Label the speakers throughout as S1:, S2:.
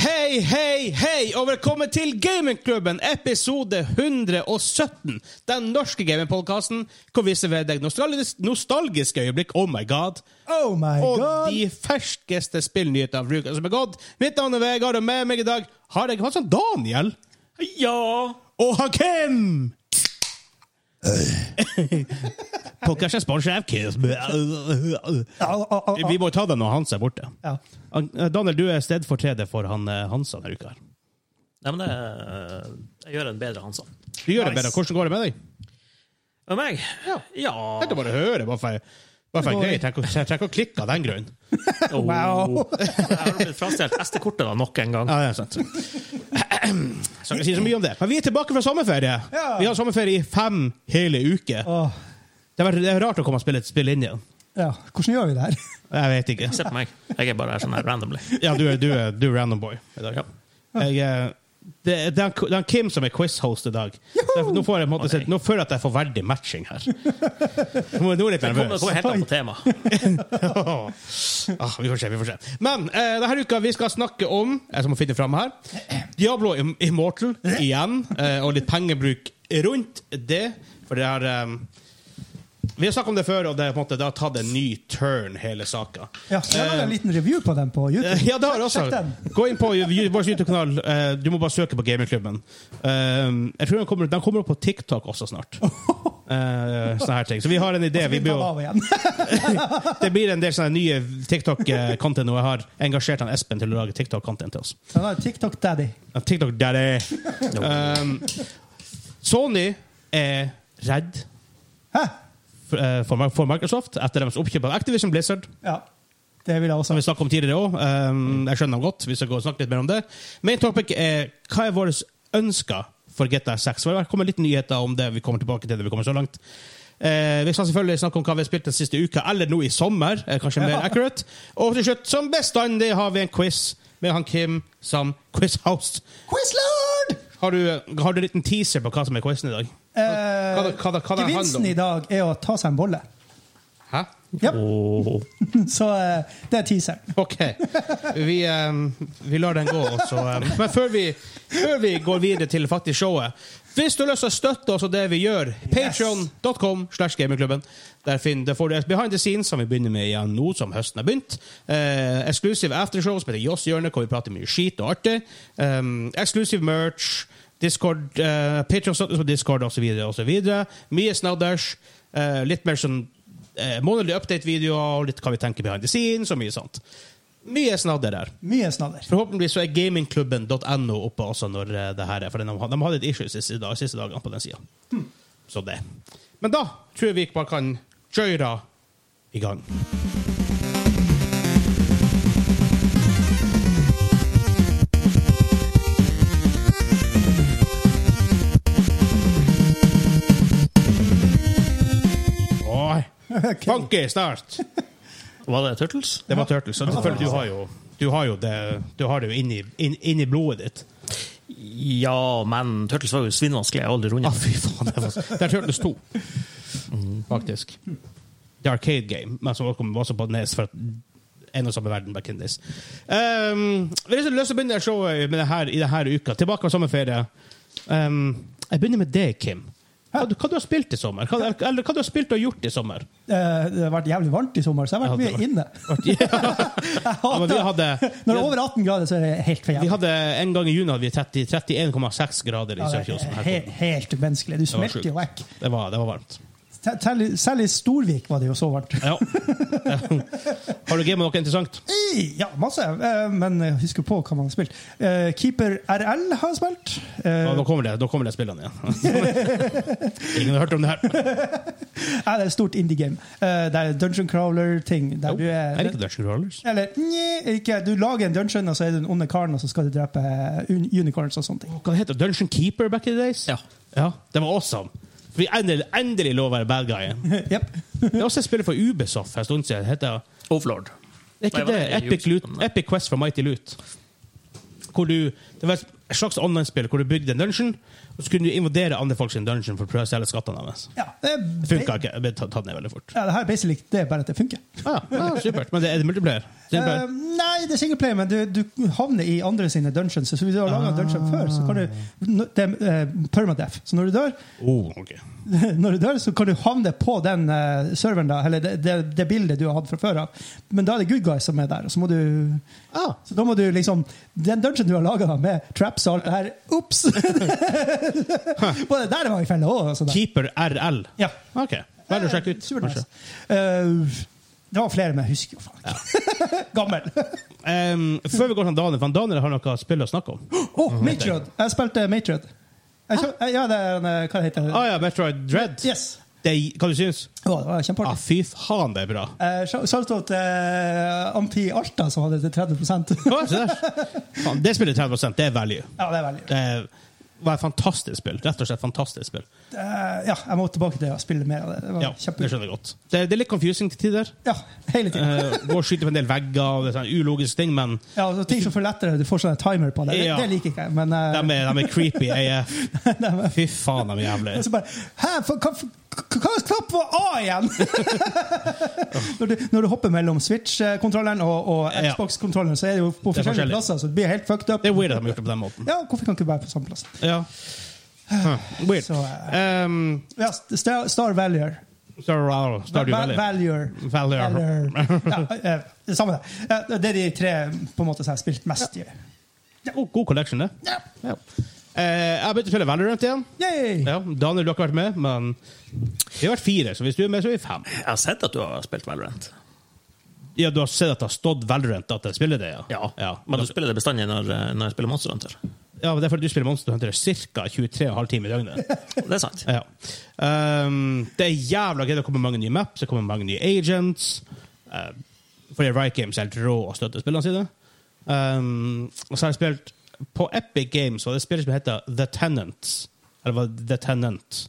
S1: Hei, hei, hei, og velkommen til Gamingklubben, episode 117. Den norske gamingpodkasten hvor vi serverer deg nostalgis- nostalgiske øyeblikk, oh my god,
S2: Oh my
S1: og
S2: god!
S1: de ferskeste spillnyhetene av uka som er gått. Mitt navn er Vegard, og med meg i dag har jeg han som Daniel.
S3: Ja!
S1: Og Hakim! Podkasten sponset av Kim.
S2: Au, au, au, au.
S1: Vi må ta den når Hans er borte.
S2: Ja.
S1: Han- Daniel, du er stedfortreder for han, eh, Hansa denne uka. her.
S3: Nei, men det eh, Jeg gjør en bedre Hansa.
S1: Du gjør det
S2: Nice.
S1: bedre. Hvordan går det med deg?
S3: Og meg?
S1: Ja.
S3: Ja.
S1: Dette bare høre, bare for, bare for en greie. Tenk, å- tenk å klikke av den grunn.
S3: Oh.
S2: Wow.
S3: Jeg har blitt frastjålet SD-kortet da nok en gang.
S1: Ja, det er sant. Så jeg sier så mye om det. Men vi er tilbake fra sommerferie.
S2: Ja.
S1: Vi har sommerferie i fem hele uker.
S2: Åh,
S1: Det er, det er rart å komme og spille et spill inn igjen.
S2: ja. Hvordan gjør vi det her?
S1: Jeg vet ikke.
S3: Se på meg. Jeg er bare her sånn her randomly.
S1: Ja, du er, du er, du er random boy i dag.
S3: Ja.
S1: Jeg, eh, det, er- det, er, det er Kim som er quiz-host i dag. Så jeg, nå, får jeg, på en måte,
S3: Å, nei.
S1: se- nå føler jeg at jeg får verdig matching her. Nå nå er jeg litt
S3: Det kommer
S1: nervøs.
S3: kommer helt an på temaet.
S1: ah, vi får se, vi får se. Men eh, denne uka vi skal snakke om Jeg som må finne fram her Diablo Im- Immortal igjen, eh, og litt pengebruk rundt det. For det er eh, Vi har snakket om det før, og det, er på en måte, det har tatt en ny turn, hele saka.
S2: Ja, jeg har en liten review på den på YouTube.
S1: Eh. Ja, det har jeg
S2: Sjekk
S1: også.
S2: den.
S1: Gå inn på Ju- vår YouTube-kanal. eh, Du må bare søke på Gamingklubben. Eh, Jeg tror den kommer, den kommer opp på TikTok også snart. Eh, Sånne her ting. Så vi har en idé.
S2: Vi
S1: Vi
S2: tar den
S1: bør,
S2: av igjen.
S1: det blir en del sånne nye TikTok-content, og jeg har engasjert han Espen til å lage TikTok-content til oss.
S2: Den er TikTok Daddy.
S1: Ja, TikTok daddy! Um, Sony er redd
S2: Hæ?
S1: for, eh, for Mar- for Microsoft etter deres oppkjøp av Activision Blizzard.
S2: Ja. Det vil jeg også
S1: som vi snakket om tidligere òg. jeg skjønner dem godt. Vi skal gå og snakke litt mer om det. Main topic er hva er våre ønsker for GTA 6? For det kommer litt nyheter om det. Vi kommer tilbake til det. Vi kommer så langt. Eh, vi skal selvfølgelig snakke om hva vi har spilt den siste uka, eller nå i sommer. eh, kanskje mer
S2: Ja.
S1: accurate. Og til slutt, som bestandig, har vi en quiz med han Kim som quizhost.
S2: Quizlord!
S1: Har du, har du en liten teaser på hva som er quizen i dag?
S2: Eh,
S1: Hva- hva- hva- hva det handler om?
S2: gevinsten i dag er å ta seg en bolle.
S1: Hæ?
S2: Ja,
S3: Oh.
S2: så eh, det er teaseren.
S1: OK. Vi, ehm, vi lar den gå. og så, ehm, men før vi, før vi går videre til faktisk showet Hvis du har lyst til å støtte oss og det vi gjør, patreon.com slash gamingklubben. Der, finner- der får du et behind the scenes, som vi begynner med igjen nå som høsten har begynt. Eh, Exclusive aftershow som heter Joss Hjørne, hvor vi prater mye skit og artig. Um, exclusive merch. Discord, eh, Patreon-status på Discord osv. videre Mye snadders. eh, litt mer sånn eh, månedlige update-videoer, litt hva vi tenker behind the scenes, og mye sånt. Mye snadder der.
S2: Mye snadder.
S1: Forhåpentligvis så er gamingklubben.no oppe også når eh, det her er, for de, har- de hadde et issue siste, dag, siste dagene på den sida. Så det. Men da tror jeg vi bare kan kjøre i gang. Oi.
S2: Ok.
S1: Funky start!
S3: Var det Turtles?
S1: Det var Turtles. Så selvfølgelig, du har jo, du har jo det, du har det jo inni, inn, inni blodet ditt.
S3: Ja, men Turtles var jo svinvanskelig. Jeg har aldri
S1: Ja,
S3: rundet.
S1: fy faen. Det, var, det er Turtles 2, faktisk. Det er Arcade Game, men som kom også på Nes for at en og samme verden back in this. Um, vi har lyst til å begynne showet med det her, i denne uka. Tilbake av sommerferie. Um, jeg begynner med deg, Kim. Hva, du- hva du har spilt i sommer? Hva, eller hva du har spilt og gjort i sommer?
S2: Eh, det har vært jævlig varmt i sommer, så jeg har vært
S1: Ja, det
S2: mye inne. Jeg
S1: Ja, men
S2: hater
S1: vi hadde,
S2: Når det er over 18 grader, så er det helt for
S1: vi
S2: jævlig.
S1: hadde En gang i juni hadde vi 30 31,6 grader i
S2: Ja, det
S1: Sørkjosen.
S2: er
S1: her
S2: he-
S1: på-
S2: helt umenneskelig. Du
S1: var
S2: smelter jo vekk.
S1: Det var, det var varmt.
S2: Te- tell- Selv i Storvik var det jo så varmt.
S1: Ja. Har du gamet noe interessant?
S2: I- Ja, masse. eh, Men jeg husker på hva man har spilt. Eh, Keeper RL har jeg spilt. Eh,
S1: Ja, nå kommer det, nå kommer det spillene igjen. Ingen har hørt om det her.
S2: ja, det er et stort indie game. Eh, Det er dungeon crawler-ting.
S1: Jo,
S2: Der du er,
S1: er det ikke Dungeon Rollers?
S2: Eller nye, ikke. Du lager en dungeon, og så er du den onde karen, og så skal du drepe eh, un unicorns og sånne ting.
S1: Hva det heter det? Dungeon Keeper back in the days?
S3: Ja.
S1: Ja, det var awesome. Vi endelig, endelig lov å være bad guyen.
S2: Jep.
S1: Det er også et spill for Ubisoft for en stund siden. Det heter
S3: Overlord.
S1: er ikke
S3: Nei, hva
S1: det
S3: er det?
S1: Epic, Loot, Epic Quest for Mighty Loot? Hvor du det var, et slags online-spill hvor du bygde en dungeon, og så kunne du invadere andre folk sin dungeon for å prøve å selge skattene deres.
S2: Ja, det,
S1: Det funka ikke. Jeg ble tatt tatt ned veldig fort.
S2: Ja, det her er basically det, bare at det funker.
S1: Ah, ja, ja, supert. Men det er det multiplayer.
S2: Eh,
S1: Multiplayer.
S2: nei, det er singleplayer, men du, du havner i andre sine dungeons. Så hvis du har laga en dungeon før, så kan du Det er eh, permadeath. Så når du dør,
S1: Oh, ok.
S2: når du dør, så kan du havne på den eh, serveren, da, eller det, det, det bildet du har hatt fra før av. Men da er det good guys som er der. og Så, må du,
S1: Ah,
S2: så da må du liksom Den dungeon du har laga med traps og alt det her Ops! Både der var jeg i fella òg. Altså, da.
S1: Keeper RL.
S2: ja.
S1: OK. Vel å sjekke ut.
S2: Super nice.
S1: kanskje.
S2: Eh, det var flere, men jeg husker jo faen ikke. Gammel.
S1: Em, før vi går til Daniel, for Daniel har noe spill å snakke om.
S2: Å, oh, Matrod! Jeg spilte Matrod. Jeg kjø- ja, det er en, eh, Hva heter det?
S1: Ah ja, Metroid Dread.
S2: Yes.
S1: Det, hva du syns du?
S2: Å, det var kjempeartig.
S1: Ah, fy faen, det er bra.
S2: Eh, shout- Shout out eh, Amfi Alta, som hadde det til 30
S1: Hva, se der. Faen, det spiller 30 Det er value.
S2: Ja, det er veldig
S1: Det er- var et fantastisk spill. Rett og slett fantastisk spill.
S2: Eh, Ja, jeg må tilbake til å spille mer av det. Det var
S1: Ja,
S2: kjempe...
S1: Det skjønner jeg godt. Det, det er litt confusing til tider.
S2: Ja, hele tiden.
S1: Uh, går og skyter på en del vegger og det er sånne ulogiske ting, men
S2: Ja, og ting som får lettere, du får sånn en timer på det. Det,
S1: Ja.
S2: det liker ikke jeg, men eh,
S1: de er, de er creepy AF. Fy faen, de er jævlige.
S2: og så bare Hæ, for, hva, hva, hva knapp var A igjen?! når, du, når du hopper mellom Switch-kontrolleren og, og
S1: Ja.
S2: Xbox-kontrolleren, så er det jo på
S1: Det er
S2: forskjellige
S1: forskjellig.
S2: plasser, så det blir helt fucked up.
S1: Det er weird at de har gjort det på den måten.
S2: Ja, hvorfor kan ikke du være på samme plass?
S1: Ja. Huh, Weird.
S2: Så, eh,
S1: Um,
S2: Ja, Star, Star Valior.
S1: Star, Stardew
S2: Val-
S1: Valley.
S2: Valior.
S1: Valior.
S2: Eller- ja, eh, det samme det. Eh, Det er de tre på en måte som jeg har spilt mest i.
S1: oh, God, god collection, det.
S2: Ja.
S1: Ja. Eh, jeg har begynt å spille Valorant igjen.
S2: Yay!
S1: Ja, Daniel, du har ikke vært med, men vi har vært fire, så hvis du er med, så er vi fem.
S3: Jeg har sett at du har spilt Valorant.
S1: Ja, Du har sett at det har stått Valorant at jeg spiller det? Ja. ja.
S3: Men du spiller det bestandig når, eh, når jeg spiller Monster Hunter.
S1: Ja, men det er fordi du spiller Monster Hunter ca. 23,5 timer i døgnet.
S3: Det er sant.
S1: Ja. Um, det er jævla gøy. Det kommer mange nye maps, det kommer mange nye agents. Uh, fordi Riot Games er helt rå å støtte spillene sine. Um, og så har jeg spilt på Epic Games, og det spillet som heter The Tenants. Eller hva The Tenant.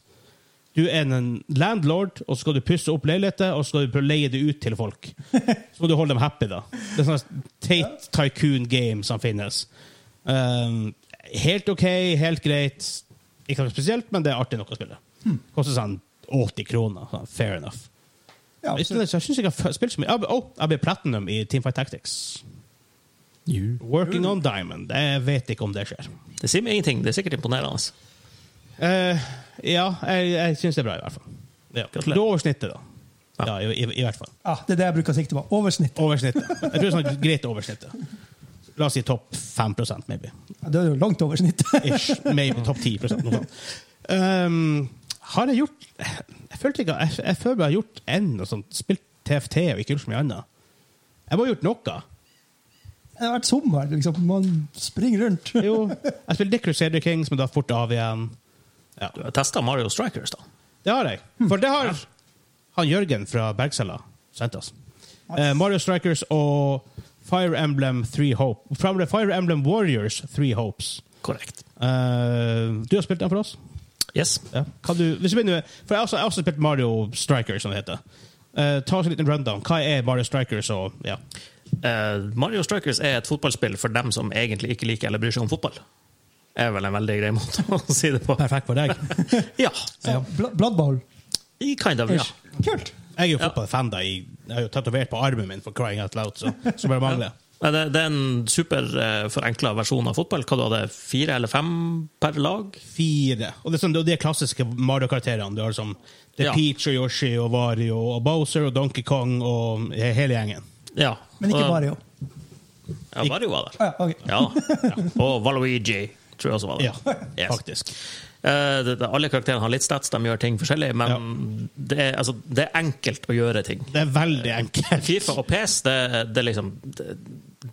S1: Du er en landlord, og så skal du pusse opp leiligheter og så skal du prøve å leie det ut til folk. Så må du holde dem happy, da. Det er sånn teit tycoon game som finnes. Um, helt OK, helt greit. Ikke noe spesielt, men det er artig nok å spille. Koster sånn 80 kroner. Sånn, fair enough.
S2: Ja,
S1: Jeg
S2: absolutt.
S1: synes, jeg synes ikke jeg har f- spilt så mye. Jeg ble- Å, jeg ble platinum i Teamfight Tactics. Working on Diamond. Jeg vet ikke om det skjer.
S3: Det sier meg ingenting. Det er sikkert imponerende.
S1: Eh, ja, jeg, jeg syns det er bra, i hvert fall. Ja.
S3: Gratulerer.
S1: Det er over snittet, da. Ja, i, i, i hvert fall.
S2: Ja, Ah, det er det jeg bruker å sikte på. Oversnitt.
S1: Over snittet. Jeg tror det er sånn greit over snittet. La oss si topp 5 maybe.
S2: Ja, Det er jo langt over snittet.
S1: Ish, maybe topp 10 noe sånt. Um, har jeg gjort Jeg følte ikke Jeg, jeg føler jeg har gjort en og sånt, spilt TFT og ikke gjort så mye annet. Jeg må ha gjort noe.
S2: Det har vært sommer, liksom. Man springer rundt.
S1: Jo, jeg spilte Dick Crusader Kings, men da fort av igjen. Ja,
S3: Du har testa Mario Strikers, da.
S1: Det har jeg. For det har han Jørgen fra Bergsella sendt oss. Eh, Mario Strikers og Fire Emblem Three Hope. Fire Fire Emblem Warriors Three Hopes.
S3: Korrekt.
S1: Eh, du har spilt den for oss?
S3: Yes.
S1: Ja. Kan du, hvis du begynner, for jeg har, også, jeg har også spilt Mario Strikers, som det heter. Eh, ta oss en liten rundown. Hva er Mario Strikers? Og, ja.
S3: Eh, Mario Strikers er et fotballspill for dem som egentlig ikke liker eller bryr seg om fotball. Er vel en veldig grei måte å si det på.
S1: Perfekt for deg.
S3: Ja.
S2: Så, Bla- Blood Bowl.
S3: i Kind of, ja.
S2: Ish. Kult!
S1: Jeg er jo
S3: Ja.
S1: fotballfan. da. Jeg jeg har jo tatovert på armen min for crying out loud, så, så bare mangler.
S3: Men Det, det er en superforenkla versjon av fotball. Hva du hadde, fire eller fem per lag?
S1: Fire. Og det er sånn, det er de klassiske Mario-karakterene. Du har som det er
S3: Ja.
S1: Peach og Yoshi og Wario og Bowser og Donkey Kong og hele gjengen.
S3: Ja.
S2: Men ikke
S3: Og-
S2: Mario.
S3: Ja, Mario var der.
S2: Ah, ja, ok.
S3: Ja. Og Valuigi tror jeg også var der.
S1: Ja,
S3: Yes.
S1: faktisk.
S3: Eh, det, det, alle karakterene har litt stats, de gjør ting forskjellig, men det, er, altså, det er enkelt å gjøre ting.
S1: Det er
S3: Eh,
S1: veldig enkelt.
S3: Fifa og PS, det, det liksom det,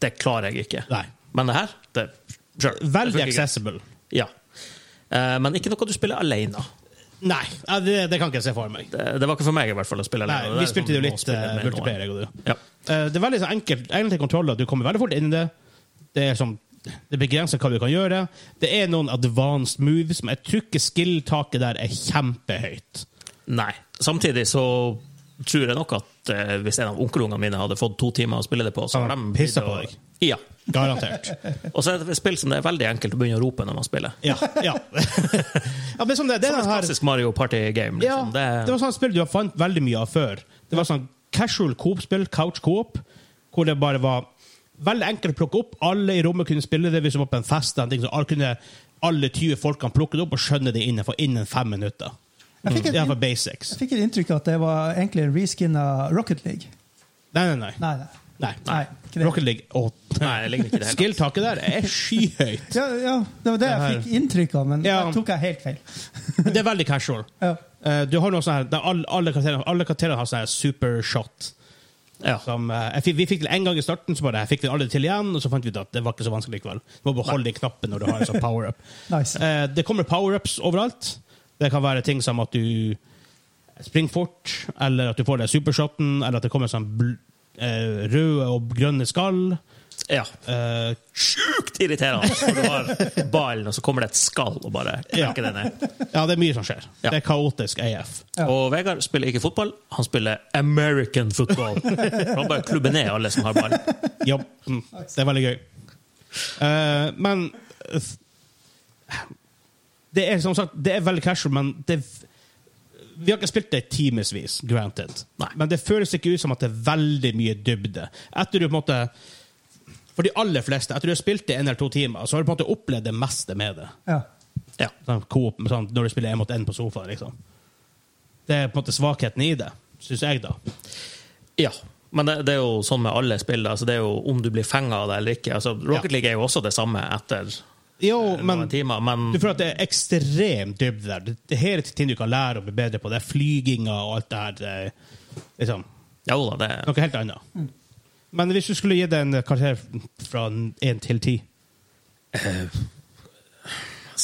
S3: det klarer jeg ikke.
S1: Nei.
S3: Men det her, det sure. Det
S1: Veldig
S3: funker greit.
S1: accessible.
S3: Ja. Eh, men ikke noe du spiller alene.
S1: Nei, ja, det, det kan ikke jeg se for meg.
S3: Det, det var ikke for meg i hvert fall å spille
S1: Nei,
S3: alene. Det er
S1: vi spilte jo
S3: sånn å
S1: litt
S3: spille
S1: eh,
S3: med noen.
S1: multiplayer, jeg og du.
S3: Ja.
S1: Eh, det er veldig så enkelt. Egentlig kontroller. Du kommer veldig fort inn i det. Det er som det begrenser hva du kan gjøre. Det er noen advanced moves, men jeg tror ikke skill-taket der er kjempehøyt.
S3: Nei. Samtidig så tror jeg nok at eh, hvis en av onkelungene mine hadde fått to timer å spille det på, så
S1: Han
S3: hadde de
S1: pisset på
S3: begynt å-
S1: deg.
S3: Ja.
S1: Garantert.
S3: Og så er det et spill som det er veldig enkelt å begynne å rope når man spiller.
S1: Ja. ja. ja men som det, det, er
S3: Det Sånn er
S1: den
S3: et
S1: her,
S3: klassisk Mario Party-game.
S1: ja,
S3: Liksom.
S1: det
S3: det,
S1: var sånn spill du fant veldig mye av før. Det var sånn casual coop-spill, couch coop, hvor det bare var veldig enkelt å plukke opp. Alle i rommet kunne spille det hvis du var på en fest. eller En ting, så alle, kunne, alle 20 folkene plukke det opp og skjønne det innenfor innen fem minutter.
S2: Jeg fikk et-
S1: Iallfall basics.
S2: Jeg fikk et inntrykk av at det var egentlig en reskin av Rocket League.
S1: Nei, nei, nei.
S2: Nei, nei.
S1: nei.
S2: nei ikke det.
S1: Rocket League å,
S3: Nei, det ligner ikke i det hele tatt.
S1: Skill-taket der er skyhøyt.
S2: Ja, ja, det var det
S1: Det
S2: jeg
S1: her-
S2: fikk inntrykk av, men
S1: Ja.
S2: der tok jeg helt feil.
S1: Det er veldig casual.
S2: Ja.
S1: Eh, du har noe sånn her, der alle, alle, karakterene, alle karakterene har sånn her supershot.
S3: Ja.
S1: Som, eh, jeg fikk, vi fikk det en gang i starten, så bare jeg fikk det aldri til igjen. Og så fant vi ut at det var ikke så vanskelig likevel. Du må beholde den knappen når du har en sånn power-up.
S2: Nice.
S1: Eh, det kommer power-ups overalt. Det kan være ting som at du springer fort, eller at du får det supershoten, eller at det kommer sånn bl eh, røde og grønne skall.
S3: ja.
S1: Eh,
S3: Sjukt irriterende når du har ballen, og så kommer det et skall og bare
S1: Ja.
S3: knekker det ned.
S1: ja, det er mye som skjer.
S3: Ja.
S1: Det er kaotisk AF.
S2: Ja.
S3: Og Vegard spiller ikke fotball, han spiller American football. Han bare klubber ned alle som har ball.
S1: Ja, mm, det er veldig gøy. Eh, men eh, Det er som sagt Det er veldig casual, men det vi har ikke spilt det i timevis, granted.
S3: Nei.
S1: Men det føles ikke ut som at det er veldig mye dybde. Etter du på en måte For de aller fleste, etter du har spilt det en eller to timer, så har du på en måte opplevd det meste med det.
S2: Ja.
S3: Ja.
S1: Sånn, coop, sånn, når du spiller én mot én på sofaen, liksom. Det er på en måte svakheten i det, syns jeg, da.
S3: Ja. Men det, det er jo sånn med alle spill. da. Altså, det er jo om du blir fenga av det eller ikke. Altså, Rocket
S1: Ja.
S3: League er jo også det samme etter
S1: Jo,
S3: noen timer, men
S1: Du føler at det er ekstrem dybde der. Det- Det er hele ting du kan lære å bli bedre på. Det er flyginga og alt det her. Det er liksom
S3: jo da, det
S1: noe helt annet.
S2: Mm.
S1: Men hvis du skulle gi det en karakter fra én til ti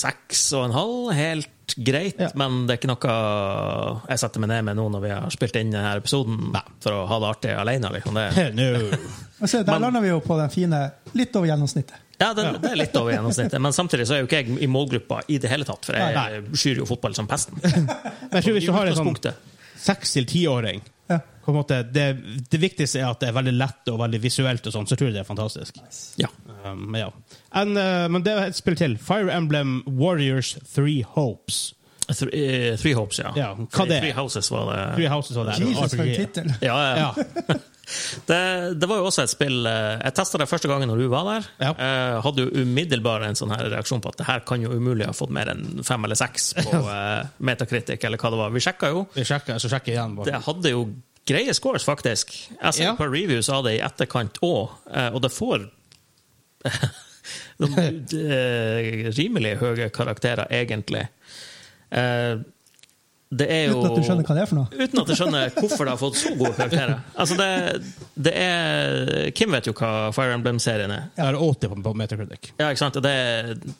S3: seks og en halv, helt greit,
S1: Ja.
S3: men det er ikke noe jeg setter meg ned med nå når vi har spilt inn denne episoden, for å ha det artig alene. Liksom. Det,
S1: No.
S2: Og så, der
S3: Men-
S2: lander vi jo på den fine litt over gjennomsnittet.
S3: ja, det, det er litt over gjennomsnittet, men samtidig så er jo ikke jeg i målgruppa i det hele tatt, for
S1: Nei.
S3: jeg skyr jo fotball som pesten.
S1: Men jeg tror hvis du har en sånn
S3: Utgangspunktet.
S1: seks til tiåring
S2: Ja.
S1: på en måte, det, det viktigste er at det er veldig lett og veldig visuelt, og sånn, så tror jeg det er fantastisk.
S3: Ja.
S1: Um, men ja. En, eh, men det er et spill til. Fire Emblem Warriors Three Hopes.
S3: Th- eh, Three Hopes, ja.
S1: Ja, hva det er?
S3: Three Houses var det.
S1: Three Houses var det.
S2: Jesus, for en
S1: RPG.
S2: tittel!
S3: Ja, ja.
S1: Ja.
S3: Det, det var jo også et spill eh, Jeg testa det første gangen når du var der.
S1: Ja.
S3: Eh, hadde jo umiddelbart en sånn her reaksjon på at det her kan jo umulig ha fått mer enn fem eller seks på eh, Metacritic, eller hva det var. Vi sjekka jo.
S1: Vi sjekker, så sjekker jeg igjen. Bare.
S3: Det hadde jo greie scores, faktisk. Jeg ser
S1: Ja.
S3: et par reviews av det i etterkant òg, og det får de- de- rimelig høye karakterer, egentlig. Eh, Det er jo
S2: Uten at du skjønner hva det er for noe.
S3: Uten at jeg skjønner hvorfor det har fått så gode karakterer. Altså det, det er, Kim vet jo hva Fire Emblem-serien er.
S1: Jeg har 80 på, på Metacritic.
S3: Ja, ikke sant? Det,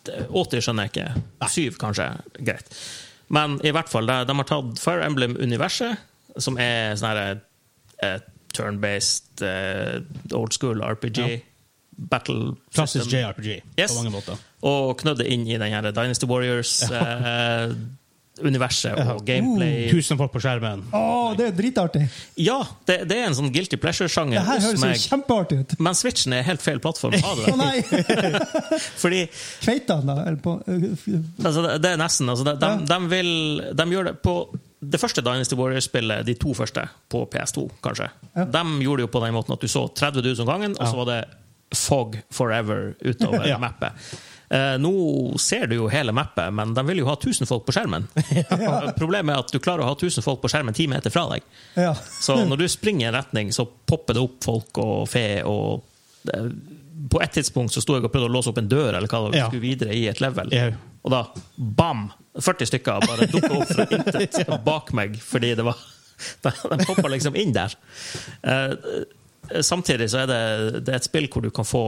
S3: det- 80 skjønner jeg ikke. 7 kanskje. Greit. Men i hvert fall, de, de har tatt Fire Emblem-universet, som er sånn her eh, turn-based, eh, old school RPG,
S1: Ja.
S3: battle
S1: Klassisk
S3: system,
S1: JRPG
S3: Yes.
S1: på mange måter.
S3: og knødd det inn i den her Dynasty Warriors-universet
S1: Ja. Uh,
S3: og gameplay.
S1: Tusen folk på skjermen.
S2: Å, det er dritartig!
S3: Ja, det, det er en sånn guilty pleasure-sjanger
S2: Det her
S3: hos
S2: høres jo
S3: meg.
S2: kjempeartig ut!
S3: Men Switchen er helt feil plattform. å ha
S2: Å
S3: det der.
S2: nei!
S3: Fordi
S2: Kveita han, da? Eller på Å
S3: altså, det- det er nesten altså, de, de, de vil De gjør det på det første Dynasty Warriors-spillet, de to første, på PS2, kanskje.
S2: Ja.
S3: De gjorde det jo på den måten at du så 30 000 om gangen, og så var det fog forever utover
S1: Ja.
S3: mappet. Eh, nå ser du jo hele mappet, men de vil jo ha 1000 folk på skjermen. Problemet er at du klarer å ha 1000 folk på skjermen ti meter fra deg.
S2: ja.
S3: Så når du springer i en retning, så popper det opp folk og fe og det- På et tidspunkt så sto jeg og prøvde å låse opp en dør eller hva det var,
S1: Ja.
S3: skulle videre i et level.
S1: Ja.
S3: Og da bam! 40 stykker bare dukka opp fra intet bak meg fordi det var De, de poppa liksom inn der. Eh, samtidig så er det, det er et spill hvor du kan få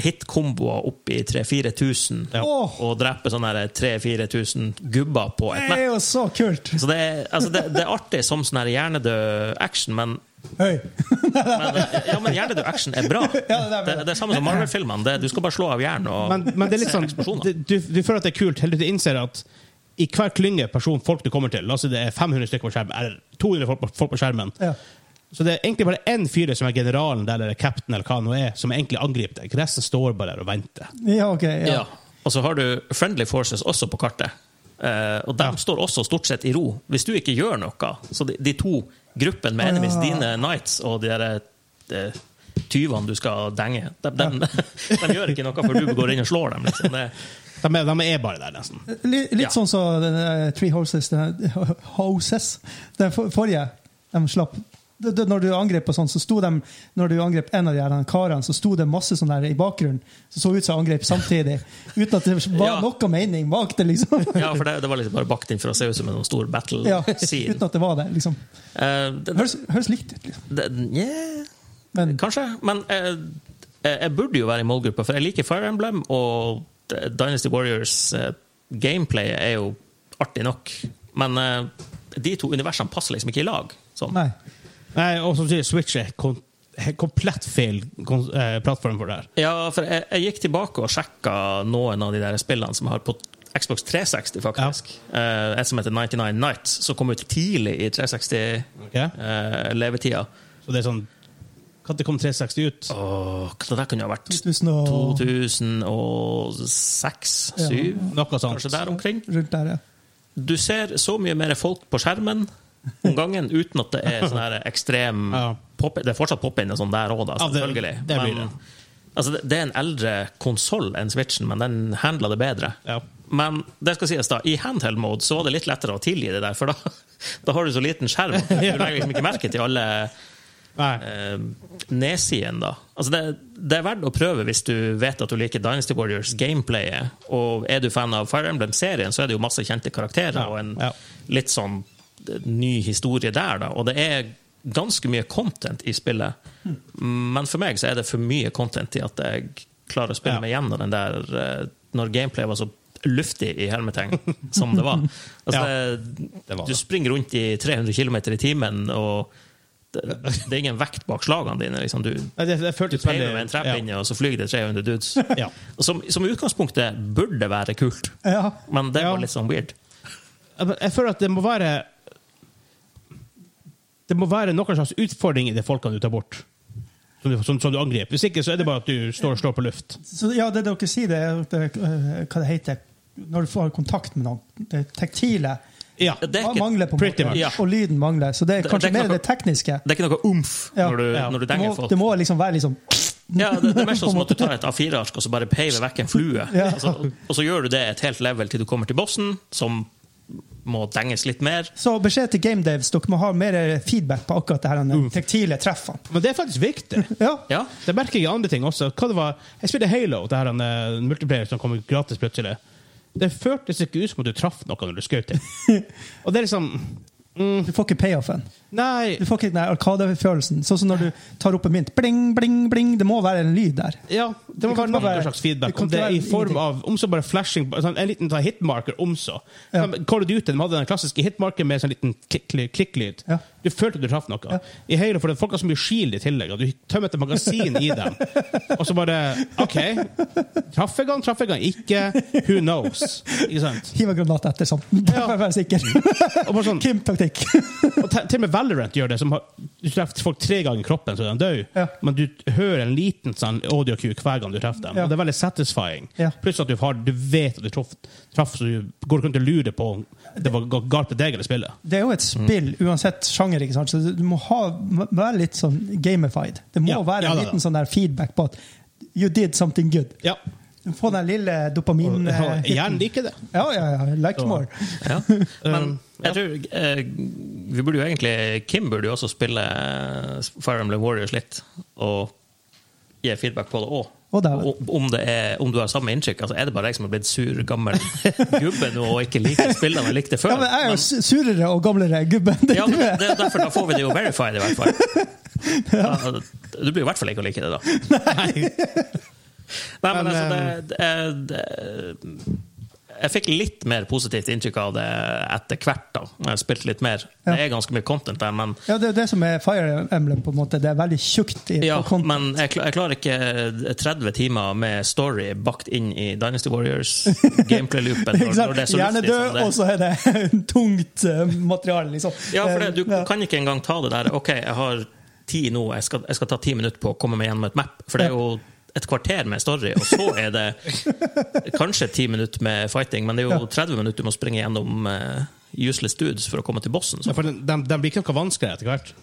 S3: hit-komboer opp i 3000-4000
S1: Ja.
S2: Åh.
S3: og drepe sånne 3000-4000 gubber på
S2: Det
S3: et
S2: er
S3: nett.
S2: jo så kult!
S3: Så det er, altså det, det er artig som sånn her hjernedød action, men,
S2: Høy!
S3: men, ja, men hjernedød action er bra. Det,
S2: Ja, det er bra.
S3: det er det samme som Marvel-filmene. Det- Du skal bare slå av hjernen. Og,
S1: Men, men det er litt sånn, det, du, du føler at det er kult, helt til du innser at i hver klynge person folk du kommer til, la oss si det er 500 stykker på skjermen, eller 200 folk på, folk på skjermen,
S2: Ja.
S1: Så det er egentlig bare én fyr som er generalen der, eller captain, eller hva han nå er, som egentlig angriper deg. Resten står bare der og venter.
S2: Ja, ok. Ja.
S3: Ja. Og så har du Friendly Forces også på kartet. Eh, og de står også stort sett i ro, hvis du ikke gjør noe. Så de, de to gruppene med enemies,
S1: Ah.
S3: dine Knights og de der eh, tyvene du skal denge, de, de, de gjør ikke noe før du går inn og slår dem. Liksom. Det,
S1: De er, de er bare der, nesten.
S2: Li- Litt
S3: Ja.
S2: sånn som den der Three Houses, den, der- houses, den for, forrige. De slapp. Det- det- Når du angrep og sånn, så sto de, når du angrep en av de her karene, så sto det masse sånn der i bakgrunnen som så ut som angrep samtidig. Uten at det var
S3: Ja.
S2: noe mening bak det, liksom.
S3: ja, for det, det var liksom bare bakt inn for å se ut som en sånn stor battle
S2: Ja,
S3: scene.
S2: uten at det var det, liksom.
S3: Eh, det,
S2: Høres, høres likt ut, liksom.
S3: det, nja.
S2: Men
S3: Kanskje, men eh, eh, jeg burde jo være i målgruppa, for jeg liker Fire Emblem, og Dynasty Warriors eh, gameplay er jo artig nok. Men eh, de to universene passer liksom ikke i lag. Sånn.
S2: nei.
S1: Nei, og som du sier, Switch er kon he- komplett feil kon eh, plattform for det her.
S3: Ja, for jeg, jeg gikk tilbake og sjekka noen av de der spillene som jeg har på Xbox 360, faktisk. Eh, et som heter 99 Nights, som kom ut tidlig i eh, 360-levetida.
S1: Ok? Så det er sånn Når kom 360 ut?
S3: det der kunne jo ha vært
S2: 2000 og
S3: 2006-2007?
S1: Noe sånt.
S3: Kanskje der omkring?
S2: rundt der, ja.
S3: du ser så mye mer folk på skjermen om gangen uten at det er sånn her ekstrem
S1: Ja.
S3: pop Det er fortsatt pop-in og sånn der òg, da,
S1: Ja, det-
S3: selvfølgelig.
S1: det blir det.
S3: Men, altså, det, det er en eldre konsoll enn Switchen, men den handler det bedre.
S1: Ja.
S3: Men det skal sies da, i handheld mode så var det litt lettere å tilgi det der, for da, da har du så liten skjerm. at Du legger liksom ikke merke til alle
S1: Nei.
S3: eh, nedsiden, da. Altså det, det er verdt å prøve hvis du vet at du liker Dynasty Warriors gameplayet. Og er du fan av Fire Emblem-serien, så er det jo masse kjente karakterer
S1: Ja,
S3: og en
S1: ja.
S3: litt sånn eh, ny historie der, da. Og det er ganske mye content i spillet. Men for meg så er det for mye content til at jeg klarer å spille
S1: Ja.
S3: meg gjennom den der eh, når gameplayet var så luftig i hermetegn som det var. Altså,
S1: Ja,
S3: det,
S1: det var
S3: du
S1: det.
S3: springer rundt i 300 km i timen, og det, det er ingen vekt bak slagene dine. Liksom. Du
S1: Nei, Det, det føltes
S3: peiler med en
S1: ja.
S3: trepinne, og så flyr det 300 dudes.
S1: Ja.
S3: Og Som, som i utgangspunktet burde være kult,
S2: ja.
S3: men det
S1: Ja.
S3: var litt sånn weird.
S1: Jeg jeg føler at det må være Det må være noen slags utfordring i de folkene du tar bort. Som du, som, som du angriper. Hvis ikke så er det bare at du står og slår på luft.
S2: Så, ja, det dere sier, det er det, eh, hva det heter når du får kontakt med noen. Det tektile
S1: Ja.
S3: Det er ikke,
S2: mangler, på en
S1: pretty
S2: måte.
S1: much.
S3: Ja.
S2: Og lyden mangler. Så det er
S3: Det-
S2: kanskje
S3: det er
S2: mer
S3: klart-
S2: det tekniske.
S3: det er ikke noe umf
S2: Ja.
S3: når du,
S1: Ja.
S3: når du
S2: Det
S3: denger
S2: må,
S3: folk.
S2: det må liksom være liksom
S3: Ja, det, det er mer sånn som at du tar et A4-ark og så bare peiver vekk en flue.
S2: Ja.
S3: Altså, og så gjør du det et helt level til du kommer til bossen, som må denges litt mer.
S2: Så beskjed til GameDaves, dere må ha mer feedback på akkurat det her den tektile treffene.
S1: Men det er faktisk viktig.
S2: Ja.
S3: Ja.
S1: Det merker jeg i andre ting også. Hva det var, jeg spilte Halo, det her eh, multiplayer som kom gratis plutselig. Det føltes ikke ut som at du traff noe når du skjøt det. Og det er liksom
S2: Du får ikke payoffen.
S1: Nei.
S2: Du får ikke den der arkadefølelsen. Sånn som når du tar opp en mynt. Bling, bling, bling. Det må være en lyd der.
S1: Ja, det må være
S2: Det kan ikke
S1: noen
S2: være-
S1: slags
S2: det
S1: feedback.
S2: kan
S1: Om det
S2: ikke
S1: er
S2: være
S1: i form
S2: ingenting.
S1: av om så bare flashing, sånn, en liten sånn hitmarker om så.
S2: Ja.
S1: De, Call of Duty de hadde den klassiske hitmarken med sånn liten klikklyd. klikklyd.
S2: Ja.
S1: Du følte du traff noe. I Halo, for det- Folk har så mye shield i tillegg, og du tømmer et magasin i dem. Og så bare OK. Traff jeg han, traff jeg han ikke? Who knows? Ikke sant?
S2: Hiv en granat etter sånn. Ja. For å være sikker.
S1: Og bare sånn,
S2: Kim-taktikk.
S1: og te- til og med Valorant gjør det. Som har, du treffer folk tre ganger i kroppen, så er de døde.
S2: Ja.
S1: Men du hører en liten sånn audio cue hver gang du treffer dem.
S2: Ja.
S1: Og det er veldig satisfying.
S2: Ja.
S1: Pluss at du, har, du vet at du traff, traff, så du går ikke rundt og lurer på om det var ga- galt på deg eller spillet.
S2: Det er jo et spill uansett sjanger, ikke sant? så du må ha, være litt sånn gamified. Det må
S1: Ja.
S2: være
S1: Ja,
S2: en
S1: da, da.
S2: liten sånn der feedback på at you did something good.
S1: Ja.
S2: Du får den lille
S1: Og,
S2: dopamin...
S1: og
S2: eh,
S1: hjernen liker det.
S2: Ja, ja, ja. Like more.
S3: Ja. Men
S2: Um,
S3: jeg tror eh, vi burde jo egentlig Kim burde jo også spille eh, Fire Emblem Warriors litt, og gi feedback på det òg.
S2: Å, dæven.
S3: Om, det er, om du har samme inntrykk. Altså, er det bare jeg som er blitt sur, gammel gubbe nå og ikke liker spillene jeg likte før?
S2: Ja, men jeg er jo su- surere og gamlere gubbe enn det
S3: Ja,
S2: du
S3: men
S2: er.
S3: det er derfor da får vi det jo verified, i hvert fall. Da, du blir i hvert fall ikke å like det, da. Nei, men
S1: Men,
S3: altså, det, det, det Jeg fikk litt mer positivt inntrykk av det etter hvert, da. Når jeg spilte litt mer. Det er ganske mye content der, men
S2: Ja, det er jo det som er Fire Emblem, på en måte. Det er veldig tjukt. i
S3: ja,
S2: på konten.
S3: men jeg, kla- jeg klarer ikke 30 timer med story bakt inn i Dynasty Warriors-gameplay-loopen.
S2: Ikke
S3: Når,
S2: sant?
S3: når det er så
S2: Gjerne
S3: luftig
S2: død,
S3: som det
S2: og
S3: er.
S2: så er det tungt eh, materiale, liksom. Eh,
S3: Ja, for det, du
S2: Ja.
S3: kan ikke engang ta det der. OK, jeg har ti nå. Jeg skal, jeg skal ta ti minutter på å komme meg gjennom et map. For det er jo et kvarter med story, og så er det kanskje ti minutter med fighting, men det er jo 30 minutter du må springe gjennom eh, useless dudes for å komme til bossen. Så.
S1: Ja, for den- den- den blir ikke noe vanskeligere etter hvert.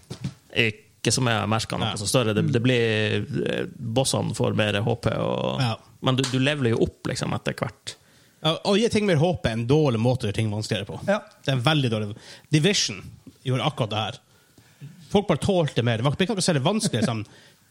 S3: Ikke som jeg har merka noe
S1: Ja.
S3: så større. Det, det blir, eh, Bossene får mer HP, og,
S1: Ja.
S3: men du, du leveler jo opp liksom, etter hvert.
S1: Ja, Å gi ting mer håp er en dårlig måte å gjøre ting vanskeligere på.
S2: Ja.
S1: Det er en veldig dårlig Division gjorde akkurat det her. Folk bare tålte mer. Det var ikke noe særlig vanskelig sånn,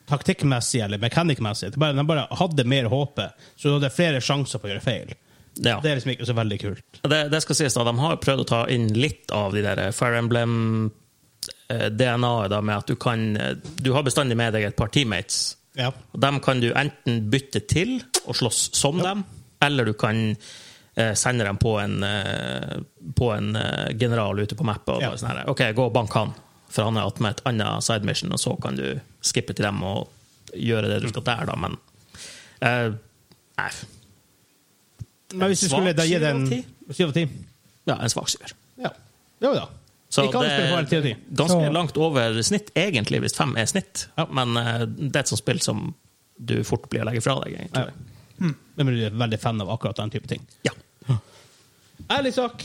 S1: taktikkmessig eller mekanikkmessig. Det bare- De bare hadde mer håpet, så du hadde flere sjanser på å gjøre feil.
S3: Ja.
S1: Det er liksom ikke så veldig kult.
S3: Ja, Det, det skal sies da, De har prøvd å ta inn litt av de der Fire eh, Emblem-DNA-et. da, med at Du kan, eh, du har bestandig med deg et par teammates.
S1: Ja.
S3: Og Dem kan du enten bytte til og slåss som dem, eller du kan eh, sende dem på en, eh, på en eh, general ute på mappa. Og
S1: Ja.
S3: bare sånn her, OK, gå og bank han, for han er att med et annet side mission, og så kan du skippe til dem og gjøre det du skal der, da, men eh, Nei.
S1: Men hvis du
S3: Svak
S1: skulle da gi
S3: syv av
S1: den
S3: ti?
S1: syv av ti?
S3: Ja, en svak syver.
S1: Ja. Jo da.
S3: Så
S1: ikke alle
S3: det
S1: spiller bare ti av ti.
S3: ganske
S2: Så-
S3: langt over snitt, egentlig, hvis fem er snitt.
S1: Ja.
S3: Men eh, det er et sånt spill som du fort blir å legge fra deg, egentlig.
S1: Men du er veldig fan av akkurat den type ting.
S3: Ja.
S1: Ærlig sak.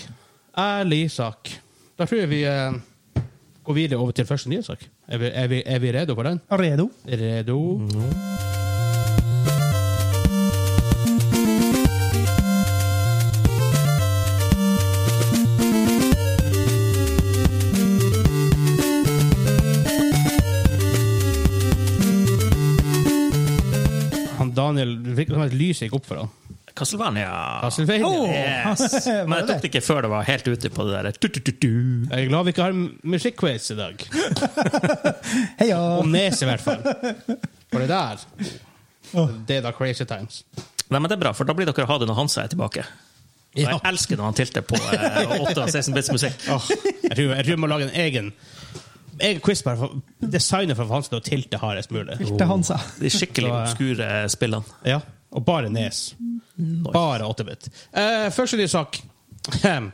S1: Ærlig sak. Da tror jeg vi eh, går videre over til første nye sak. Er vi, er vi, er vi redo for den?
S2: Redo.
S1: Redo? Han Daniel, det virker som et lys gikk opp for han.
S3: Castlevania.
S1: Castlevania.
S3: Oh!
S2: Åh!
S3: Yes.
S2: Var det
S3: Men
S2: det?
S3: jeg tok det ikke før det var helt ute på det der tu-tu-tu-tu.
S1: Jeg er glad vi ikke har musikkquiz i dag.
S2: Heia!
S1: Om nes, i hvert fall. For det der Det er da crazy times.
S3: Nei, men det er bra, for da blir dere å ha det når Hansa er tilbake. Og
S1: Ja.
S3: Jeg elsker når han tilter på eh, 8 og 16 bits musikk.
S1: Åh, jeg, tror, jeg tror vi må lage en egen Egen quiz bare for designet for Hansen og tilte hardest mulig.
S2: Til Hansa.
S3: De skikkelig
S1: Så, eh,
S3: obskure spillene.
S1: Ja, Og bare nes. Bare 8-bit. Eh, første ny sak. Ahem.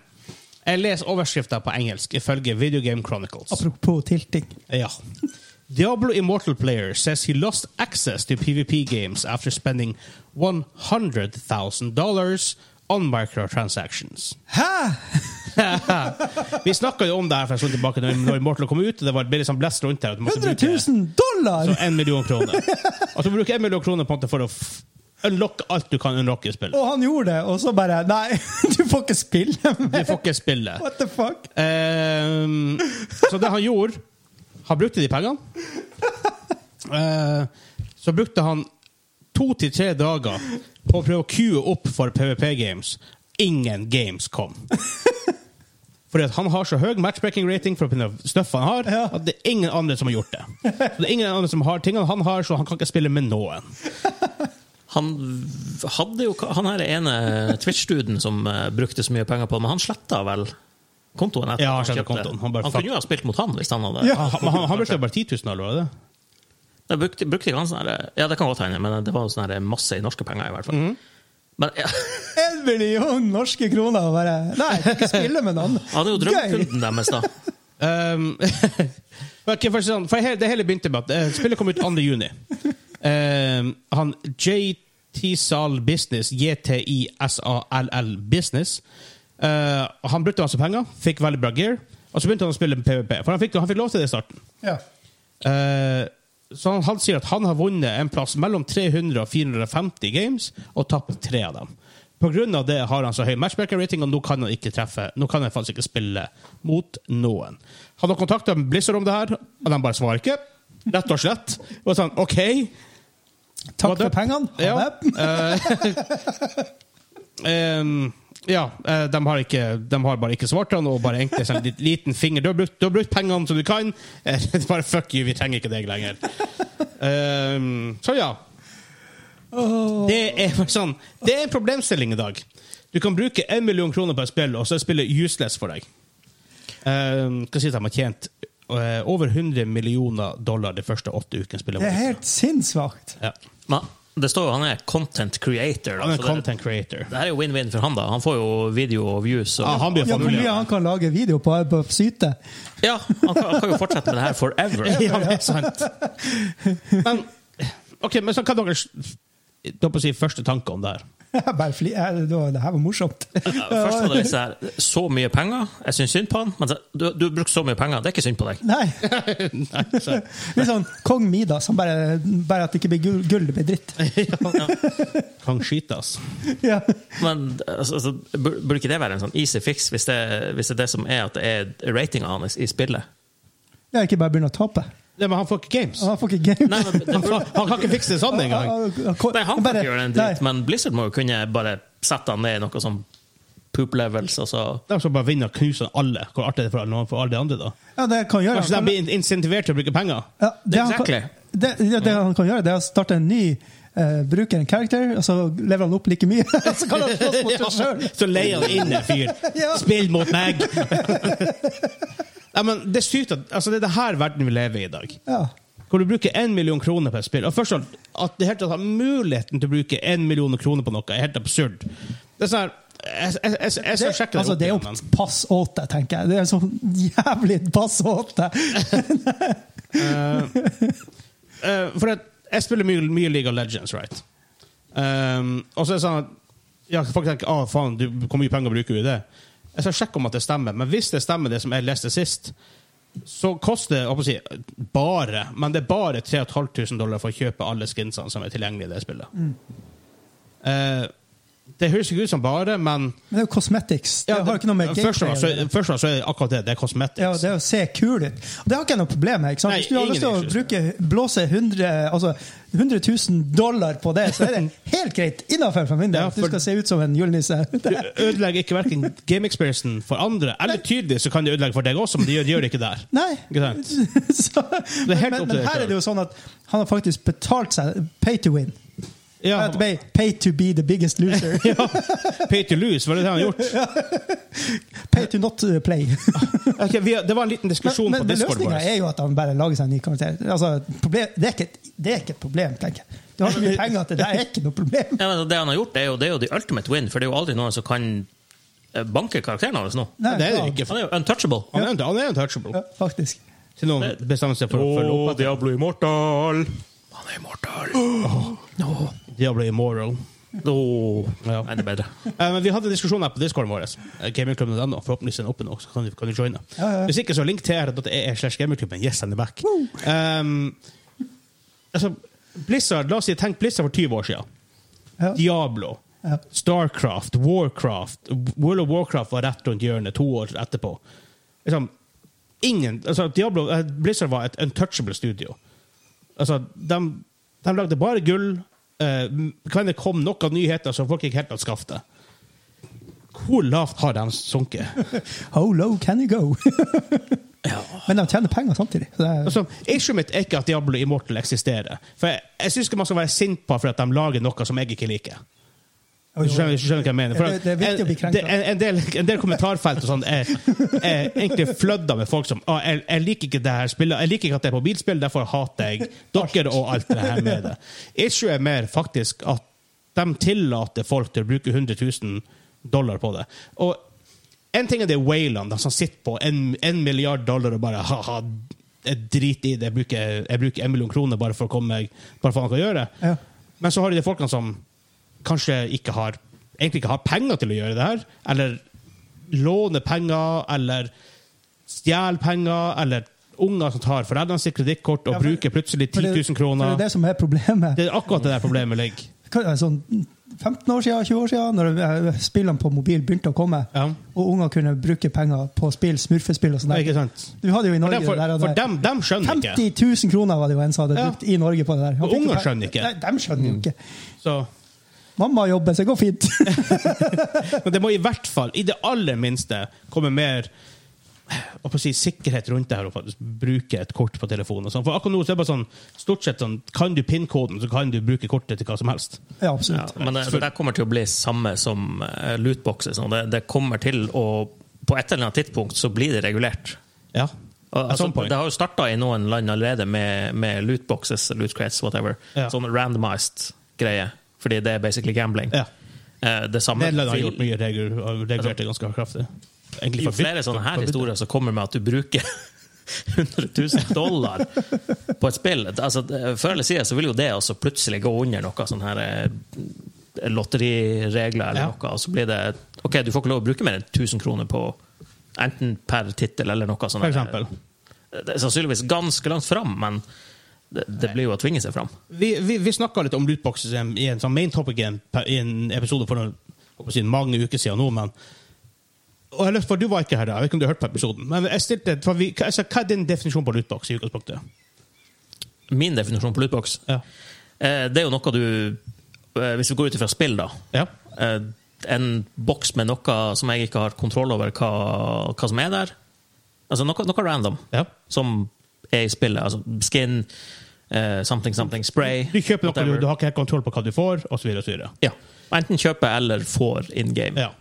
S1: Jeg leser overskrifta på engelsk ifølge Video Game Chronicles.
S2: Apropos tilting.
S1: Ja. Diablo Immortal player says he lost access to PvP games after spending $100,000 on microtransactions.
S2: Hæ?!
S1: Vi snakka jo om det her for en stund tilbake, når, når Immortal kom ut. og Det var ble liksom blest rundt her. at du måtte bruke
S2: 100 000 dollar!
S1: Så en million kroner. At du bruker en million kroner på en måte for å f- unlocke alt du kan unlocke i spillet.
S2: Og han gjorde det, og så bare Nei, du får ikke spille
S1: Du
S2: mer!
S1: får ikke spille.
S2: What the fuck?
S1: Ehm, så det han gjorde Han brukte de pengene. Eh, så brukte han to til tre dager på å prøve å queue opp for PVP Games. Ingen games kom. Fordi at han har så høy matchbreaking rating for det stoffet han har,
S2: Ja.
S1: at det er ingen andre som har gjort det. Så det er ingen andre som har tingene han har, så han kan ikke spille med noen.
S3: Han hadde jo Han her ene Twitch-duden som eh, brukte så mye penger på det, men han sletta vel kontoen? etter
S1: Ja, han
S3: at
S1: slettet
S3: kjøpte.
S1: kontoen. Han bare
S3: han
S1: fuck.
S3: kunne jo ha spilt mot han hvis han hadde
S2: Ja.
S1: Han, han, han brukte bare 10 000 dollar, var det det?
S3: Da brukte, brukte ikke han sånn her Ja, det kan godt hende, men det var jo sånn her masse i norske penger, i hvert fall.
S1: Mhm.
S3: Men ja,
S2: En million norske kroner, og bare Nei, du kan ikke spille med noen!
S3: han hadde jo
S2: Gøy!
S3: drømmekunden deres, da.
S1: Um, ok, for å si sånn, for hele, det hele begynte med at eh, spillet kom ut 2. juni. Um, han JT-Sal Business, JTISALL Business eh, Han brukte masse penger, fikk veldig bra gear, og så begynte han å spille med PVP. For han fikk, han fikk lov til det i starten.
S2: Ja.
S1: Eh, så han, han sier at han har vunnet en plass mellom 300 og 450 games og tapt tre av dem. På grunn av det har han så høy matchmaker-rating, og nå kan han ikke treffe Nå kan han faktisk ikke spille mot noen. Han har kontakta Blizzard om det her, og de bare svarer ikke. Rett og slett. Og sånn, OK.
S2: Takk for pengene. Ha
S1: Ja.
S2: det.
S1: Ehm, ja, eh, de har, ikke, de har bare ikke svart han, og bare egentlig sendt en liten finger. Du har brukt, du har brukt pengene som du kan. Eh, bare fuck you, vi trenger ikke deg lenger. Ehm, så ja. Det er bare sånn Det er en problemstilling i dag. Du kan bruke en million kroner på et spill, og så er spillet useless for deg. Ehm, Hva sier de har tjent eh, over 100 millioner dollar de første åtte ukene spillet
S2: Det er
S1: var ute.
S2: helt sinnssvakt.
S1: Ja.
S3: Men Det står jo han er content creator. Da,
S1: Han er
S3: så det-
S1: content creator.
S3: Det her er jo win-win for han, da. Han får jo video og views. Og,
S1: Ja, han blir
S2: Ja, hvor
S1: familie.
S2: mye han kan lage video på, på syte.
S3: Ja, han kan, han kan jo fortsette med det her forever.
S1: Ja, det er sant. Men ok, men så hva er deres da på å si, første tanke om det her?
S2: Jeg bare fli, jeg, det, var, det her var morsomt.
S3: Først var det litt sånn her, så mye penger, jeg syns synd på han. Men så- du, du har brukt så mye penger, det er ikke synd på deg.
S2: Nei.
S1: Nei, så-
S2: Litt sånn Kong Midas. Han bare, bare at det ikke blir gull, gull, det blir dritt.
S1: Kan skyte, altså.
S2: Ja.
S3: Men altså, altså, bur- burde ikke det være en sånn easy fix, hvis det, hvis det er det som er at det er ratinga hans i spillet?
S2: Jeg ikke bare begynne å tape.
S1: Nei, men han får ikke games.
S2: Han får ikke game.
S3: Nei, men, det
S1: Han,
S3: burde,
S1: får, han kan ikke fikse det sånn engang.
S3: nei, han kan
S2: Bare-
S3: ikke gjøre en dritt,
S2: nei.
S3: men Blizzard må jo kunne bare sette han ned i noe sånn poop levels, og så
S1: De skal bare vinne og knuse alle. Hvor artig er det for alle, for alle de andre, da?
S2: Ja, det kan gjøre.
S1: Kanskje de
S2: Han kan-
S1: blir in- insentivert til å bruke penger?
S2: Ja, det, han
S3: Exactly.
S2: kan, det, det, det han kan gjøre, det er å starte en ny eh, bruker, en character, og så lever han opp like mye. så kan han slåss mot seg sjøl.
S1: Så leier han inn en fyr.
S2: Ja.
S1: Spill mot meg! Nei, men det er sykt at altså, det er det her verden vi lever i i dag.
S2: Ja.
S1: Hvor du bruker én million kroner på et spill. Og først sånn, At det helt tatt har muligheten til å bruke én million kroner på noe, er helt absurd. Det er sånn her, jeg, jeg, jeg, jeg
S2: Det,
S1: skal sjekke det
S2: altså,
S1: opp
S2: det er
S1: igjen,
S2: jo
S1: men-
S2: pass åt deg, tenker jeg. Det er sånn jævlig pass åt deg.
S1: Eh, for at jeg spiller mye, mye League of Legends, right? Um, og så er det sånn at ja, folk tenker ah, faen, du, hvor mye penger bruker du i det? Jeg skal sjekke om at det stemmer, men hvis det stemmer, det som jeg leste sist, så koster det jeg holdt på å si, bare men det er bare 3500 dollar for å kjøpe alle skinsene som er tilgjengelige i det spillet.
S2: Mm.
S1: Eh, det høres ikke ut som bare, men
S2: Men det er jo cosmetics. Det
S1: ja,
S2: har ikke noe med
S1: først og
S2: gameplay å
S1: fremst så,
S2: gjøre.
S1: først og fremst så er det akkurat det. Det er cosmetics.
S2: Ja, det er å se kul ut. Og Det har ikke jeg noe problem med. ikke sant?
S1: Nei,
S2: Hvis du har
S1: ingen
S2: lyst til å
S1: issues.
S2: bruke, blåse 100, altså, 100 000 dollar på det, så er det helt greit innafor for min del.
S1: Ja,
S2: at Du
S1: for-
S2: skal se ut som en julenisse. Det-
S1: Du ødelegger ikke hverken game experiencen for andre, eller tydelig så kan det ødelegge for deg også, men det gjør, det gjør det ikke der.
S2: Nei.
S1: Ikke sant?
S2: Så,
S1: Det er helt
S2: men,
S1: opp til
S2: men, men
S1: deg
S2: her
S1: selv.
S2: er det jo sånn at han har faktisk betalt seg pay to win.
S1: Ja,
S2: At det ble Pay to be the biggest loser.
S1: ja. Pay to lose, var det det han gjort?
S2: Pay to not uh, play.
S1: Ok, vi, det var en liten diskusjon
S2: Men, men,
S1: på
S2: men
S1: Discord.
S2: løsninga
S1: vår.
S2: er jo at han bare lager seg en ny karakter. Altså, problem, det, er ikke et, det er ikke et problem, tenker jeg. Du har så mye penger at det der er ikke noe problem.
S3: ja, men Det han har gjort, det er jo, det er jo the ultimate win, for det er jo aldri noen som kan eh, banke karakteren hans nå.
S1: Nei, det er det
S2: faen.
S1: ikke.
S3: Han er jo untouchable.
S1: Han er, han er untouchable.
S2: Ja, faktisk.
S1: Til noen bestemmer seg for å følge opp.
S3: Diablo Immortal! Han er immortal.
S1: Diablo immoral.
S3: Åh,
S1: Ja.
S3: Nei, det er bedre.
S1: Eh, men vi hadde en diskusjon her på discorden vår. eh, Gamingklubben.no. Forhåpentligvis er den oppe nå, så kan du, kan du joine.
S2: Ja, ja, ja.
S1: Hvis ikke, så link tr.ee slash gamingklubben. Yes, I'm back. Um, altså, Blizzard, la oss si, tenk Blizzard for 20 år siden.
S2: Ja.
S1: Diablo,
S2: Ja.
S1: Starcraft, Warcraft World of Warcraft var rett rundt hjørnet to år etterpå. Liksom, ingen, altså Diablo, eh, Blizzard var et untouchable studio. Altså, de, de lagde bare gull. eh, Kan det kom noen nyheter som folk ikke helt hadde skaffet? Hvor lavt har de sunket?
S2: How low can you go? Men de tjener penger samtidig. Så det er,
S1: Altså, issue mitt er ikke at Diablo Immortal eksisterer. For Jeg, jeg syns ikke man skal være sint på for at de lager noe som jeg ikke liker. Hvis du skjønner, hvis du skjønner hva jeg mener. For
S2: Ja, det- det er viktig å bli
S1: en,
S2: krenket.
S1: det- en, en, del, en del kommentarfelt og sånn er, er egentlig flødda med folk som ah, jeg, 'Jeg liker ikke det her spillet, jeg liker ikke at det er mobilspill, derfor hater jeg dere og alt det her med det'. Issue er mer faktisk at de tillater folk til å bruke 100 000 dollar på det. Og en ting er det Wayland, som sitter på en, en milliard dollar og bare ha-ha, jeg driter i det, jeg bruker, jeg bruker en million kroner bare for å komme meg Bare for hva han kan gjøre.
S2: Ja.
S1: Men så har de de folkene som kanskje ikke har, egentlig ikke har penger til å gjøre det her, eller låner penger, eller stjeler penger, eller unger som tar foreldrenes kredittkort og
S2: Ja, for-
S1: bruker plutselig
S2: for
S1: 10
S2: det-
S1: 000
S2: for
S1: kroner.
S2: Det er det som er problemet.
S1: Det er akkurat det der problemet ligger.
S2: Hva er det, Sånn 15 år siden, 20 år siden, når eh, spillene på mobil begynte å komme,
S1: Ja.
S2: og unger kunne bruke penger på spill, smurfespill og sånn
S1: Ja,
S2: der.
S1: Ikke sant?
S2: Du hadde jo i
S1: For
S2: Norge
S1: dem, for,
S2: det der, og
S1: for
S2: det-
S1: dem, dem skjønner ikke.
S2: 50 000 kroner var det jo en som hadde
S1: Ja.
S2: brukt i Norge på det der. Han
S1: Og
S2: fikk jo
S1: unger
S2: pe-
S1: skjønner ikke. Mm.
S2: Nei, de skjønner jo ikke.
S1: Så,
S2: Mamma jobber, så det går fint.
S1: men det må i hvert fall, i det aller minste, komme mer hva skal jeg si, sikkerhet rundt det her å faktisk bruke et kort på telefonen. og sånn. For akkurat nå så er det bare sånn, stort sett sånn, kan du PIN-koden, så kan du bruke kortet til hva som helst.
S2: Ja,
S3: Ja,
S2: absolutt.
S3: men det, det der kommer til å bli samme som eh, lootboxes. nå. Det, det kommer til å På et eller annet tidspunkt så blir det regulert.
S1: Ja.
S3: Al-
S1: At
S3: Altså,
S1: some point.
S3: det har jo starta i noen land allerede med, med lootboxes, loot crates, whatever.
S1: Ja.
S3: Sånn randomized. greie, fordi det er basically gambling.
S1: Ja.
S3: Eh, Det samme
S1: Nederland har
S3: vil-
S1: gjort mye regler og regulert det ganske kraftig.
S3: Det
S1: Egentlig
S3: er jo Altså- flere sånne her historier som kommer med at du bruker 100 000 dollar på et spill. Altså, det- før eller siden så vil jo det også plutselig gå under noe sånn her eh, lotteriregler eller
S1: Ja.
S3: noe, og så blir det OK, du får ikke lov å bruke mer enn 1000 kroner på enten per tittel eller noe sånt.
S1: For eksempel.
S3: Det er sannsynligvis ganske langt fram, men det, det blir jo å tvinge seg fram.
S1: Vi, vi, vi snakka litt om lootboxsystem i en sånn main topic i en, per- i en episode for noen, håper jeg å si, mange uker siden nå, men og jeg har lyst for Du var ikke her da, jeg vet ikke om du har hørt på episoden. Men jeg stilte, et- for vi, hva- altså, hva er din definisjon på lootbox i utgangspunktet?
S3: Min definisjon på lootbox
S1: Ja.
S3: eh, det er jo noe du eh, Hvis vi går ut ifra spill, da.
S1: Ja.
S3: eh, en boks med noe som jeg ikke har kontroll over hva, hva som er der. Altså noe, noe random
S1: Ja.
S3: som er i spillet. Altså skin, eh, something, something, spray.
S1: Du kjøper noe,
S3: whatever.
S1: du, du har ikke helt kontroll på hva du får, osv. videre
S3: Ja. Enten kjøper eller får in game.
S1: Ja.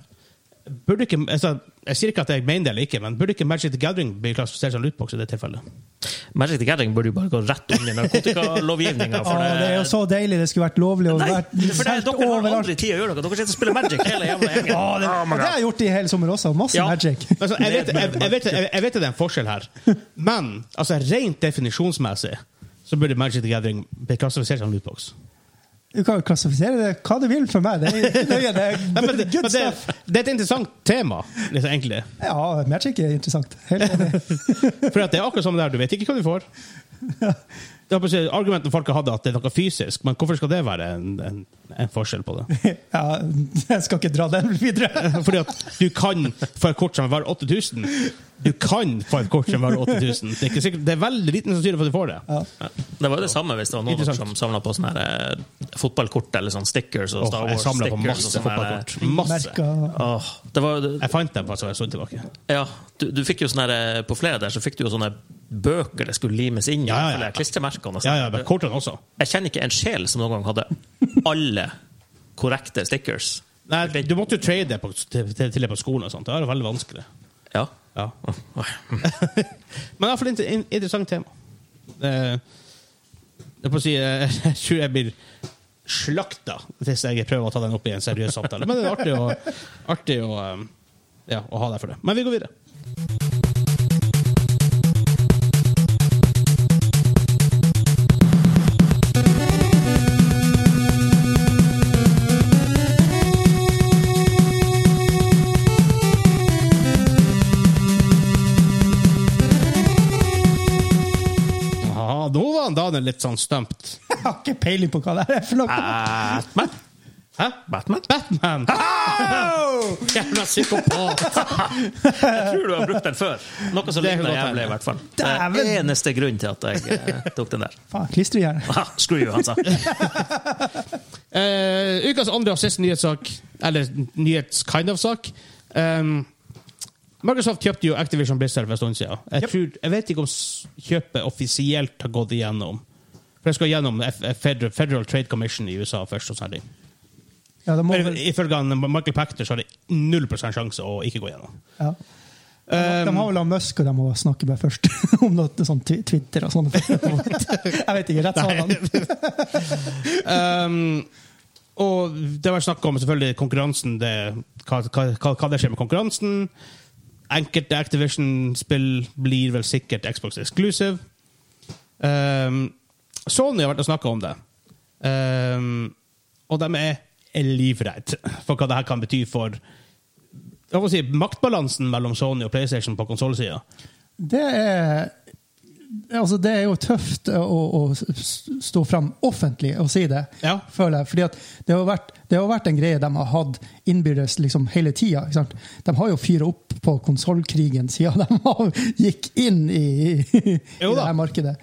S1: Burde ikke, altså, jeg sier ikke at jeg mener det eller ikke, men burde ikke Magic the Gathering bli klassifisert som lootbox i det tilfellet?
S3: Magic the Gathering burde jo bare gå rett under narkotikalovgivninga.
S2: Å, det er jo så deilig. Det skulle vært lovlig å
S3: Nei,
S2: være
S3: det er fordi
S2: solgt
S3: dere har
S2: overalt.
S3: aldri tid å gjøre noe. Dere sitter og spiller Magic hele jævla gjengen. Oh my
S2: Og det har
S3: God.
S2: jeg gjort i hele sommer også. Masse
S3: Ja.
S2: magic.
S1: Altså, jeg, vet, jeg, jeg, vet, jeg, jeg vet at det er en forskjell her, men altså, rent definisjonsmessig så burde Magic the Gathering bli klassifisert som lootbox.
S2: Du kan jo klassifisere det hva du vil for meg. Det er ikke nøye. Det
S1: Nei,
S2: er
S1: men det,
S2: good
S1: men det,
S2: stuff.
S1: det er et interessant tema, liksom, egentlig.
S2: Ja, magic er interessant. Helt enig.
S1: For at det er akkurat som det der, du vet ikke hva du får. Det er på å si, Argumenten folk har hatt, at det er noe fysisk, men hvorfor skal det være en, en, en forskjell på det?
S2: Ja, jeg skal ikke dra den videre.
S1: Fordi at du kan få et kort som er verdt 8000. Du kan få et kort som er verdt 8000. Det er, ikke sikkert, det er veldig liten sannsynlighet for at du får det.
S2: Ja.
S3: Det var jo det samme hvis det var noen
S1: Interessant.
S3: som samla på sånne her, eh, fotballkort eller sånne stickers. og Star
S1: Åh, jeg
S3: Wars
S1: samler på
S3: stickers og
S1: masse
S3: sånne her, eh,
S1: fotballkort. Masse.
S2: Merker.
S3: Åh, det var, jo-
S1: Jeg fant dem faktisk for en stund tilbake.
S3: ja, du, du fikk jo sånne, her, eh, på flere der så fikk du jo sånne bøker det skulle limes inn i.
S1: Ja, ja, ja.
S3: eller klistremerkene og
S1: Ja,
S3: sånn.
S1: ja, men kortene også.
S3: Jeg kjenner ikke en sjel som noen gang hadde alle korrekte stickers.
S1: Nei, du måtte jo trade det på, til, til, til det på skolen og sånt. Det er veldig vanskelig.
S3: Ja.
S1: Ja. Men iallfall et interessant tema. Eh, Jeg får si, eh, jeg tror jeg blir slakta hvis jeg prøver å ta den opp i en seriøs samtale. Men det er artig å, artig å, eh, ja, å ha deg for det. Men vi går videre. Aha, nå var han Daniel litt sånn stumped.
S2: Jeg har ikke peiling på hva det er for
S1: Ah.
S2: noe.
S3: Batman?
S1: Hæ?
S3: Batman?
S1: Batman! Jævla psykopat!
S3: Jeg tror du har brukt den før. Noe som
S1: Det kan
S3: ligner
S1: godt hende.
S3: jævlig, i hvert fall. Det er
S2: Dæven!
S3: eneste grunn til at jeg eh, tok den der.
S2: Faen, klistrejern.
S3: Ah, screw you, han sa.
S1: Eh, ukas andre og siste nyhetssak, eller nyhets-kind of-sak um, Microsoft kjøpte jo Activision Blizzard for en stund siden. Jeg, tror, jeg vet ikke om s- kjøpet offisielt har gått igjennom. For det skal gjennom F F- Federal, Federal Trade Commission i USA først. og sånne ting.
S2: Ja, det må
S1: Men
S2: vel
S1: Ifølge han Michael Pacter så har det 0 sjanse å ikke gå gjennom.
S2: ja. De har vel han Musk, og de må snakke med først om noe sånn twi- Twitter og sånn. Jeg vet ikke. Rett sånn. sa han.
S1: Um, og det var snakk om selvfølgelig konkurransen, det, hva, hva, hva hva det skjer med konkurransen. Enkelte Activision-spill blir vel sikkert Xbox exclusive. Um, Sony har vært og snakka om det. Um, og de er livredde for hva det her kan bety for jeg må si, maktbalansen mellom Sony og PlayStation på konsollsida.
S2: Det er Altså, det er jo tøft å, å s- stå fram offentlig og si det,
S1: Ja.
S2: føler jeg. Fordi at det har, vært, det har vært en greie de har hatt innbyrdes liksom hele tida. De har jo fyra opp på konsollkrigen siden de har, gikk inn i, i
S1: Jo
S2: det
S1: da.
S2: her markedet.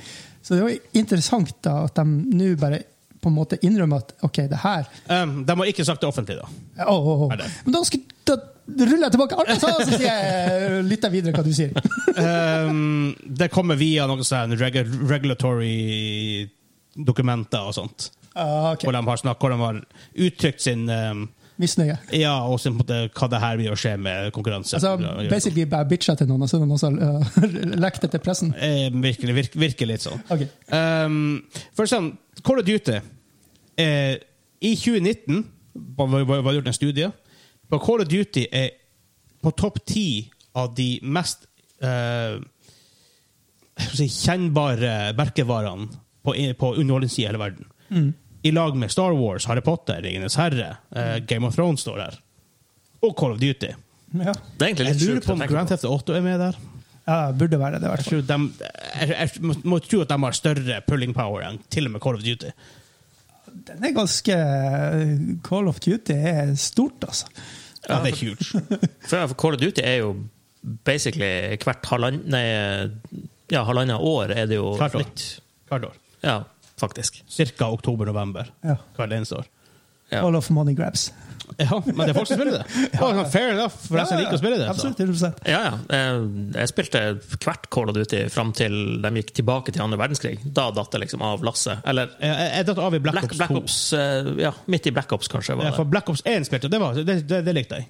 S2: Så det er jo interessant da at de nå bare på en måte innrømmer at OK, det her
S1: Um, de har ikke sagt det offentlig, da.
S2: Åh, åh, åh.
S1: Er det?
S2: Men da, skal, da ruller jeg tilbake alt jeg sa, og så sier jeg, lytter jeg videre hva du sier.
S1: Ehm, det kommer via noen sånne regu regulatory dokumenter og sånt.
S2: Ah, ok.
S1: Hvor, de har snakket, hvor de har uttrykt sin ehm,
S2: Misnøye.
S1: Ja, og sin, på en måte, hva det her vil skje med konkurranse.
S2: Altså, basically bare bitcha til noen, og så er det noen som uh, lekte til pressen.
S1: Eh, virkelig, virker, virker litt sånn.
S2: Ok.
S1: Ehm, for sånn, Call of Duty er I 2019 var var- var- var det gjort en studie på Call of Duty er på topp ti av de mest eh, skal vi si, kjennbare merkevarene på, på underholdningssida i hele verden. I lag med Star Wars, Harry Potter, Ringenes herre, eh, Game of Thrones står der. Og Call of Duty.
S2: Ja.
S3: Det er egentlig
S1: Jeg
S3: litt
S1: lurer
S3: sjukt.
S1: på
S3: å
S1: om
S3: tenke
S1: Grand
S3: på.
S1: Theft Auto er med der.
S2: ja, burde være det, i
S1: Jeg,
S2: hvert fall.
S1: tror dem- jeg, jeg må- må tro at de har større pulling power enn til og med Call of Duty.
S2: Den er ganske øh, Call of Duty er stort, altså.
S1: Ja, det er huge.
S3: For Call of Duty er jo basically hvert halvann- nei, ja, halvannet år er det jo
S1: Hvert år.
S3: nytt.
S1: Hvert år.
S3: Ja, faktisk.
S1: Cirka oktober-november.
S2: Ja.
S1: Hvert eneste år.
S3: Ja.
S2: All of money grabs.
S1: Ja, men det er folk som spiller det. Og sånn, fair enough, for jeg som liker å spille det. altså. Så.
S2: Absolutt, 100
S3: Ja, ja. Eh, Jeg spilte hvert Call of Duty fram til de gikk tilbake til andre verdenskrig. Da datt det liksom av lasset. Eller
S1: Jeg, jeg, jeg datt av i Black,
S3: Black,
S1: Ops 2.
S3: Black Ops, eh, ja, midt i Black Ops, kanskje.
S1: Ja,
S3: Var
S1: for
S3: det.
S1: Black Ops 1 spilte jeg. det, var, det, det, det likte jeg.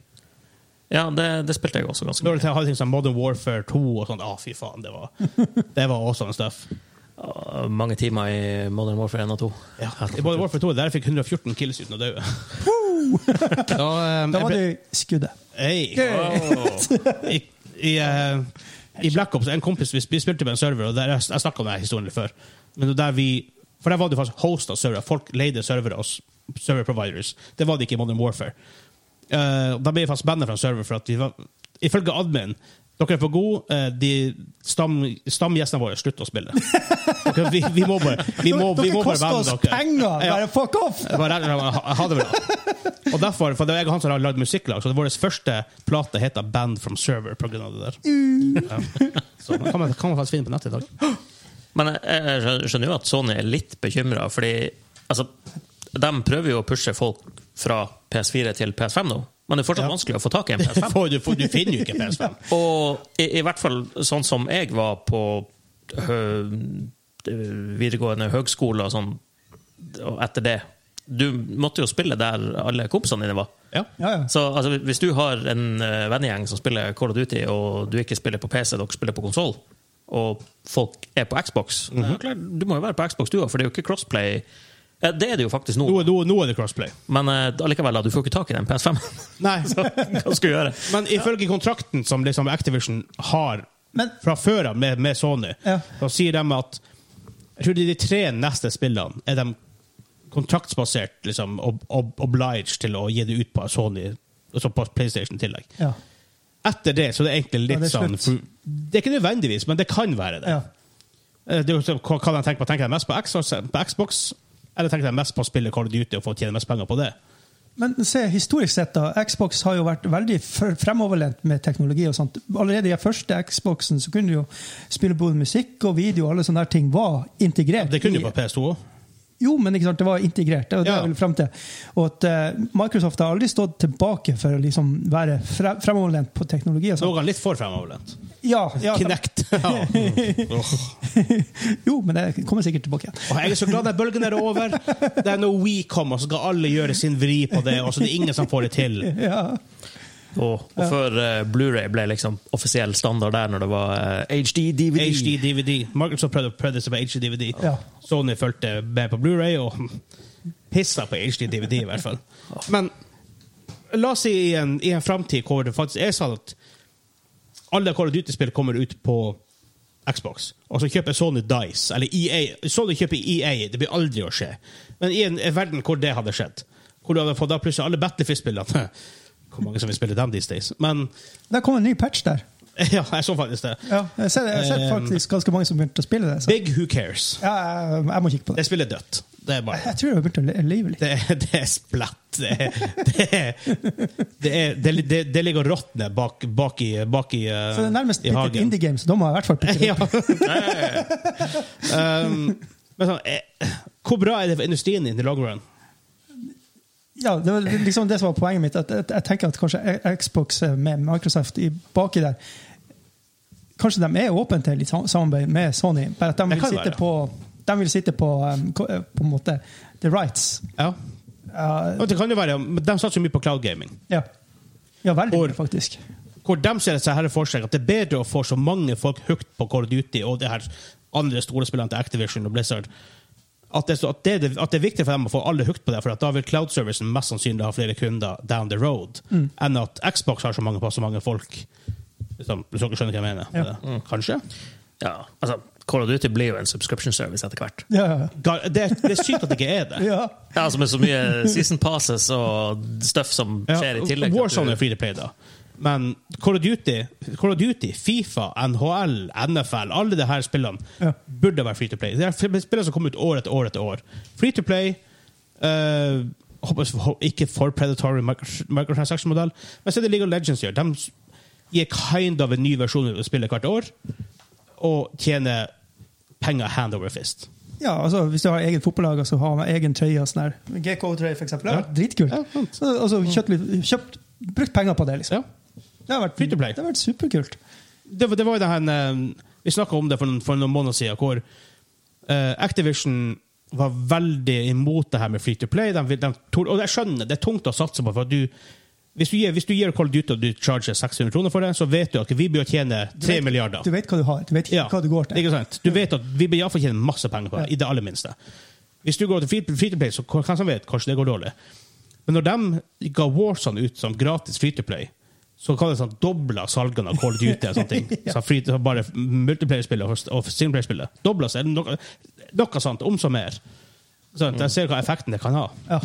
S3: Ja, det, det spilte jeg også ganske
S1: Når
S3: mye.
S1: jeg sånn- hadde ting som Modern Warfare 2 og sånt, ah, fy faen, det var, det var også en stuff.
S3: Ja, Mange timer i Modern Warfare 1 og 2.
S1: Ja. I Modern Warfare 2 der jeg fikk 114 kills uten å dø. Da, eh,
S2: Da
S1: jeg
S2: var
S1: ble-
S2: det skuddet.
S1: Hey. I, i, eh, I Black Ops, en kompis vi spil- spilte med en server, og der, jeg snakka om denne historien litt før. Men der vi, for der var det faktisk host av servere. Folk leide servere hos server providers. Det var det ikke i Modern Warfare. Eh, da ble vi faktisk banna fra en server for at vi var Ifølge admin dere er for gode. eh, de stam, stamgjestene våre slutter å spille. Dere, vi, vi må bare vi må, vi
S2: dere
S1: må bare
S2: koster
S1: banne
S2: oss
S1: dere.
S2: penger!
S1: Ja.
S2: Bare fuck off!
S1: Jeg bare regner med at jeg hadde vel det. Og derfor, for det var jeg og han som hadde lagd musikklag, så vår første plate heter Band from Server på grunn av det der. Ja. Så det kan man, kan man faktisk finne på nettet i dag.
S3: Men jeg, jeg skjø- skjønner jo at Sony er litt bekymra, fordi altså, de prøver jo å pushe folk fra PS4 til PS5 nå. Men det er fortsatt
S1: Ja.
S3: vanskelig å få tak i en PS5.
S1: For du, for du finner jo ikke PS5.
S3: Og i, i hvert fall sånn som jeg var på hø, videregående høgskole og sånn, og etter det Du måtte jo spille der alle kompisene dine var.
S1: Ja.
S2: Ja, ja.
S3: Så altså, Hvis du har en eh, vennegjeng som spiller Call of Duty, og du ikke spiller på PC, dere spiller på konsoll, og folk er på Xbox ja, klart, Du må jo være på Xbox, du òg, for det er jo ikke crossplay. Eh, Det er det jo faktisk nå,
S1: Nå, nå, nå er det crossplay.
S3: men eh, allikevel, da, du får ikke tak i den PS5-en.
S1: Nei.
S3: Så hva skal du gjøre?
S1: Men ifølge kontrakten som liksom Activision har
S2: Men-
S1: fra før av med, med Sony,
S2: Ja.
S1: så sier de at jeg tror de, de tre neste spillene er de kontraktsbasert liksom, ob, ob, obliged til å gi det ut på Sony, altså på PlayStation i tillegg.
S2: Ja.
S1: Etter det så det er egentlig
S2: Ja,
S1: litt
S2: det er
S1: sånn
S2: slutt.
S1: Det er ikke nødvendigvis, men det kan være det.
S2: Ja.
S1: Eh, det er jo sånn, hva hva de tenker på? Tenker de mest på Xbox, på Xbox eller tenker de mest på å spille Call of Duty og få tjene mest penger på det?
S2: Men se, historisk sett, da. Xbox har jo vært veldig fr- fremoverlent med teknologi. og sånt. Allerede i den første Xboxen så kunne du jo spille både musikk og video, og alle sånne der ting var integrert.
S1: Det kunne
S2: i-
S1: jo på PS2 òg.
S2: Jo, men ikke sant, det var integrert. Det var det
S1: Ja.
S2: jeg ville frem til. Og at eh, Microsoft har aldri stått tilbake for å liksom være fre fremoverlent på teknologi. og sånt.
S1: Noen litt for fremoverlent.
S2: Ja, ja,
S1: Kinect. Ja. Åh.
S2: jo, men det kommer sikkert tilbake igjen.
S1: Og jeg er så glad den bølgen er over. Det er når we kommer, så skal alle gjøre sin vri på det, og så det er ingen som får det til.
S2: Ja.
S3: Og, og før eh, Blu-ray ble liksom offisiell standard der, når det var eh, HD, DVD
S1: HD DVD. Microsoft prøvde prøvde seg på HD DVD.
S2: Ja.
S1: Sony fulgte med på Blu-ray og pissa på HD DVD, i hvert fall. Men la oss si i en, i en framtid hvor det faktisk er sånn at alle Call of Duty-spill kommer ut på Xbox, og så kjøper Sony Dice, eller EA. Sony kjøper EA, det blir aldri å skje. Men i en, en verden hvor det hadde skjedd, hvor du hadde fått da plutselig alle Battlefield-spillene Hvor mange som vil spille dem these days? Men
S2: Der kom en ny patch der.
S1: ja, jeg så faktisk det.
S2: Ja, jeg ser, jeg ser
S1: Um,
S2: faktisk ganske mange som begynte å spille det. Så.
S1: Big Who Cares.
S2: Ja, jeg, jeg må kikke på det.
S1: Det spillet er dødt. Det er bare
S2: Jeg tror jeg begynte å le- leve litt.
S1: det, det er splatt. Det, det, det, er, det, det, det ligger og råtner bak, bak i, bak i, eh,
S2: Så det er nærmest
S1: i
S2: blitt et
S1: hagen.
S2: indie game, så da må jeg i hvert fall plukke det
S1: ja.
S2: opp.
S1: um, men sånn, eh, hvor bra er det for industrien in the long run?
S2: Ja, det var liksom det som var poenget mitt. At, at jeg tenker at kanskje Xbox med Microsoft i baki der Kanskje de er åpne til litt sam- samarbeid med Sony, bare at de
S1: Det
S2: vil
S1: kan
S2: sitte
S1: være.
S2: på de vil sitte på, um, ko- eh, på en måte the rights.
S1: Ja.
S2: Ja,
S1: Og det kan jo være, men De satser mye på cloud gaming.
S2: ja. ja veldig,
S1: Or-
S2: faktisk.
S1: Hvor de ser seg her for seg at det er bedre å få så mange folk hooked på Call of Duty og det her andre store spillene til Activision og Blizzard At det, er så- at, det, at det er viktig for dem å få alle hooked på det, for at da vil cloud-servicen mest sannsynlig ha flere kunder down the road
S2: Mm.
S1: enn at Xbox har så mange på så mange folk. Liksom, hvis dere skjønner hva jeg mener. med
S2: Ja.
S1: det. Kanskje?
S3: Ja, altså, Call of Duty blir jo en subscription service etter hvert.
S2: Ja, ja,
S1: Gar- Det, det er sykt at det ikke er det.
S2: ja. ja.
S3: Ja, altså Med så mye season passes og stuff som skjer i tillegg. til at
S1: Warzone
S3: du-
S1: er free to play, da. Men Call of Duty, Call of Duty Fifa, NHL, NFL, alle de her spillene
S2: Ja.
S1: burde være free to play. Det er spillere som kommer ut år etter år etter år. Free to play eh, håper- Ikke for predatory micro- microtransaction-modell, men se det League of Legends gjør. De s- gir kind of en ny versjon av spillet hvert år, og tjener penger hand over fist.
S2: Ja, altså Hvis du har eget fotballag og så har man egen trøye og sånn her. GK-trøye, for eksempel. Det har vært dritkult.
S1: Ja, sant.
S2: Så, altså, kjøpt, litt- kjøpt, brukt penger på det, liksom.
S1: Ja.
S2: Det har vært,
S1: Free to play.
S2: det har vært superkult.
S1: det, var- det var jo det her eh, Vi snakka om det for noen, for noen måneder siden, hvor eh, Activision var veldig imot det her med free to play. De, vil- de, tor- og jeg skjønner, det er tungt å satse på. for at du hvis du, gir, hvis du gir Call of Duty og du charger 600 kroner for det, så vet du at vi bør tjene 3 milliarder.
S2: Du vet hva du har. Du vet ikke
S1: Ja,
S2: hva du går til.
S1: Ikke sant? Du vet at vi bør i hvert fall tjene masse penger på det, i det aller minste. Hvis du går til free- free to play, så hvem som vet, kanskje det går dårlig. Men når de ga Warzone ut som gratis free to play, så kan det sånn doble salgene av Call of Duty og sånne ting. Så free to, bare multiplayer-spillet og- og singleplayer-spillet. Dobla seg. Noe, noe sånt, om så mer. Sånn, jeg ser hva effekten det kan ha.
S2: Ja.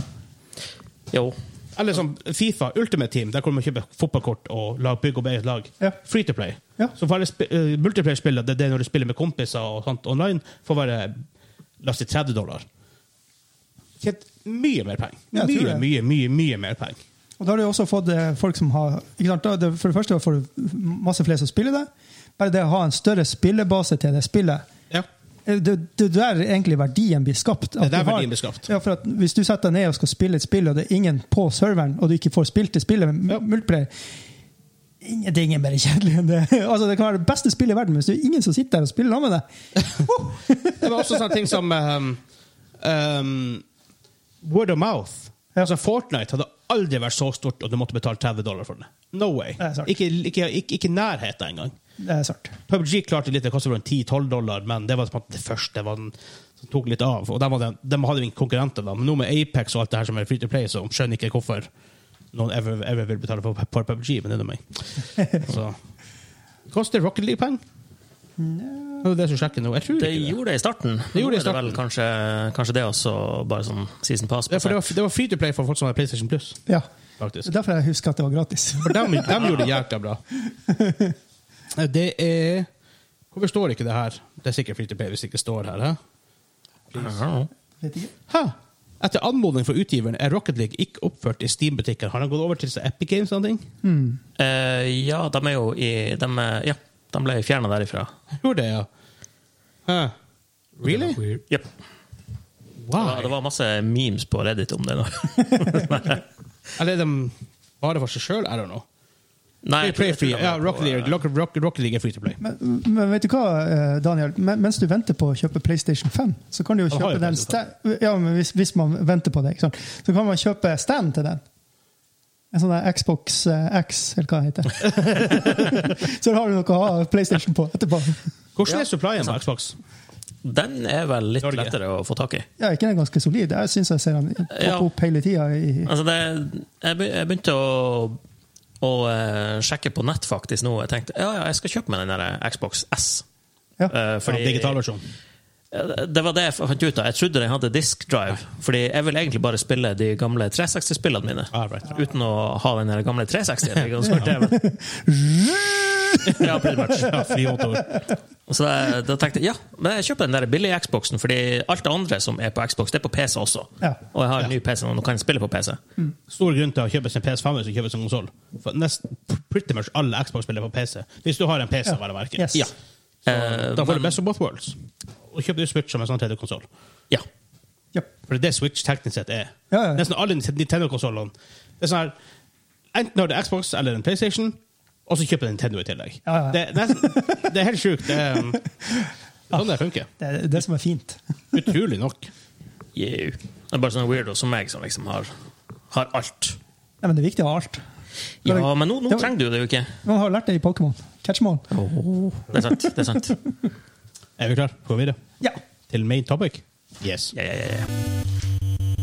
S3: Jo.
S1: Eller som Fifa, Ultimate Team, der kan man kjøpe fotballkort og lag, bygge opp eget lag.
S2: Ja.
S1: Free to play.
S2: Ja.
S1: Så for alle sp eh, multiplayer-spillere, det er det når du spiller med kompiser og sånt online, får være la oss si 30 dollar. Tjent mye mer penger.
S2: Ja, jeg tror
S1: Mye,
S2: det.
S1: mye, mye mye mer penger.
S2: Og da har du jo også fått eh, folk som har ikke sant? da- det- For det første får du masse flere som spiller det. Bare det å ha en større spillebase til det spillet
S1: Ja.
S2: eh, det, det der egentlig verdien blir skapt. At
S1: Det er der
S2: du har-
S1: verdien blir skapt.
S2: Ja, for at Hvis du setter deg ned og skal spille et spill, og det er ingen på serveren, og du ikke får spilt det spillet med
S1: Ja.
S2: multiplayer ingen- Det er ingen mer kjedelig enn det. Altså, Det kan være det beste spillet i verden, men hvis det er ingen som sitter der og spiller sammen med deg Woo!
S1: Det var også sånne ting som um, um, word of mouth.
S2: Ja.
S1: Altså Fortnite hadde aldri vært så stort og du måtte betale 30 dollar for det. No way.
S2: Det er sant.
S1: Ikke, ikke, ikke, ikke nærheten engang.
S2: Det er sant.
S1: PubG klarte litt, det kostet rundt 10-12 dollar, men det var på en måte det første var den som tok litt av. Og de hadde, de hadde ingen konkurrenter da, men nå med Apex og alt det her som er free to play, så skjønner ikke hvorfor noen ever, ever vil betale for, for PubG, men det er nå meg. Så. Koster Rocket League penger? Det er det som sjekker nå. Jeg tror
S3: Det
S1: ikke det.
S3: gjorde det i starten.
S1: Det gjorde
S3: Nå
S1: det i
S3: er vel
S1: starten.
S3: kanskje, kanskje det også, bare sånn season pass.
S1: Ja, for det var, det var free to play for folk som hadde PlayStation Plus,
S2: Ja. Det
S1: faktisk.
S2: er derfor jeg husker at det var gratis.
S1: For dem, dem gjorde det jækla bra. Det er Hvorfor står ikke det her? Det er sikkert free to play hvis det ikke står her. Hæ?
S3: Ja.
S2: Vet ikke.
S1: Hæ? Etter anmodning fra utgiveren er Rocket League ikke oppført i Steam-butikker. Har han gått over til Epic Games? og sånne ting?
S3: Eh, ja, de er jo i de, er- Ja, de ble fjerna derifra.
S2: Hm.
S1: Jeg Gjorde det, ja. Hæ? Really?
S3: Jep. Det, var, det
S1: Why?
S3: var masse memes på Reddit om det. nå.
S1: Eller er de bare for seg sjøl? I don't know.
S3: Nei,
S1: Play,
S3: jeg tror-
S1: play free.
S3: jeg tror de
S1: Ja,
S3: var på,
S1: Rocket League,
S3: eh,
S1: Rocket, Rocket, Rocket League er free to play.
S2: Men, men vet du hva, eh, Daniel? Men- Mens du venter på å kjøpe PlayStation 5, så kan du jo
S1: Han har jo
S2: kjøpe den
S1: PlayStation
S2: sta- Ja, men hvis, hvis man venter på det, ikke sant? så kan man kjøpe stand til den. En sånn der Xbox eh, X, eller hva det heter. så da har du noe å ha PlayStation på etterpå.
S1: Hvordan er supplyen på Xbox?
S3: Den er vel litt
S1: Norge.
S3: lettere å få tak i.
S2: Ja, ikke den er ganske solid? Jeg syns jeg ser den poppe
S3: Ja.
S2: opp hele tida. i-
S3: Altså det, jeg be- jeg begynte å, å eh, sjekke på nett faktisk nå. Jeg tenkte ja, ja, jeg skal kjøpe meg den der Xbox S.
S2: Ja.
S3: Eh,
S1: For
S3: fordi-
S1: digitalversjon.
S3: Det var det jeg fant ut av. Jeg trodde den hadde disk drive. Fordi jeg vil egentlig bare spille de gamle 360-spillene mine.
S1: Ah, right.
S3: Uten å ha den her gamle 360-en. ja, pretty much.
S1: Ja, fly motor.
S3: Så eh, da, da tenkte jeg ja, men jeg kjøper den der billige Xboxen, fordi alt det andre som er på Xbox, det er på PC også.
S2: Ja.
S3: Og jeg har en ny PC, og nå kan jeg spille på PC.
S1: Stor grunn til å kjøpe sin PS5 hvis du kjøper sin konsoll. Pretty much alle Xbox-spillere på PC. Hvis du har en PC,
S2: Ja.
S1: vel å merke.
S2: Yes.
S3: Ja.
S1: Så,
S3: Eh,
S1: da får
S3: men-
S1: du best of both worlds. Og kjøper du Switch som en sånn tredje konsoll.
S3: Ja.
S2: Ja.
S1: For det er det Switch teknisk sett er.
S2: Ja, ja.
S1: Nesten alle Nintendo-konsollene. Det er sånn her, Enten har du Xbox eller en PlayStation, og så kjøper du Nintendo i tillegg.
S2: Ja, ja.
S1: Det, er nesten, det er helt sjukt. Det er, um, det er sånn det funker.
S2: Det er det som er fint.
S1: Utrolig nok.
S3: Yeah. Det er bare sånne weirdo som meg, som liksom har, har alt.
S2: Nei, men det er viktig å ha alt.
S3: Ja, men nå, nå
S2: Det-
S3: trenger du det jo ikke.
S2: Man har lært det i Pokémon. Catchmall.
S3: Det er sant. det er sant.
S1: Er vi klare? Går vi videre?
S2: Ja.
S1: Til main topic? Yes.
S3: Ja, ja, ja, ja.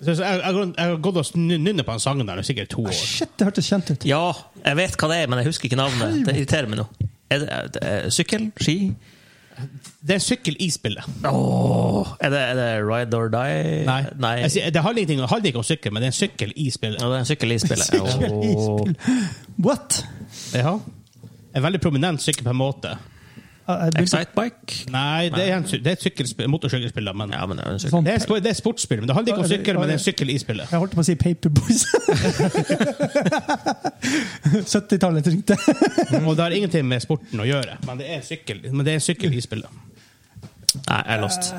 S1: Så så jeg, jeg, går- jeg har gått og snu- nynnet på den sangen der i sikkert to år.
S2: Shit, det hørtes kjent ut.
S3: Ja, jeg vet hva det er, men jeg husker ikke navnet. Det irriterer meg nå. Er det, er det sykkel? Ski?
S1: Det er en sykkel i spillet.
S3: Åh, er, det, er det Ride or Die?
S1: Nei. Jeg sier- det handler ingenting- det handler ikke om sykkel, men det er en sykkel i spillet.
S3: Ja, det er en sykkel i spillet.
S2: Sykkel i
S3: Åh.
S2: spill. What?
S1: Ja. En veldig prominent sykkel på en måte.
S2: Ja, jeg begynte-
S3: Excitebike?
S1: Nei, det er, en, sy- det er et sykkelspill, motorsykkelspill, da, men
S3: Ja, men det er jo en
S2: Sånn.
S3: sykkel.
S1: det er, spo- det er sportsspill. Men det handler ikke om sykkel, men det er en sykkel i spillet.
S2: Jeg holdt på å si Paperboys. 70-tallet ringte.
S1: Og det har ingenting med sporten å gjøre, men det er en sykkel, men det er en sykkel i spillet. Sånn.
S3: Nei, jeg er lost.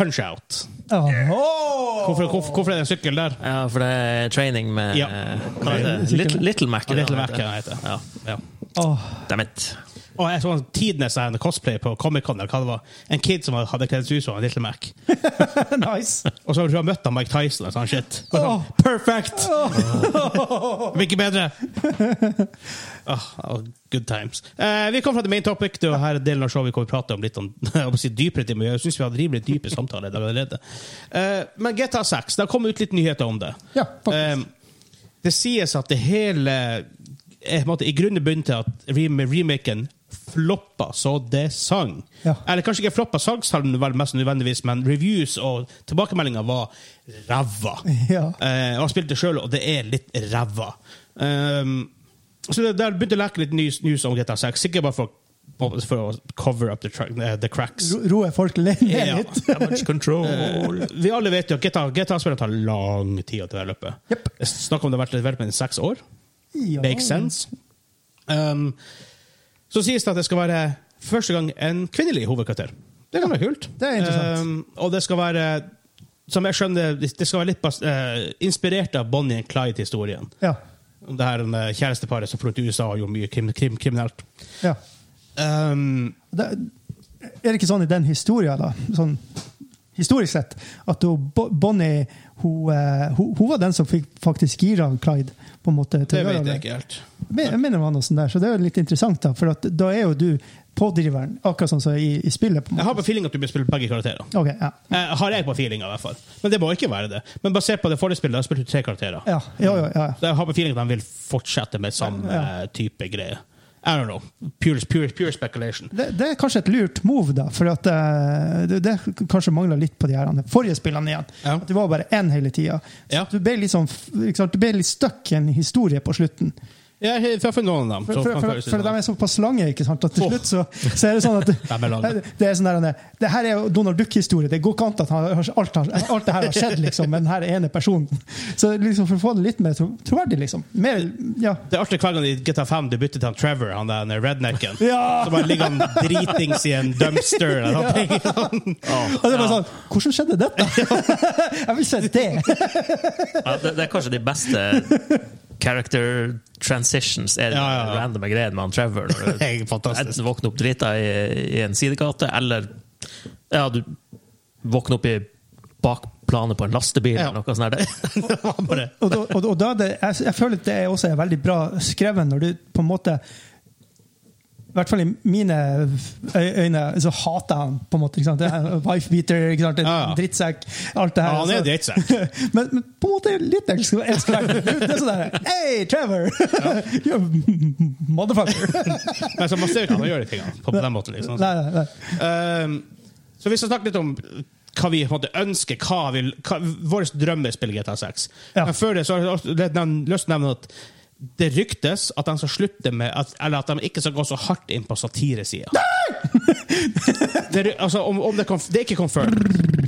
S1: Punch-out.
S2: Oh.
S1: Hvorfor, hvorfor, hvorfor er det en sykkel der?
S3: Ja, for det er training med eh,
S1: Ja.
S3: hva heter det? Little, Little Mac. er det
S1: Little
S3: han
S1: Mac, han heter.
S3: Ja.
S1: Ja.
S2: Oh.
S3: Dammit.
S1: Og jeg så en tidenes sånn cosplay på Comic-Con. eller hva det var. En kid som hadde kledd seg ut som en Little Mac.
S2: Nice.
S1: Og så har jeg møtt han Mike Tyson. og sånn shit. Og
S2: Åh.
S1: sånn, Perfect! Det blir ikke bedre. Åh, åh, good times. Eh, vi kom fra the main topic. Det er jo her delen av showet vi kommer prate om litt om, jeg holdt på å si dypere ting. men Jeg syns vi hadde rimelig dype samtaler i dag allerede. Eh, men GTA 6, det har kommet ut litt nyheter om det.
S2: Ja, faktisk.
S1: Eh, det sies at det hele er på en måte, I grunnen bundet til at rem remaken floppa så det sang.
S2: Ja.
S1: Eller kanskje ikke floppa salgstallene, vel mest nødvendigvis, men reviews og tilbakemeldinger var ræva.
S2: Ja.
S1: Eh, og jeg spilte sjøl, og det er litt ræva. Um, så det, der begynte å leke litt news, news om GTA 6, sikkert bare for, for å cover up the, track, eh, the cracks.
S2: Ro- Roe folk le- ned
S1: Ja.
S2: litt.
S3: Damage control.
S1: Eh, Vi alle vet jo at GTA, GTA-spillet tar lang tid å develope.
S2: Jepp.
S1: Snakk om det har vært development i seks år.
S2: Ja.
S1: Makes sense. Um, så sies det at det skal være første gang en kvinnelig hovedkarakter. Det kan være kult.
S2: Det er interessant.
S1: Um, og det skal være, som jeg skjønner, det skal være litt bas eh, inspirert av Bonnie and Clyde-historien.
S2: Ja.
S1: Om det her eh, kjæresteparet som flyttet til USA og gjorde mye krim krim kriminelt.
S2: ja.
S1: Um,
S2: Det, er det ikke sånn i den historien, da? Sånn historisk sett, at hun, Bo- Bonnie hun, eh, hun, hun var den som fikk faktisk gira han Clyde. på en måte. til
S1: det
S2: å gjøre
S1: vet
S2: det.
S1: jeg ikke helt.
S2: Men- Jeg mener det var noe sånt der, så det er jo litt interessant, da. For at, da er jo du pådriveren, akkurat sånn som i, i spillet. på en
S1: Jeg
S2: måte.
S1: har på feeling at du blir spilt begge karakterer.
S2: Ok, ja.
S1: Eh, har jeg på feelinga, i hvert fall. Men det må ikke være det. Men basert på det forrige spillet, da spilte du tre karakterer.
S2: Ja, ja, ja, ja.
S1: Så Jeg har på feeling at han vil fortsette med samme
S2: Ja.
S1: eh, type greie. I don't know. Pure, pure, pure speculation.
S2: Det, det er kanskje et lurt move, da. For at eh, det, det kanskje mangla litt på de her andre forrige spillene igjen.
S1: Ja.
S2: At det var bare én hele tida.
S1: Ja.
S2: Du ble litt sånn f- ikke sant, du ble litt stuck i en historie på slutten.
S1: Ja, he- for, for noen av dem.
S2: For,
S1: så
S2: for,
S1: kan
S2: for,
S1: føles
S2: for,
S1: litt sånn.
S2: de er såpass lange, ikke sant? at til
S1: Åh.
S2: slutt så, så er det sånn at
S1: er lange.
S2: det er sånn der, Anne, det her er jo Donald Duck-historie. Det går ikke an at han, har- alt, har- alt det her har skjedd liksom, med den her ene personen. Så liksom, for å få det litt mer tro- troverdig, liksom. Mer, ja.
S1: det er artig hver gang i GTA 5 du bytter til han Trevor, han der han rednecken.
S2: Ja.
S1: Så bare ligger han dritings i en dumpster. Eller noe.
S2: Og det er bare sånn, Hvordan skjedde dette? Jeg vil se det!
S3: Ja, det, det er kanskje de beste character transitions. Er ja,
S1: Ja, ja, ja.
S3: randome greiene med han Trevor. når du
S1: Det er fantastisk.
S3: Enten våkner opp drita i, i en sidegate, eller ja, du våkner opp i bakplanet på en lastebil
S1: Ja.
S3: eller noe sånt. Der.
S1: Det var bare-
S2: og, da- og, og da er det, jeg, jeg føler at det er også er veldig bra skrevet, når du på en måte i hvert fall i mine øy- øyne så hater jeg han, på en måte. ikke sant? Det er en Wife-beater, ikke sant? En
S1: Ja, ja.
S2: drittsekk. Alt det her.
S1: Ja, han er
S2: altså.
S1: drittsekk.
S2: men, men på en måte litt elsker jeg Det er sånn der Hei, Trevor! You motherfucker!
S1: Men så man ser jo ikke at han gjør de tingene på den måten. liksom.
S2: nei, nei, nei.
S1: Um, så vi skal snakke litt om hva vi på en måte ønsker, hva vi, hva, vår drømmespill GTA 6.
S2: Ja.
S1: Men før det så har jeg også litt nevn- lyst til å nevne at det ryktes at de skal slutte med at, Eller at de ikke skal gå så hardt inn på satiresida. det, ry- altså, om, om det, konf- det er ikke confirmed,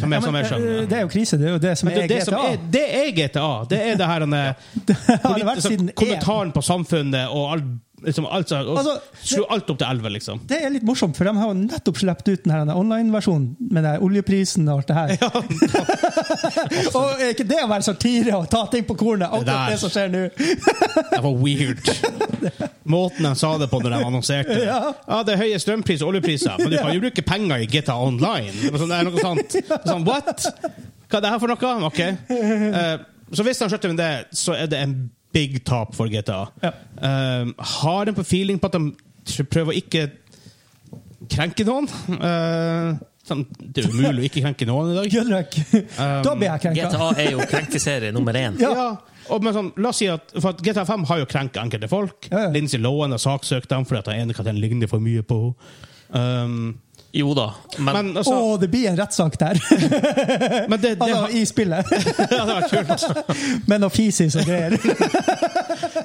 S1: som jeg, som jeg skjønner.
S2: eh, Det er jo krise, det er jo det som
S1: Men det,
S2: er
S1: det, som
S2: GTA.
S1: er, det er GTA. Det er det her han er-
S2: har det vært
S1: politisk-
S2: siden E.
S1: Kommentaren på samfunnet og all liksom alt, som-
S2: Altså,
S1: Slo alt opp til 11, liksom.
S2: Det er litt morsomt, for de har jo nettopp sluppet ut den her online-versjonen med den her oljeprisen og alt det her. og er ikke det å være satire og ta ting på kornet? Akkurat
S1: der.
S2: det som skjer nå.
S1: Det var weird. Måten de sa det på når de annonserte det.
S2: Ja.
S1: Ja, det er høye strømpriser og oljepriser, men du kan jo bruke penger i GTA Online. Det var sånn, det er noe sant. Sånn, what? Hva er det her for noe? Ok. Eh, så hvis de slutter med det, så er det en big tap for GTA.
S2: Ja.
S1: Eh, har en på feeling på at de tr- prøver å ikke krenke noen. Eh, sånn, det er umulig å ikke krenke noen i dag.
S2: Gullrøk.
S1: Um,
S2: da blir jeg krenka.
S3: GTA er jo krenkeserie nummer én.
S1: Ja. Og, men sånn, la oss si at, for at GTA 5 har jo krenket enkelte folk.
S2: Ja, ja.
S1: Lindsay Lohan har saksøkt dem fordi at den ene karakteren ligner for mye på henne. Um,
S3: Jo da, men,
S1: men altså,
S2: Å, det blir en rettssak der!
S1: men det, det,
S2: Altså,
S1: har-
S2: i spillet.
S1: det hadde vært kult.
S2: Men noe fisis og greier.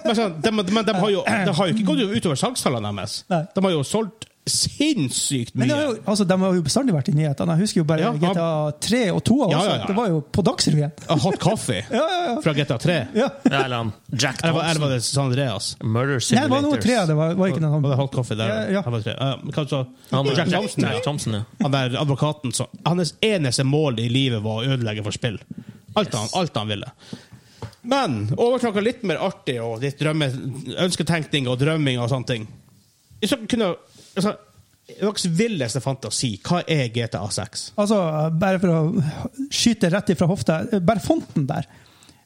S1: Men, sånn, de, men de har jo, det har jo ikke gått utover salgstallene deres.
S2: Nei.
S1: De har jo solgt sinnssykt
S2: Men
S1: mye.
S2: det har jo, altså, de har jo bestandig vært i nyhetene. Jeg husker jo bare
S1: Ja, ja.
S2: GTA 3 og 2 også.
S1: Ja, ja, ja.
S2: Det var jo på Dagsrevyen.
S1: Hot Coffee
S2: Ja, ja, ja.
S1: fra GTA 3.
S2: Ja.
S3: eller han Jack
S1: Eller var- eller
S3: Thompson,
S1: var det San Andreas?
S3: Murder
S2: Nei, det var noe tre,
S3: Simulators
S2: det var, var ikke noe
S1: Var det
S2: sånn.
S1: Hot Coffee der?
S2: Ja, ja.
S1: Han var tre. Ja, hva så?
S3: Han,
S1: Jack Thompson, ja.
S3: Jack Thompson, ja.
S1: Han der advokaten som Hans eneste mål i livet var å ødelegge for spill. Alt han, alt han ville. Men over til noe litt mer artig og litt drømme, ønsketenkning og drømming og sånne ting. Hvis dere kunne altså, Deres villeste fantasi, hva er GTA 6?
S2: Altså, bare for å skyte rett ifra hofta, bare fonten der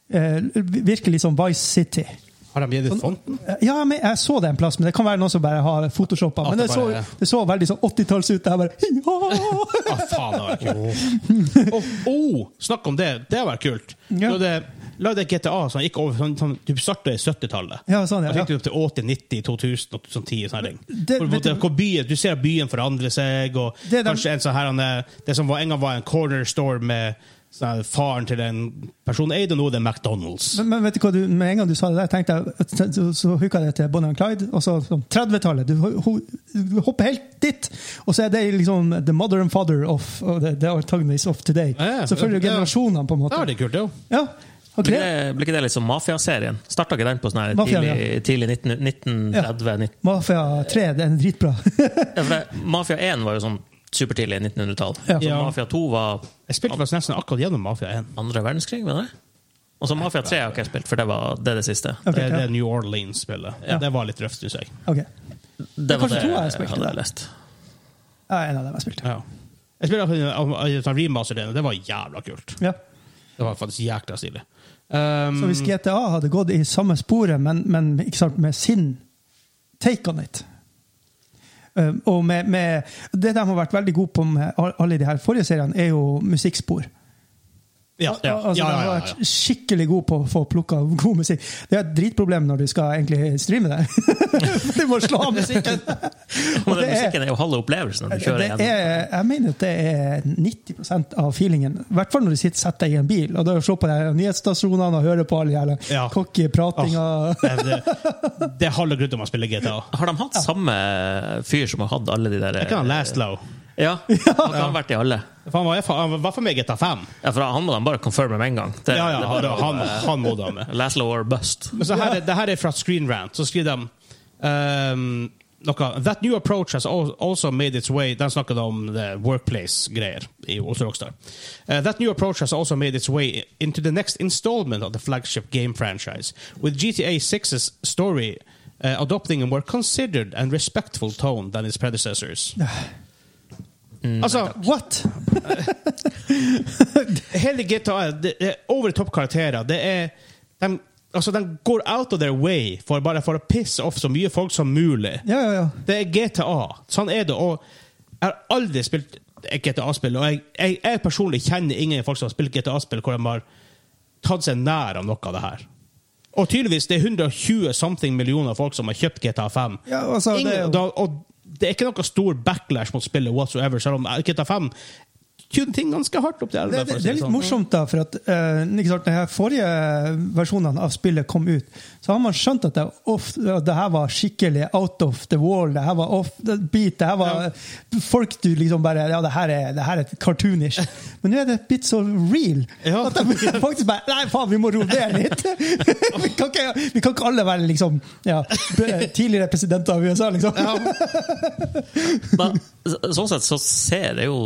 S2: eh, virker litt som Vice City.
S1: Har de gitt ut fonten?
S2: Ja, men jeg så det en plass, men det kan være noen som bare har photoshoppa.
S1: At
S2: Men det
S1: det
S2: så,
S1: bare-
S2: det så veldig sånn 80-talls ut. Jeg bare ja!
S1: Ah, faen, det var kult. Oh, oh, snakk om det. Det var kult.
S2: Ja.
S1: Når det- Lagde et GTA som gikk over sånn, sånn, Du startet i 70-tallet.
S2: Ja, sånn, ja,
S1: Og så gikk
S2: ja.
S1: du opp til 80, 90, 2000 og 2010. Sånn ting.
S2: Det-
S1: Hvor-
S2: vet
S1: hvor-
S2: du-
S1: hvor byen, du ser at byen forandrer seg, og
S2: Det er dem-
S1: kanskje en sånn her han er- Det som var, en gang var en corner store med sånn her faren til en person eide, og nå er det McDonald's.
S2: Men, men vet du hva, du, med en gang du sa det der, tenkte jeg, at- så, så hooka jeg det til Bonnie and Clyde. Og så sånn 30-tallet. Du, ho- ho- du hopper helt dit! Og så er det liksom the mother and father of og the, the antagonists of today.
S1: Ja, ja.
S2: Så følger du
S1: Ja.
S2: generasjonene, på en
S1: Det var
S2: måte.
S1: det kult, jo.
S2: Ja, og
S3: Blir
S2: gre-
S3: ikke, blir ikke det litt som Mafia-serien? Starta ikke den på sånn her
S2: Mafia,
S3: tidlig, tidlig 19, 1930?
S2: Mafia 3, det er dritbra.
S3: Ja, for det, Mafia 1 var jo sånn supertidlig 1900-tall.
S2: Ja.
S3: Så
S1: Ja.
S3: Mafia 2 var
S1: Jeg spilte faktisk nesten akkurat gjennom Mafia 1.
S3: andre verdenskrig, mener jeg? Og så Mafia 3 har ikke jeg spilt, for det var det, er det siste.
S2: Ok,
S1: det, det
S2: ja.
S1: er New Orleans-spillet.
S3: Ja.
S1: Det var litt røft, syns jeg.
S2: Ok.
S3: Det var
S2: kanskje
S3: det
S2: to har jeg
S3: jeg
S2: spilt.
S3: hadde lest.
S2: Ja, en av dem jeg spilte.
S1: Ja. Jeg spilte akkurat en- en sånn remaster det, og det var jævla kult.
S2: Ja.
S1: Det var faktisk jækla stilig. Um,
S2: Så hvis GTA hadde gått i samme sporet, men, men ikke sant, med sin take on it Um, og med, med Det de har vært veldig gode på med al- alle de her forrige seriene, er jo musikkspor.
S1: ja, ja,
S2: Al-
S1: ja,
S2: altså, De
S1: ja,
S2: har
S1: ja, ja.
S2: vært skikkelig gode på å få plukka god musikk. Det er et dritproblem når du skal egentlig streame det. du må slå av musikken!
S3: Men
S2: det
S3: den
S2: er-
S3: musikken er jo halve opplevelsen når du kjører
S2: Det
S3: igjen.
S2: er, jeg mener at det er 90 av feelingen. I hvert fall når du sitter setter deg i en bil og da ser på de her nyhetsstasjonene og hører på alle de her
S1: Ja.
S2: cocky pratinga.
S1: Det, det, det er halve grunnen til man spiller GTA.
S3: Har de hatt samme eh, fyr som har hatt alle de der
S1: Jeg kan ha Last Low.
S3: Ja, han har vært i alle.
S1: For Han var, i- han var for meg GTA 5.
S3: Ja, for Han må de bare confirme med en gang. Det,
S1: Ja, ja,
S3: det
S1: han,
S3: har
S1: han, han må da med.
S3: Laszlo or bust.
S1: Men så her, er- det her er fra Screen Rant. Så skriver de ehm, noe That new approach has al- also made its way De snakker da om det workplace-greier i Oslo Rockstar. Eh, that new approach has also made its way into the next installment of the flagship game franchise, with GTA 6's story eh, adopting a more considered and respectful tone than its predecessors. altså,
S2: What?!
S1: hele GTA det er over the top karakterer. Det er, de, altså, de går out of their way for, bare for å pisse off så mye folk som mulig.
S2: Ja, ja, ja.
S1: Det er GTA. Sånn er det. Og jeg har aldri spilt et GTA-spill, og jeg, jeg, jeg personlig kjenner ingen folk som har spilt GTA-spill hvor de har tatt seg nær av noe av det her. Og tydeligvis, det er 120 something millioner folk som har kjøpt GTA 5.
S2: Ja, altså, det er
S1: ingen,
S2: jo-
S1: da, og det er ikke noe stor backlash mot spillet whatsoever, selv om GTA 5 tune ting ganske hardt opp til
S2: Det,
S1: elva.
S2: det,
S1: for å si
S2: det er litt
S1: sånn.
S2: morsomt, da. For at eh, ikke sant, når de her forrige versjonene av spillet kom ut, så har man skjønt at det, er off, at det her var skikkelig out of the wall. Det her var off the beat. Det her var folk du liksom bare Ja, det her er, det her er cartoonish. Men nå er det blitt så real
S1: Ja.
S2: at de faktisk bare Nei, faen, vi må roe ned litt! vi, kan ikke, vi kan ikke alle være liksom ja, b- tidligere presidenter av USA, liksom.
S3: da, så- sånn sett så ser jeg jo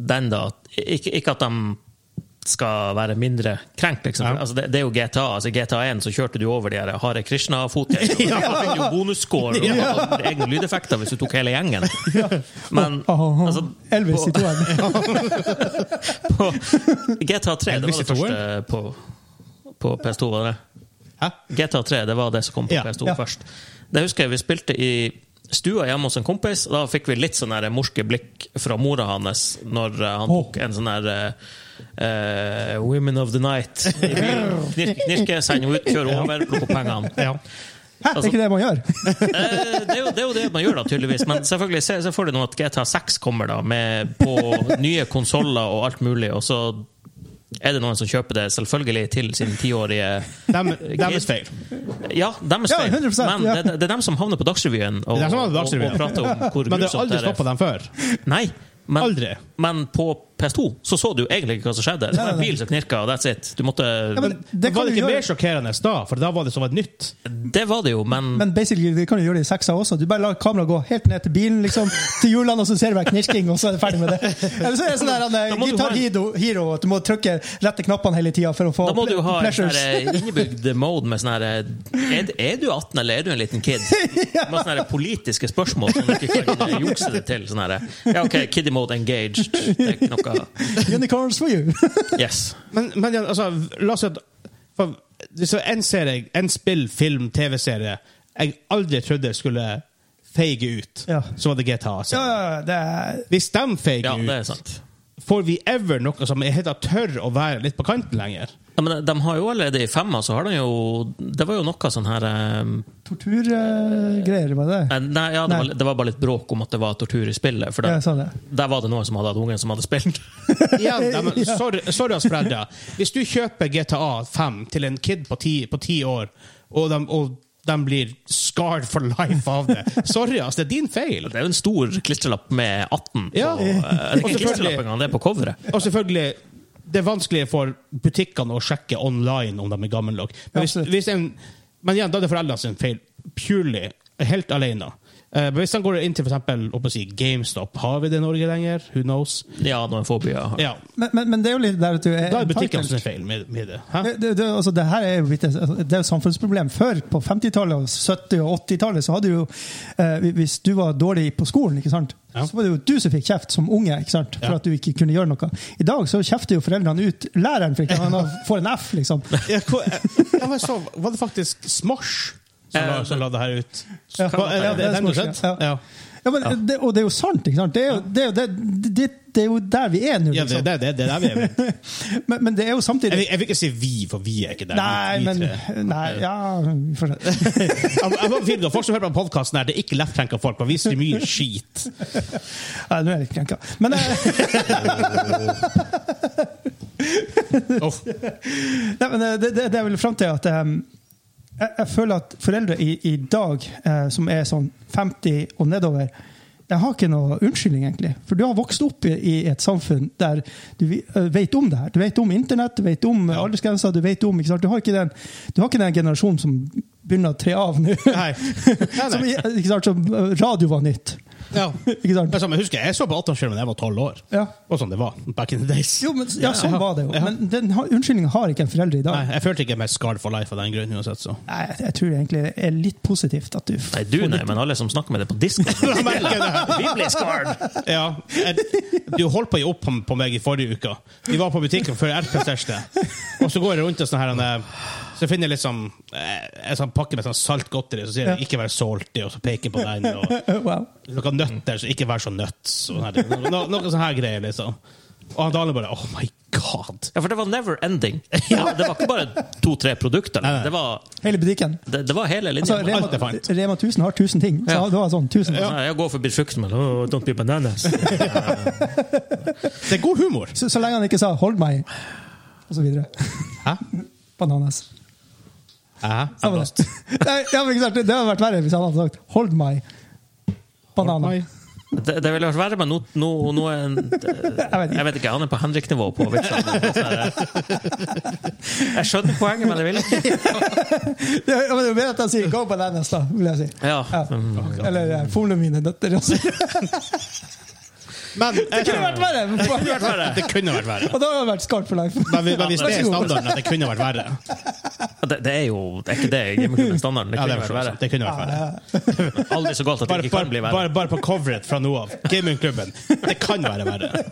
S3: den, da. at- Ikke, ikke at de skal være mindre krenkt, liksom. Altså, det, det er jo GTA. altså GTA 1 så kjørte du over de her Hare Krishna-fotgjengerne. Da fikk du jo bonusscore og, og egne lydeffekter hvis du tok hele gjengen. Men
S2: Åh,
S3: altså,
S2: Elvis i
S3: på,
S2: toeren.
S3: på GTA 3, det
S1: Elvis
S3: var
S1: i
S3: det første på, på PS2, var det det?
S1: Hæ?
S3: GTA 3 det var det som kom på
S1: Ja,
S3: PS2
S2: ja.
S3: først. Det husker jeg vi spilte i stua hjemme hos en kompis. Da fikk vi litt sånn her morske blikk fra mora hans når eh, han tok en sånn her eh, eh, Women of the Night. i bilen. Knirke, knirke send henne ut, kjør over, plukk opp pengene.
S2: Hæ, det er ikke det man gjør?
S3: Eh, det, er jo, det er jo det man gjør, da, tydeligvis. Men selvfølgelig se, se for deg nå at GTA 6 kommer da med, på nye konsoller og alt mulig, og så er det noen som kjøper det, selvfølgelig til sin tiårige
S1: Dem, deres feil.
S3: ja, dem er
S2: Ja,
S3: stein.
S2: 100%,
S3: Men
S2: ja.
S3: det, det er dem som havner på Dagsrevyen og,
S1: Det er dem som havner på
S3: og, og,
S1: Dagsrevyen.
S3: prater om hvor
S1: Men det har
S3: grusomt
S1: aldri
S3: det
S1: stoppa
S3: er.
S1: dem før.
S3: Nei, men,
S1: Aldri.
S3: men på PS2 så så du egentlig ikke hva som skjedde. Det var en bil som knirka, og that's it. Du måtte,
S2: men det
S1: Det
S2: kan
S1: var
S2: du
S1: det ikke
S2: gjøre.
S1: mer sjokkerende da, for da var det som var nytt.
S3: det var det jo, men,
S2: Men basically, det kan du gjøre det i seksa også. Du bare lar kameraet gå helt ned til bilen, liksom, til hjulene, og så ser du bare knirking, og så er du ferdig med det. Eller så er det sånn der,
S3: Da
S2: han,
S3: må du
S2: Guitar
S3: ha en-
S2: Hero, Hero, at du må trykke rette knappene hele tida for å få
S3: da må du jo ha en sånn
S2: pleasures.
S3: her innebygd mode med sånn her er, er du 18, eller er du en liten kid? Med sånne her politiske spørsmål som du ikke kan eh, jukse det til. Sånn her Ja, OK, kiddie mode engaged. Det er ikke noe
S2: Unicorns for you.
S3: Yes.
S1: Men, men ja, altså, la oss si at for, Hvis det var en serie, en spill, film, TV-serie jeg aldri trodde skulle feige ut,
S2: Ja.
S1: så var det GTA. altså.
S2: ja, det er...
S1: Hvis de feiger
S3: Ja, det er
S1: ut,
S3: sant.
S1: får vi ever noe som jeg heter tør å være litt på kanten lenger?
S3: Ja, men de har jo allerede i femma, så har de jo Det var jo noe sånn her eh,
S2: Torturgreier, eh, var det det?
S3: Nei, ja, det,
S2: Nei.
S3: Var, det var bare litt bråk om at det var tortur i spillet. For
S2: Ja,
S3: det,
S2: jeg sa det.
S3: der var det noen som hadde hatt ungen som hadde spilt.
S1: Igjen, de,
S2: Ja.
S1: sorry, sorry ass Fredda. Hvis du kjøper GTA 5 til en kid på ti, på ti år, og de, og de blir scarred for life av det Sorry, ass, det er din feil.
S3: Det er jo en stor klistrelapp med 18 på
S1: Ja.
S3: eh, det er
S1: Og
S3: ikke
S1: selvfølgelig-
S3: klistrelapp engang, det er på coveret.
S1: Og selvfølgelig, det er vanskelig for butikkene å sjekke online om de er gamle nok. Men, hvis,
S2: Absolutt.
S1: hvis en, men igjen, da er det foreldrene sin feil. Purely. Helt alene. Eh, men hvis de går inn til for eksempel, opp og sier GameStop, har vi det i Norge lenger? Who knows?
S3: Ja, noen få byer.
S1: Ja,
S2: Men, men, men det er jo litt der at du er
S1: da er butikkene sin
S2: entitled.
S1: feil med, med det. Hæ?
S2: Det, det, det, altså, det her er jo blitt et det er jo et samfunnsproblem. Før, på 50-tallet, og 70- og 80-tallet, så hadde jo eh, Hvis du var dårlig på skolen, ikke sant?
S1: Ja.
S2: så var det jo du som fikk kjeft som unge ikke sant? for
S1: Ja.
S2: at du ikke kunne gjøre noe. I dag så kjefter jo foreldrene ut læreren for ikke han får en F, liksom.
S1: Ja, hva- jeg var, så, var det faktisk Smosh som, la- som la det her ut?
S2: Ja.
S1: Hva- er det- er det den du har sett?
S2: Ja.
S1: Ja.
S2: Ja, men, Det, og det er jo sant, ikke sant? Det er jo, det er jo, det, det, det er jo der vi er nå,
S1: Ja, det
S2: liksom.
S1: det- det- det er der vi er.
S2: Men, men det er jo
S1: Jeg
S2: samtidig
S1: vil, jeg vil ikke si vi, for vi er ikke der. vi-
S2: Nei,
S1: vi
S2: men
S1: tre.
S2: Nei, ja vi får se.
S1: Jeg Altså, jeg må finne, folk som hører på den podcasten her, det er ikke lettkrenka folk, men vi sier mye skit.
S2: Nei, Nå er jeg litt krenka. Men eh,
S1: Uff.
S2: Nei, men eh, det, det, det er vel frem til at ehm, jeg, jeg føler at foreldre i, i dag, eh, som er sånn 50 og nedover, jeg har ikke noe unnskyldning, egentlig. For du har vokst opp i, i et samfunn der du vi- eh, vet om det her. Du vet om internett, du vet om eh, aldersgrenser, du vet om ikke sant? Du, har ikke den, du har ikke den generasjonen som begynner å tre av nå.
S1: Nei. Nei,
S2: Som,
S1: nei.
S2: i- ikke sant, som eh, radio var nytt.
S1: Ja.
S2: Ikke sant?
S1: Det er sånn, jeg husker jeg så på 18-årsfilmen da jeg var 12 år.
S2: Ja.
S1: Og sånn det var. Back in the days.
S2: Jo, men, ja, sånn var det jo.
S1: Ja.
S2: Men den har- unnskyldningen har ikke en forelder i dag.
S1: Nei, jeg følte ikke meg scarred for life av den grunn uansett, så.
S2: Nei, jeg, jeg tror egentlig det er litt positivt at du
S3: Nei, du nei, men alle som snakker med deg på disko
S1: Jeg merker det.
S3: Vi blir scarred!
S1: Ja, jeg, du holdt på å gi opp på, på meg i forrige uke. Vi var på butikken før RP-testet. Og så går jeg rundt og sånn her han, eh, Så finner jeg litt sånn eh, En sånn pakke med sånn salt godteri, så sier jeg 'ikke vær salty', og så peker jeg på den. Og
S2: Wow.
S1: noen nøtter, så ikke vær så nuts. Og sånne her ting. no, no, noe sånn her sånn greier, liksom. Og han Daniel bare Oh my god!
S3: Ja, for det var never ending. Ja, det var ikke bare to-tre produkter.
S1: Nei, nei.
S3: Det, var,
S2: Hele butikken.
S3: det, det var hele linja.
S2: Altså, Rema,
S1: alt er fint.
S2: Rema 1000 har 1000 ting. Så
S3: Ja.
S2: det var sånn 1000.
S3: Nei, Jeg går forbi frukten men oh, Don't be bananas.
S1: Det er god humor.
S2: Så, så lenge han ikke sa 'hold meg', og så videre.
S1: Hæ?
S2: Bananas.
S1: Hæ?
S2: Samme det. Nei, ja, men ikke sant, det hadde vært verre hvis han hadde sagt 'hold meg'. Banana.
S1: Nei.
S3: Det, det ville vært verre, men nå, nå, nå er en,
S2: Jeg vet ikke.
S3: Jeg vet ikke, han er på Henrik-nivå på Vitsand. sånn Jeg skjønner poenget, men jeg vil ikke.
S2: Ja, men det er jo bedre at han sier 'go bananas', da, vil jeg si.
S3: Ja.
S2: Ja. Eller eh, folene mine døtter. også.
S1: Men eh,
S2: Det kunne vært verre!
S3: Det vært verre.
S1: Det kunne vært verre.
S2: Og da hadde det vært scarred for life.
S1: Men, vi- men hvis det
S2: Vær
S1: er
S2: så god.
S1: standarden, at det kunne vært verre
S3: Det, det er jo det er ikke det gameklubben-standarden. Det
S1: Ja, det,
S3: kunne
S1: er
S3: vært
S1: forståelig.
S3: verre.
S1: det kunne vært verre.
S3: Aldri så galt at det
S1: Bare,
S3: ikke kan bli
S1: bare,
S3: verre.
S1: bare, bare på coveret fra nå av. Gamingklubben. Det kan være verre.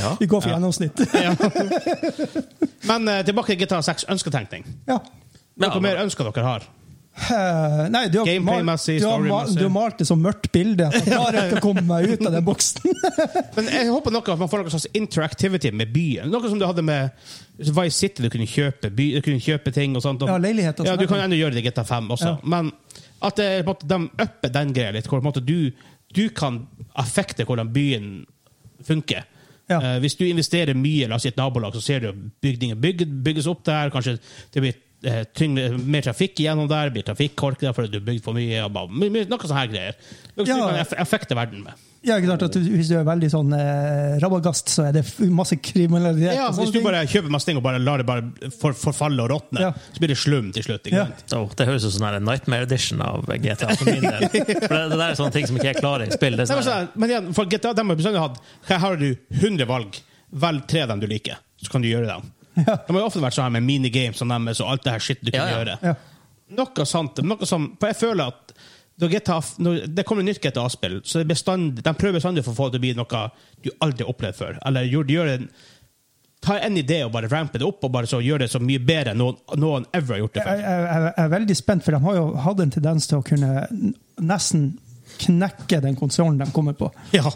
S3: Ja.
S2: Vi går for gjennomsnitt.
S1: Ja. Men eh, tilbake til GTA 6. Ønsketenkning.
S2: Ja.
S1: Noe
S3: Ja,
S1: mer ønsker dere har?
S2: Eh, Nei, du har, malt,
S1: Gameplay-messig,
S2: du, har malt,
S1: story-messig.
S2: du har malt det som mørkt bilde. at Jeg klarer ikke å komme meg ut av den boksen.
S1: Men jeg håper noe at man får noe slags interactivity med byen. Noe som du hadde med Vice City. Du kunne kjøpe, by, du kunne kjøpe ting og sånt. Og,
S2: Ja, leiligheter og
S1: Ja,
S2: sånt.
S1: du kan ennå gjøre det i GTA 5 også.
S2: Ja.
S1: Men at det, er på en måte, de upper den greia litt. Hvor på en måte, du, du kan affekte hvordan byen funker.
S2: Ja.
S1: Eh, hvis du investerer mye la oss si et nabolag, så ser du at bygninger bygg, bygges opp der. Kanskje det blir eh, tyngre, mer trafikk igjennom der, blir trafikkork der fordi du har bygd for mye. og bare- my- my- Noe sånne her greier. Noe som
S2: Ja.
S1: du kan aff- affekte verden med.
S2: Ja, ikke sant, at du- Hvis du er veldig sånn eh, rabagast, så er det f- masse kriminalitet.
S1: Ja,
S2: og sånne
S1: hvis du
S2: ting.
S1: bare kjøper masse ting og bare lar det bare for, forfalle og råtne,
S2: Ja.
S1: så blir det slum til slutt. Ikke
S2: Ja.
S1: sant?
S3: Åh, det høres ut som en Nightmare Edition av GTA. For min del. For det, det der er sånne ting som ikke jeg klarer i spill. Det er
S1: Nei, men,
S3: sånn her-
S1: sånn, men igjen, for GTA de har bestandig hatt Her har du 100 valg. Velg tre av dem du liker, så kan du gjøre dem. De har jo ofte vært sånn her med minigames og deres og alt det her shit du kan
S3: Ja, ja.
S1: gjøre.
S2: Ja.
S1: Noe sant, noe som, for jeg føler at når GTA, når det kommer nytt GTA-spill, så er det bestandig- de prøver bestandig for å få det til å bli noe du aldri har opplevd før. Eller gjør, gjør en, ta en idé og bare rampe det opp og bare så gjør det så mye bedre enn noen, noen ever har gjort det før.
S2: Jeg, jeg, jeg er veldig spent, for de har jo hatt en tendens til å kunne n- nesten knekke den konsollen de kommer på.
S1: Ja.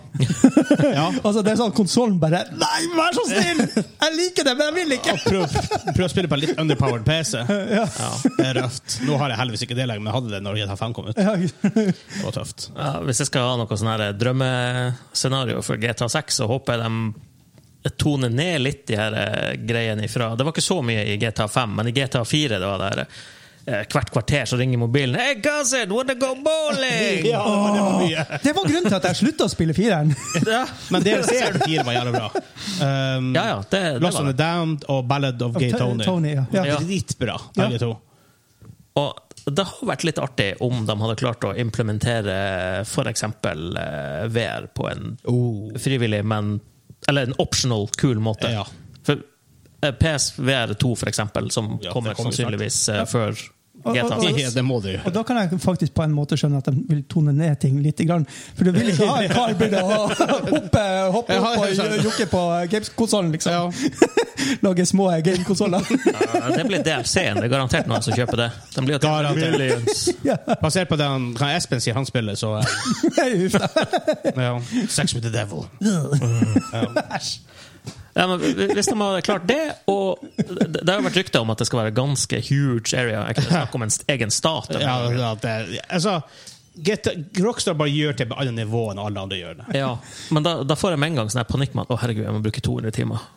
S1: ja.
S2: Altså, det er sånn konsollen bare Nei, vær så snill! Jeg liker det, men jeg vil ikke!
S1: Og prøv, prøv å spille på en litt underpowered PC. Det er røft. Nå har jeg heldigvis ikke det lenger, men jeg hadde det når GTA 5 kom ut.
S2: Ja,
S1: Det var tøft.
S3: Ja, hvis jeg skal ha noe sånn her drømmescenario for GTA 6, så håper jeg de toner ned litt de her eh, greiene ifra. Det var ikke så mye i GTA 5, men i GTA 4 det var det her eh, Hvert kvarter så ringer mobilen. Hey, cousin, wanna go bowling?
S1: Ja, det var mye.
S2: Det var grunnen til at jeg slutta å spille fireren.
S3: ja,
S1: Men DLC 4 var jævlig bra. Um,
S3: ja, ja, det, det
S1: Lost
S3: var
S1: on the
S3: det.
S1: Downed og Ballad of
S2: Of
S1: Gay
S2: T-
S1: Tony.
S2: Tony, ja. Ja.
S1: Dritbra,
S2: Ja.
S1: begge to.
S3: Og det har vært litt artig om de hadde klart å implementere f.eks. VR på en frivillig, men Eller en optional, kul måte.
S1: Oh. Ja.
S3: For eh, PSVR 2, for eksempel, som
S1: Ja, det
S3: kommer
S1: kommer snart.
S3: sannsynligvis eh, før
S2: Og-
S3: GTA.
S2: og-
S1: Ja, det må du gjøre.
S2: Og da kan jeg faktisk på en måte skjønne at de vil tone ned ting litt. Grann. For du vil ikke ha en kar begynne å hoppe, hoppe opp og jo- jokke på gamekonsollen, liksom. Lage små gamekonsoller.
S3: Ja, det blir DLC-en. Det er garantert noen som kjøper det. Den blir jo
S1: Garantert.
S3: Millions.
S2: ja.
S1: Basert på den hva Espen sier han spiller, så eh,
S2: Nei, uff da.
S1: ja. Sex with the devil.
S3: Ja, men hvis de hadde klart det, og det det har jo vært rykter om at det skal være ganske huge area. Jeg kunne snakke om en egen stat. eller
S1: Ja, ja, det, altså, GTA, Rockstar bare gjør det på alle nivå enn alle andre gjør det.
S3: Ja, men da, da får jeg med en gang sånn her panikk med at å herregud, jeg må bruke 200 timer.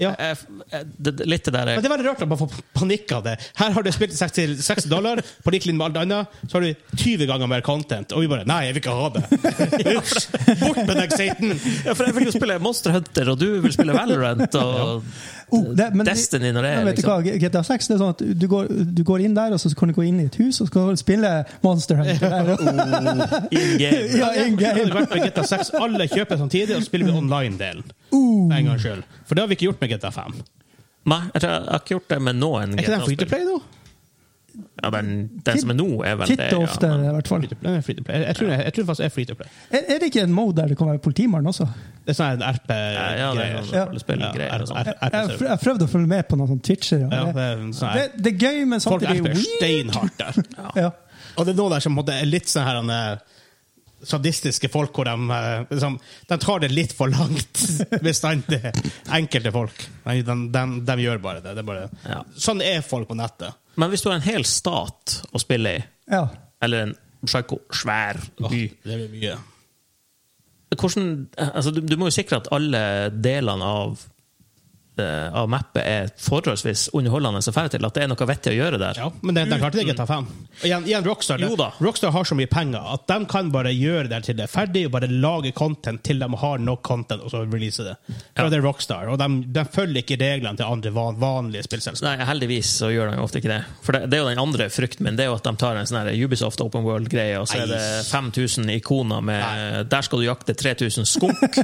S1: Ja.
S3: Jeg, jeg, det, det- litt det der
S1: Men
S3: jeg,
S1: det er veldig rart at man får panikk av det. Her har du spilt 60, 60 dollar, på lik linje med alt annet, så har du 20 ganger mer content, og vi bare Nei, jeg vil ikke ha det! Ups, Bort med deg, Satan!
S3: ja, for jeg vil jo spille Monster Hunter, og du vil spille Valorant og
S2: Oh, det, men,
S3: Destiny når det er
S2: Men vet du
S3: liksom.
S2: hva, GTA 6 det er sånn at du går, du går inn der, og så kan du gå inn i et hus og så kan du spille Monster Hunter. Der.
S3: in game.
S2: Ja, in
S1: Det hadde
S2: game.
S1: vært med GTA 6. Alle kjøper samtidig, og så spiller vi online-delen. For En gang selv. For det har vi ikke gjort med GTA 5.
S3: Nei, jeg, tror jeg, jeg har ikke gjort det med noen
S1: Er ikke den free to
S3: GTA-spill.
S1: play nå?
S3: Ja, den, den som er nå, er vel
S2: Titt
S3: det.
S2: og
S3: Ja,
S2: ofte,
S3: men-
S2: i hvert fall.
S1: Free to play. Free to play. Jeg, tror, jeg tror faktisk det er free to play.
S2: Er, er det ikke en mode der det kan være politimann også?
S1: Det er sånn
S3: ja, ja, det er
S1: RP-greier.
S3: sånn rollespillgreier og sånt.
S2: Jeg, jeg, jeg prøvde å følge med på noen sånne twitchere.
S1: Ja, det
S2: og det,
S1: er sånn
S2: det,
S1: her.
S2: det er gøy, men
S1: Folk
S2: samtidig
S1: RP-er
S2: weird.
S1: steinhardt der.
S2: Ja.
S1: Og det er noe der som på en måte er litt sånn her han er- sadistiske folk hvor de, eh, liksom, de tar det litt for langt. Bestandig. Enkelte folk. De, de, de, de gjør bare det. det er bare,
S3: Ja.
S1: Sånn er folk på nettet.
S3: Men hvis du har en hel stat å spille i,
S2: Ja.
S3: eller en psyko svær
S1: Åh,
S3: by
S1: det blir mye.
S3: hvordan, altså, du, du må jo sikre at alle delene av eh, av mappet er forholdsvis underholdende å dra til. At det er noe vettig å gjøre der.
S1: Ja, men de, de klarte ikke å ta fem. Og Igjen, igjen Rockstar, det-
S3: Jo da.
S1: Rockstar har så mye penger at de kan bare gjøre det til det er ferdig, og bare lage content til de har nok content, og så release det. For
S3: Ja.
S1: det er Rockstar, og de, de følger ikke reglene til andre van, vanlige spillselskaper.
S3: Nei, heldigvis så gjør de jo ofte ikke det. For det, det er jo den andre frykten min, det er jo at de tar en sånn her Ubisoft Open World-greie, og så er det 5000 ikoner med Der skal du jakte 3000 skunk,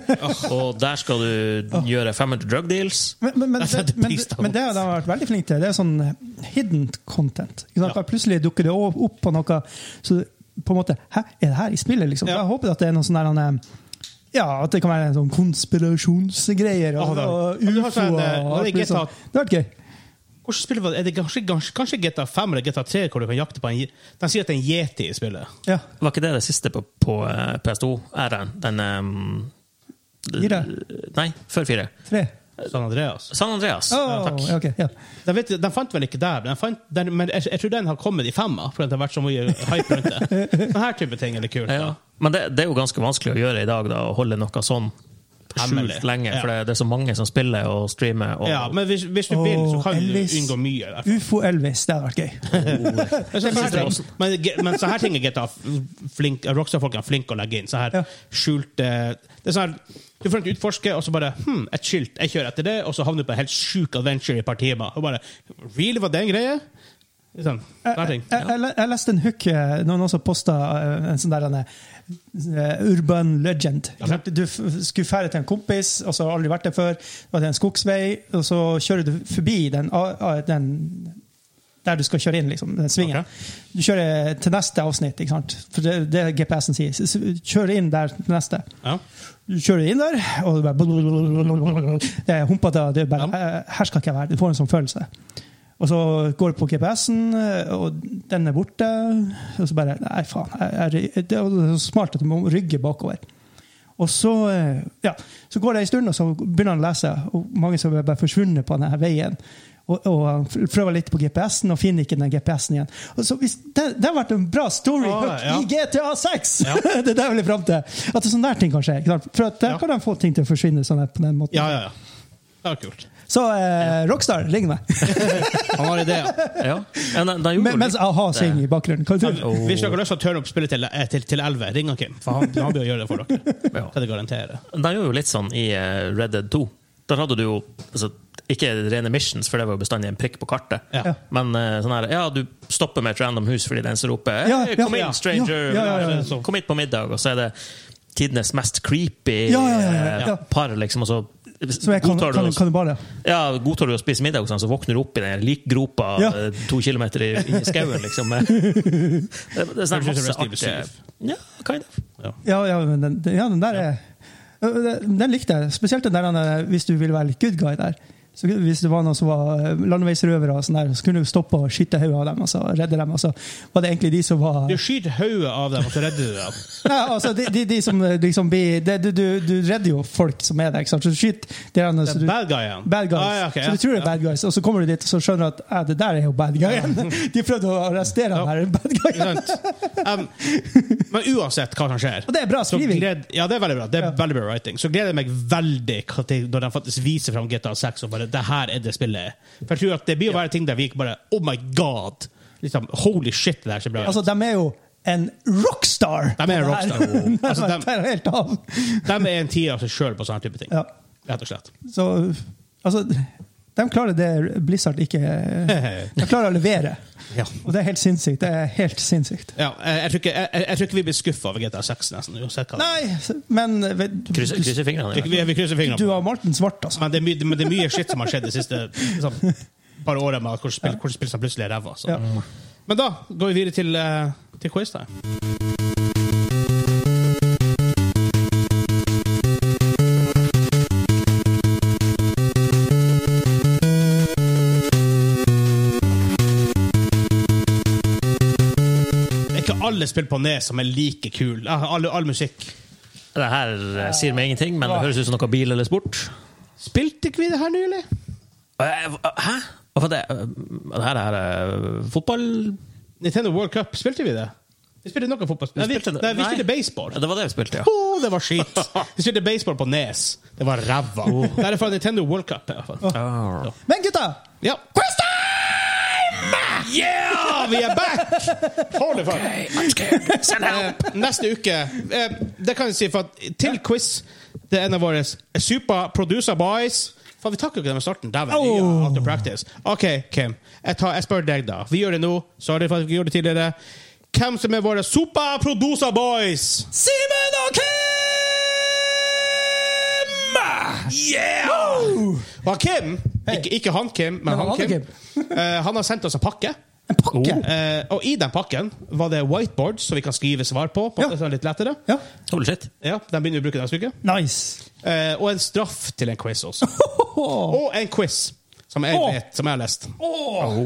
S3: og der skal du gjøre 500 drug deals.
S2: Men, men, men,
S1: Jeg
S2: men,
S1: setter
S2: men,
S1: pris på
S2: men det har de vært veldig flinke til. Det er sånn hidden content. Ikke sant?
S1: Ja.
S2: Plutselig dukker det o- opp på noe Så på en måte Hæ, er det her i spillet, liksom?
S1: Ja.
S2: Jeg håper at det er noen sånn der han, eh, ja, at det kan være en sånn konspirasjonsgreier
S1: Ja,
S2: og,
S1: da.
S2: og
S1: Ja, du har
S2: ufo.
S1: sånn,
S2: og
S1: eh,
S2: alt
S1: det er
S2: mulig
S1: GTA.
S2: sånt. Det hadde vært gøy.
S1: Hvordan spiller var det? Er det kanskje, kanskje, kanskje GTA 5 eller GTA 3 hvor du kan jakte på en je- De sier at det er en yeti i spillet.
S2: Ja.
S3: Var ikke det det siste på, på eh, PS2-æraen? Den ehm,
S2: Fire?
S3: Nei, før fire.
S2: Tre.
S1: San Andreas.
S3: San Andreas.
S2: Oh,
S3: Ja, takk.
S2: ja, ok, ja.
S1: De, vet, de fant vel ikke der, men, de fant, den, men jeg, jeg tror den har kommet i femma. Fordi det har vært så mye hype rundt det. Denne type ting er litt kult.
S3: Ja,
S1: Da.
S3: ja. Men det, det er jo ganske vanskelig å gjøre i dag, da, å holde noe sånn
S1: Hemmelig.
S3: skjult lenge. For det,
S1: Ja.
S3: det er så mange som spiller og streamer. Og,
S1: Ja, men hvis, hvis du vil, så kan du
S2: Elvis.
S1: unngå mye. Der.
S2: Ufo-Elvis, det hadde vært gøy.
S1: Men så,
S3: Det er
S1: men, men, men så her ting er GTA flink, Rockstar-folk er flinke å legge inn. Så her
S2: Ja.
S1: skjulte Det er sånn her, Du får ikke utforske, og så bare hm, et skilt. Jeg kjører etter det, og så havner du på en helt sjuk adventure i et par timer. Og bare Really, var det en greie? Sånn, sånne
S2: Jeg,
S1: ting.
S2: Eh, jeg, jeg, jeg leste en hook eh, noen også posta eh, en sånn der en, eh, urban legend. Ikke sant? Du f- skulle fære til en kompis, og så har du aldri vært der før. Det var til en skogsvei, og så kjører du forbi den, a- a- den der du skal kjøre inn, liksom, den svingen.
S1: Ok.
S2: Du kjører til neste avsnitt, ikke sant? for det, det er GPS-en sier. S- s- Kjør inn der til neste.
S1: Ja.
S2: Du kjører inn der, og du bare Det er humpete. Det er bare, eh, Her skal ikke jeg være. Du får en sånn følelse. Og så går du på GPS-en, eh, og den er borte. Og så bare Nei, faen. Jeg, jeg, det er jo så smart at du må rygge bakover. Og så, eh, ja, så går det en stund, og så begynner han å lese. Og mange som er bare forsvunnet på denne veien. Og, og han prøver litt på GPS-en, og finner ikke den GPS-en igjen. Og så hvis, det, det har vært en bra story
S1: Ah,
S2: hook
S1: ja.
S2: i GTA 6!
S1: Ja.
S2: det er det jeg vil fram til. At det er sånne der ting kan skje. Ikke sant? For at der
S1: Ja.
S2: kan de få ting til å forsvinne sånn her på den måten.
S1: ja, ja, ja. Det var kult.
S2: Så eh, Rockstar, ring meg!
S1: Han har ideer.
S3: Ja. Ja, de, de gjorde
S2: Men,
S3: litt-
S2: mens a-ha synger i bakgrunnen. Hva tror du?
S3: Oh.
S1: Hvis dere har lyst til å turne opp spillet til, eh, til, til 11, ring han Kim. For han, han bør gjøre det for dere.
S3: Ja.
S1: Kan jeg garantere.
S3: De gjorde jo litt sånn i eh, Red Dead 2. Der hadde du jo altså, ikke rene missions, for det var jo bestandig en prikk på kartet.
S1: Ja.
S2: Ja.
S3: Men eh, sånn her, ja, du stopper med et random hus fordi den som roper
S2: Ja,
S3: «Hey,
S2: ja,
S3: Kom
S1: ja.
S3: inn, stranger!
S2: Ja, ja, sånn. ja, ja.
S3: Så Kom hit på middag, og så er det tidenes mest creepy
S2: Ja, ja, ja, ja, ja.
S3: eh, par, liksom, og så
S2: Som er kan,
S3: godtar du
S2: kan,
S3: å-
S2: kannibaler.
S3: ja, godtar du å spise middag, og sånn, så våkner du opp i den likgropa
S2: Ja.
S3: eh, to kilometer i, i skauen, liksom. det, det er
S1: Høres
S3: sånn
S1: ut som
S3: masse
S1: Resident Evil
S3: artige Ja, kind of.
S2: Ja, ja, men den, den- ja, den der er Den den likte jeg. Spesielt den der han er- hvis du ville være litt good guy der. Så hvis det var noen som var eh, landeveisrøvere, og sånn der, så kunne du stoppe og skyte hodet av dem. altså, Og så redde dem, og så var det egentlig de som var
S1: Du skyter hodet av dem, og så redder du dem.
S2: Nei, altså, de, de, de som eh, liksom blir det, du, du, du redder jo folk som er der, ikke sant? Så du skyter de der, så
S1: Det
S2: du,
S1: er bad guyen.
S2: bad guys.
S1: Ah, ja, ok, ja.
S2: Så du tror det er bad guys, og så kommer du dit og så skjønner du at eh, det der er jo bad guyen. De prøvde å arrestere han her, bad
S1: Ikke
S2: guyen.
S1: sant? Um, men uansett hva som skjer
S2: Og det er bra
S1: så
S2: skriving.
S1: gled, ja, det er veldig bra. Det er
S2: Ja.
S1: veldig bra writing. Så gleder jeg meg veldig hva til- når de faktisk viser fram GTA 6 og bare det her er det spillet er. For jeg tror at det blir å være ting der vi ikke bare Oh my god! Liksom, Holy shit, det her ser bra ut.
S2: Altså, de er jo en rockstar!
S1: De er en
S2: Det her-
S1: rockstar.
S2: Nei,
S1: Altså,
S2: men
S1: de-
S2: det er helt av.
S1: de er en tier av seg sjøl på sånne type ting.
S2: Ja,
S1: Rett og slett.
S2: så Altså, de klarer det Blizzard ikke De klarer å levere,
S1: Ja.
S2: og det er helt sinnssykt. Det er helt sinnssykt.
S1: Ja, jeg, jeg, tror ikke, jeg, jeg- jeg tror ikke vi blir skuffa over GTA 6, nesten. Uansett hva.
S2: Nei, men vet-
S3: Krysser, krysser fingrene. i hvert fall.
S1: Vi, vi krysser fingrene.
S2: du har malt den svart, altså.
S1: Men det, er mye, men det er mye shit som har skjedd de siste liksom, par årene med hvordan spill, hvordan spill som plutselig er ræva. så.
S2: Ja.
S1: Men da går vi videre til, eh, til quiz. Da. Det er ikke alle spill på Nes som er like kule. All, all musikk.
S3: Det her eh, sier meg ingenting, men det høres ut som noe bil eller sport.
S1: Spilte ikke vi det her nylig?
S3: Eh, Hæ? Hva var det? Eh, Det her er eh, fotball...
S1: Nintendo World Cup, spilte vi det? Vi spilte noe fotballspill. Nei, vi,
S3: spilte det-
S1: nei, vi
S3: nei.
S1: spilte baseball. Oh,
S3: Ja, Det var det vi spilte, ja.
S1: Åh, det var skit! Vi spilte baseball på Nes. Det var ræva.
S3: Oh.
S1: Det er fra Nintendo World Cup. i hvert fall.
S3: Ah.
S2: Men gutta!
S1: Ja. Quiz time! Yeah! Vi er back! Holy fuck. Eh, Neste uke eh, Det kan jeg si, for at til quiz Det er en av våre super producer boys. Faen, vi takker ikke dem i starten. Dæven. vi har hatt en practice. OK, Kim. Jeg, tar, jeg spør deg, da. Vi gjør det nå. Sorry for at vi ikke gjorde det tidligere. Hvem som er våre super producer boys?
S3: Simen og Kim! Yeah!
S1: Og Kim, ikke, ikke han Kim, men, han,
S2: han
S1: Kim,
S2: Kim.
S1: eh, han har sendt oss en pakke.
S2: En pakke!
S3: Oh,
S1: Eh, og i den pakken var det whiteboards som vi kan skrive svar på. på
S2: Ja.
S1: at det er litt lettere.
S2: Ja.
S3: Holy shit.
S1: Ja, den begynner vi å bruke neste uke.
S2: Nice.
S1: Eh, og en straff til en quiz også.
S2: Åh,
S1: Og en quiz, som jeg
S2: Åh.
S1: vet, som jeg har lest.
S2: åh.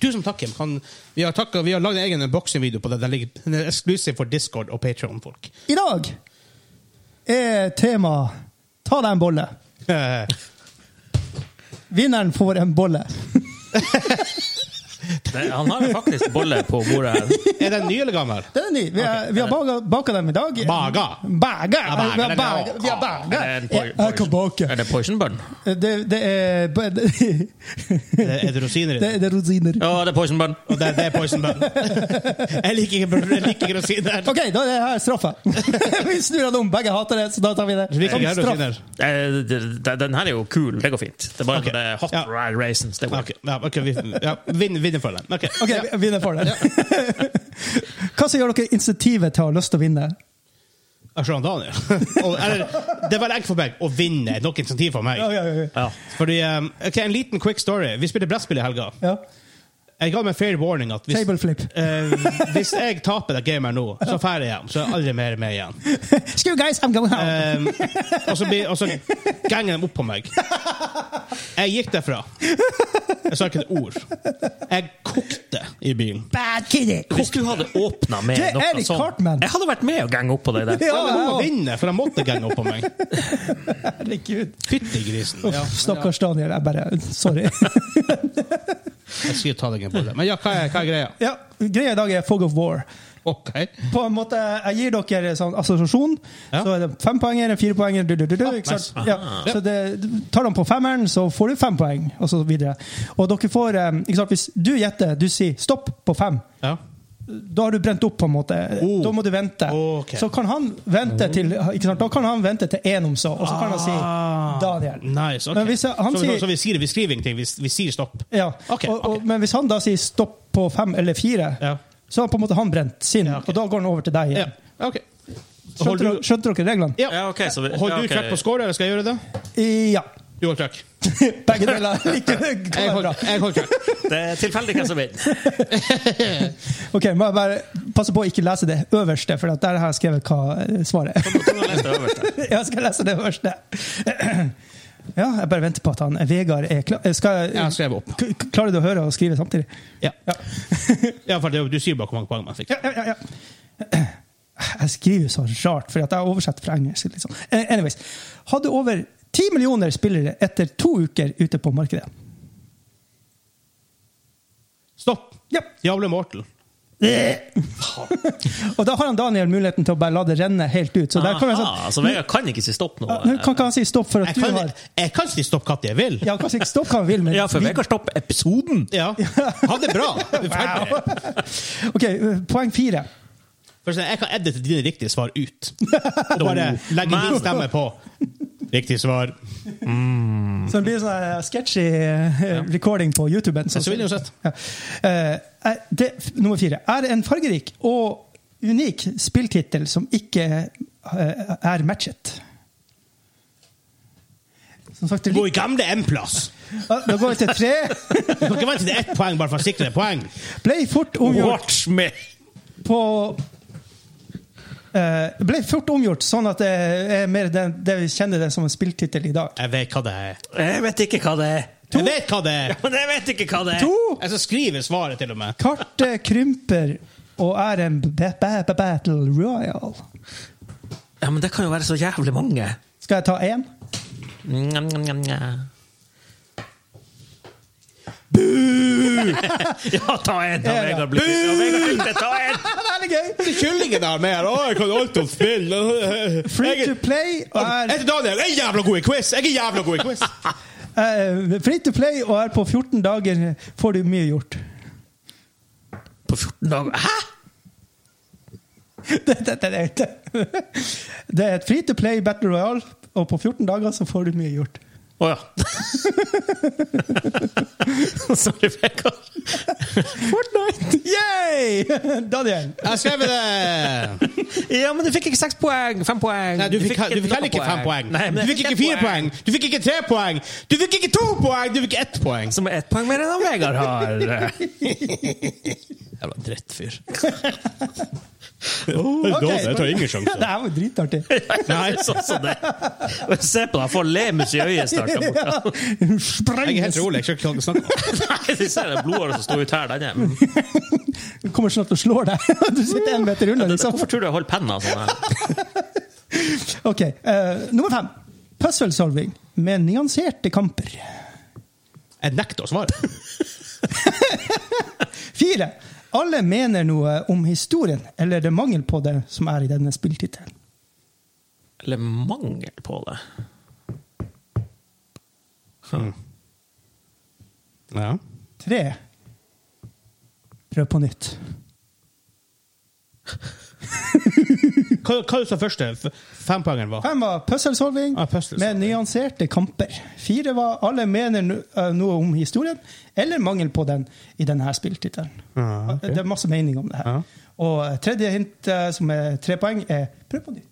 S1: Tusen takk, Kim. Kan, vi har, takket- vi har lagd en egen unboxing-video på det. Den ligger den er exclusive for Discord og Patreon-folk.
S2: I dag er tema Ta deg en bolle.
S1: Eh,
S2: Vinneren får en bolle.
S3: Det, han har jo faktisk bolle på bordet her.
S1: er den ny eller gammel?
S2: Den er ny. Vi, er, vi har baga, baka dem i dag.
S1: Baga.
S2: Baga!
S1: Ja, baga,
S2: Vi har
S1: den er
S2: baga. Vi har baga.
S3: Er det en poi-
S2: Jeg jeg kan bake.
S3: Er det poison bun?
S2: Det, det er
S1: Er
S2: Det
S1: det, er det rosiner i den?
S2: det er rosiner.
S3: Ja, det er poison bun.
S1: Og det, det er poison bun. jeg liker ikke, jeg liker ikke rosiner.
S2: OK, da er det her straffa. vi snur den om. Begge hater det, så da tar vi det.
S1: Vi liker
S2: som
S1: ikke
S2: straff.
S1: rosiner.
S3: Eh, det- det- Den her er jo kul. Det går fint. Det er bare
S1: Ok.
S3: det er hot
S1: Ja.
S3: ride raisins. Det går.
S1: Ok, ja, ok, vi, ja, vinn, vinn for den. Ok.
S2: OK,
S1: Ja.
S2: vi- vinner for det. Hva som gjør dere insentivet til å ha lyst til å vinne?
S1: Jeg ser han Daniel. Og, eller, det er veldig enkelt for meg å vinne. Nok insentiv for meg.
S2: Ja, ja, ja, ja.
S3: Ja.
S1: Fordi, um, ok, En liten quick story. Vi spilte brettspill i helga.
S2: Ja.
S1: Jeg ga meg fair warning at hvis,
S2: Table flip.
S1: eh, hvis jeg taper det gamet her nå, så drar jeg hjem. Så er jeg aldri mer med igjen.
S2: Screw guys, I'm going home.
S1: Um, og så, blir- og så ganger de opp på meg. Jeg gikk derfra. Jeg sa ikke et ord. Jeg kokte i bilen.
S2: Bad kitty!
S3: Hvis du hadde åpna med
S2: Det er
S3: noe
S2: Eric Cartman.
S3: sånt Jeg hadde vært med å gange opp på deg der.
S1: Ja, men hun må
S2: Ja, ja.
S1: vinne, for han måtte gange opp på meg.
S2: Herregud.
S1: Fytti grisen. Ja.
S2: Stakkars Daniel. Jeg bare Sorry.
S1: Jeg skal ta deg en bolle. Men ja, hva er, hva er greia?
S2: ja, greia i dag er Fog of War.
S1: Ok.
S2: På en måte, Jeg gir dere sånn assosiasjon.
S1: Ja.
S2: Så er det fempoenger, en firepoenger du, du, du, du,
S1: Ah,
S2: ikke sant?
S1: nice.
S2: Ja. Så det, Tar de på femmeren, så får du fem poeng, og så videre. Og dere får, eh, ikke sant, Hvis du gjetter, du sier stopp på fem,
S1: Ja.
S2: da har du brent opp, på en måte.
S1: Oh.
S2: Da må du vente.
S1: Ok. Oh.
S2: Så kan han vente til ikke sant? Da kan han vente til én om så, og så kan han si Daniel.
S1: Ah. Nice, ok.
S2: Men hvis jeg- han
S1: så, vi-
S2: sier-
S1: så vi, sier, vi skriver ingenting, vi, vi sier stopp.
S2: Ja.
S1: Ok,
S2: og, og,
S1: ok.
S2: Men hvis han da sier stopp på fem eller fire,
S1: Ja.
S2: så har på en måte han brent sin,
S1: Ja, ok.
S2: og da går han over til deg
S1: Ja,
S2: igjen.
S1: ok.
S2: Skjønte,
S1: Holder
S2: dere- skjønte dere reglene?
S1: Ja.
S3: Ja, ok, så vi-
S1: Holder
S3: ja,
S1: du
S3: ok.
S1: track på score, eller skal jeg gjøre det?
S2: Ja.
S1: Du holder track.
S2: Begge deler. Like, kan
S1: Jeg
S2: være
S1: holder,
S2: bra.
S1: jeg holder track.
S3: Det er tilfeldig hvem som vinner.
S2: Ok, må jeg bare passe på å ikke lese det øverste, for at der har jeg skrevet hva eh, svaret er.
S3: Nå tror jeg jeg leste øverst her.
S2: Jeg skal lese det øverste. Ja, jeg bare venter på at han Vegard er klar. Eh, Skal
S1: Jeg har
S2: jeg,
S1: skrevet opp.
S2: K- klarer du å høre og skrive samtidig?
S1: Ja.
S2: Ja.
S1: ja, for det, du sier bare hvor mange poeng man fikk.
S2: Ja, ja, ja, ja. Jeg skriver så rart, for at jeg oversetter fra engelsk. Liksom. Eh, Anyways. Hadde over 10 millioner spillere etter to uker ute på markedet.
S1: Stopp!
S2: Ja.
S1: Jævla Mortal.
S2: Og da har han Daniel muligheten til å bare la det renne helt ut. Så der kan vi
S3: Aha,
S2: sånn,
S3: Ah, så Vegard kan ikke si stopp nå.
S1: Ah,
S2: Ja, nå kan ikke han si stopp for at
S1: Jeg
S2: du
S1: kan,
S2: har
S1: jeg kan si stopp når jeg vil.
S2: Ja, kanskje ikke stopp hva han vil, men
S3: Ja, for Vegard stopper episoden.
S1: Ja. Ha det bra! Vi er ferdig.
S2: OK, eh, poeng fire.
S1: For sånn, jeg kan edite dine riktige svar ut. Og bare legge
S3: Men-
S1: min stemme på. Riktig svar.
S2: Så det blir sånn her sketchy eh, recording på YouTuben.
S1: Ja, så vil jeg jo sett.
S2: Ja. Eh, er det, f- nummer fire. Er en fargerik og unik spilltittel som ikke eh, er matchet? Som sagt, det
S1: Du bor i
S2: lik-
S1: gamle M-plass!
S2: Ah, Da går vi til tre.
S1: Du kan ikke vente til ett poeng bare for å sikre deg poeng.
S2: Ble fort omgjort
S3: Watch me!
S2: på eh, ble fort omgjort, sånn at det er mer den, det vi kjenner det som en spilltittel i dag.
S1: Jeg vet hva det er.
S3: Jeg vet ikke hva det er.
S1: Jeg vet hva det er!
S3: Eh. Men jeg vet ikke hva det er.
S2: To
S1: Jeg skal skrive svaret, til og med.
S2: Kartet krymper og er en ba ba ba battle royal.
S3: Ja, men det kan jo være så jævlig mange.
S2: Skal jeg ta én?
S3: Njam, njam, njam, njam. Bu! ja, ta en! Ta
S2: Ja, ja.
S3: Vegard blir ja, Vegard Hylpe, ta en!
S2: Det er litt gøy!
S1: Kyllingen der med her. Å, jeg kan alt om spill.
S2: Free
S1: Jeg
S2: to play og
S1: Jeg
S2: er
S1: heter Daniel. Jeg er jævla god i quiz! Jeg er jævla god i quiz!
S2: eh, Free to play og er på 14 dager får du mye gjort.
S3: På 14 dager Hæ?!
S2: Det, det, det, det, det er et free to play battle royal, og på 14 dager så får du mye gjort.
S3: Å ja. Sorry, Vegard.
S2: Fortnite! Yay! Daniel.
S1: Jeg skrev det!
S3: Ja, men du fikk ikke seks poeng! Fem poeng!
S1: Nei, du fikk, du fikk heller ikke fem poeng.
S3: Nei, men
S1: Du fikk ikke fire poeng. Du fikk ikke tre poeng. Du fikk ikke to poeng! Du fikk ett poeng.
S3: Som er ett poeng mer enn han Vegard har.
S1: Jævla drittfyr.
S2: Ok.
S1: Jeg tar ingen sjanser.
S2: Det her var jo dritartig.
S3: Nei, sånn som det. Og Se på deg, han får lemus i øyet snart. der borte.
S1: Jeg er
S2: Sprenges.
S1: helt rolig. Jeg skal ikke snakke.
S3: Nei, du ser det blodåret som står ut her. Den er.
S2: Du kommer snart og slår deg. Du sitter en meter unna. Liksom.
S3: Hvorfor tror du jeg holder penna sånn? her?
S2: Ok, eh, Nummer fem. Puzzle solving med nyanserte kamper.
S1: Jeg nekter å svare.
S2: Fire. Alle mener noe om historien, eller det er mangel på det, som er i denne spilltittelen.
S3: Eller mangel på det.
S1: Ja.
S2: Tre. Prøv på nytt.
S1: Hva, hva sa første f- fempoengeren var?
S2: Fem var puzzle solving
S1: Ah, puzzle
S2: med
S1: solving.
S2: nyanserte kamper. Fire var alle mener no- eh, noe om historien, eller mangel på den, i denne spilltittelen.
S1: Ah, ok. Ah.
S2: Det er masse mening om det her.
S1: Ja.
S2: Og eh, tredje hint, eh, som er tre poeng, er prøv på nytt.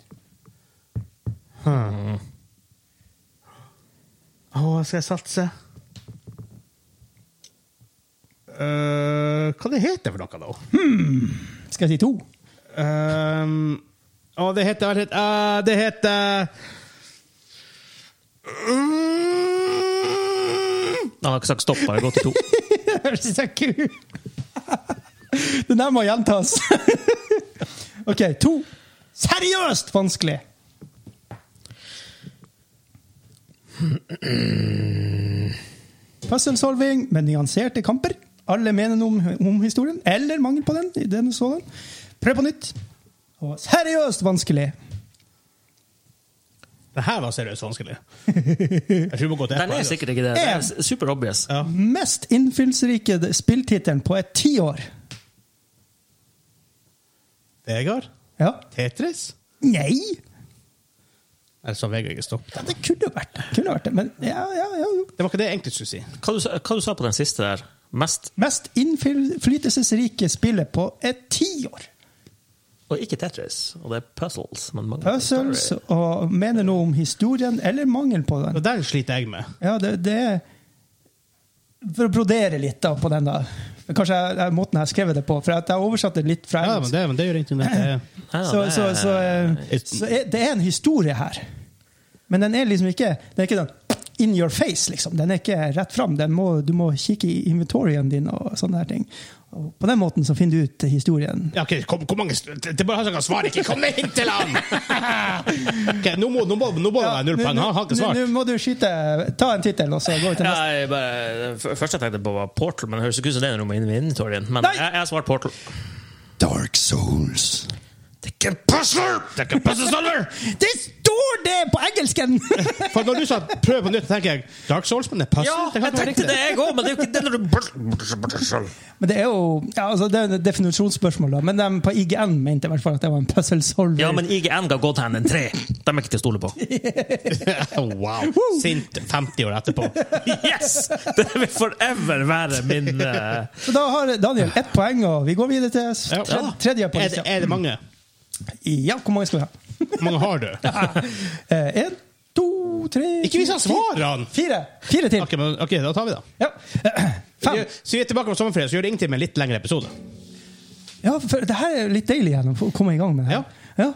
S1: Å, skal jeg satse? Uh, hva det heter for noe, da?
S2: Skal jeg si to?
S1: Um, å, det heter eh, Det heter Mm.
S3: Han har ikke sagt stopp, bare gått til to.
S2: Det høres så kul Den der må gjentas. OK, to. Seriøst vanskelig! Puzzle-solving med nyanserte kamper. Alle mener noe om, om historien, eller mangel på den. i denne sådan. Prøv på nytt. Og seriøst vanskelig!
S1: Det her var seriøst vanskelig. Jeg tror vi må gå til altså.
S3: Den er sikkert ikke det. Det er super obvious.
S1: Ja.
S2: Mest innflytelsesrike spilltittelen på et tiår.
S1: Vegard?
S2: Ja.
S1: Tetris?
S2: Nei!
S1: Eller sa Vegard ikke stopp?
S2: Ja, det kunne vært det. Kunne vært det. Men ja, ja, ja, jo.
S1: Det var ikke det jeg egentlig skulle si.
S3: Hva du, sa- hva du sa på den siste der? Mest
S2: Mest innflytelsesrike spillet på et tiår.
S3: Og ikke Tetris. Og det er puzzles. Men mange
S2: Puzzles og mener noe om historien, eller mangel på den.
S1: Og den sliter jeg med.
S2: Ja, det, det er For å brodere litt da, på den, da. Kanskje jeg, jeg, måten jeg har skrevet det på. For at jeg oversatte det litt fra
S1: Ja, men
S2: engelsk.
S1: det, men det gjør ingenting. Det
S3: Ja,
S2: Så,
S3: det
S2: så,
S3: er-
S2: så, eh, så er- det er en historie her. Men den er liksom ikke Den er ikke den in your face, liksom. Den er ikke rett fram. Den må, du må kikke i inventorien din og sånne her ting. Og på den måten så finner du ut historien.
S1: ja, ok, kom, hvor mange Det er bare han som kan svare, ikke kom med hint til han! Ok, nå må, nå må, nå må det være null
S2: Ja,
S1: poeng.
S2: nå-
S1: Han har ikke
S2: nå-
S1: svart.
S2: Nå må du skyte Ta en tittel, og så gå til
S3: Ja,
S2: neste.
S3: jeg bare, f- første jeg tenkte på, var Portal, men det høres ikke ut som det er noe med inventorien. Men
S2: Nei!
S3: jeg, jeg har svart Portal.
S2: Dark Souls.
S3: Det er ikke en puzzler! Det er ikke en puzzle solver!
S2: Det står det på engelsken!
S1: For når du sa 'prøv på nytt', tenker jeg Dark Souls, men det passer.
S3: Ja,
S1: kan
S3: jeg
S1: ikke være
S3: tenkte
S1: riktig.
S3: det, jeg òg, men det er jo ikke det når du
S2: Men det er jo ja, altså, det er et definisjonsspørsmål, da. Men de på IGN mente i hvert fall at det var en puzzle solver.
S3: Ja, men IGN ga Godhand en tre. De er ikke til å stole på.
S1: Wow. Sint 50 år etterpå.
S3: Yes! Det vil forever være min eh,
S2: Så da har Daniel ett poeng, og vi går videre til s-
S1: Ja.
S2: tredje, tredje på
S1: Er, det-
S2: lista.
S1: er det mange?
S2: Ja, hvor mange skal vi ha?
S1: Hvor mange har du?
S2: Eh, En, to, tre
S1: Ikke vis han
S2: fire-
S1: svarene!
S2: Fire. Fire til.
S1: Ok, men, ok, da tar vi det.
S2: Ja. Fem.
S1: Så vi er tilbake om sommerferie, så gjør det ingenting med en litt lengre episode.
S2: Ja, for det her er litt deilig igjen, å få komme i gang med det her. Ja.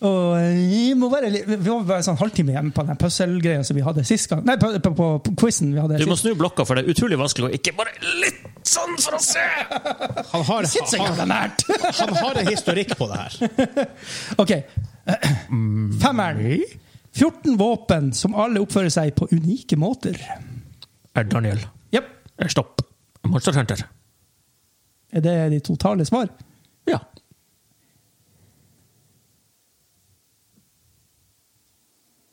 S2: Og eh, vi må være litt, vi må være sånn halvtime igjen på den puzzle-greia som vi hadde sist gang. Nei, på, på, på, på quizen vi hadde
S3: Du må
S2: sist.
S3: snu blokka, for det er utrolig vanskelig å ikke bare litt Sånn for å se!
S1: Han har,
S2: Sitt seg
S1: han,
S2: jævla nært!
S1: han har en historikk på det her.
S2: OK. Femmeren.
S3: Mm.
S2: 14 våpen som alle oppfører seg på unike måter.
S3: Daniel,
S2: Jepp.
S3: Eh, stopp. Monster Hunter.
S2: Er det de totale svar?
S3: Ja.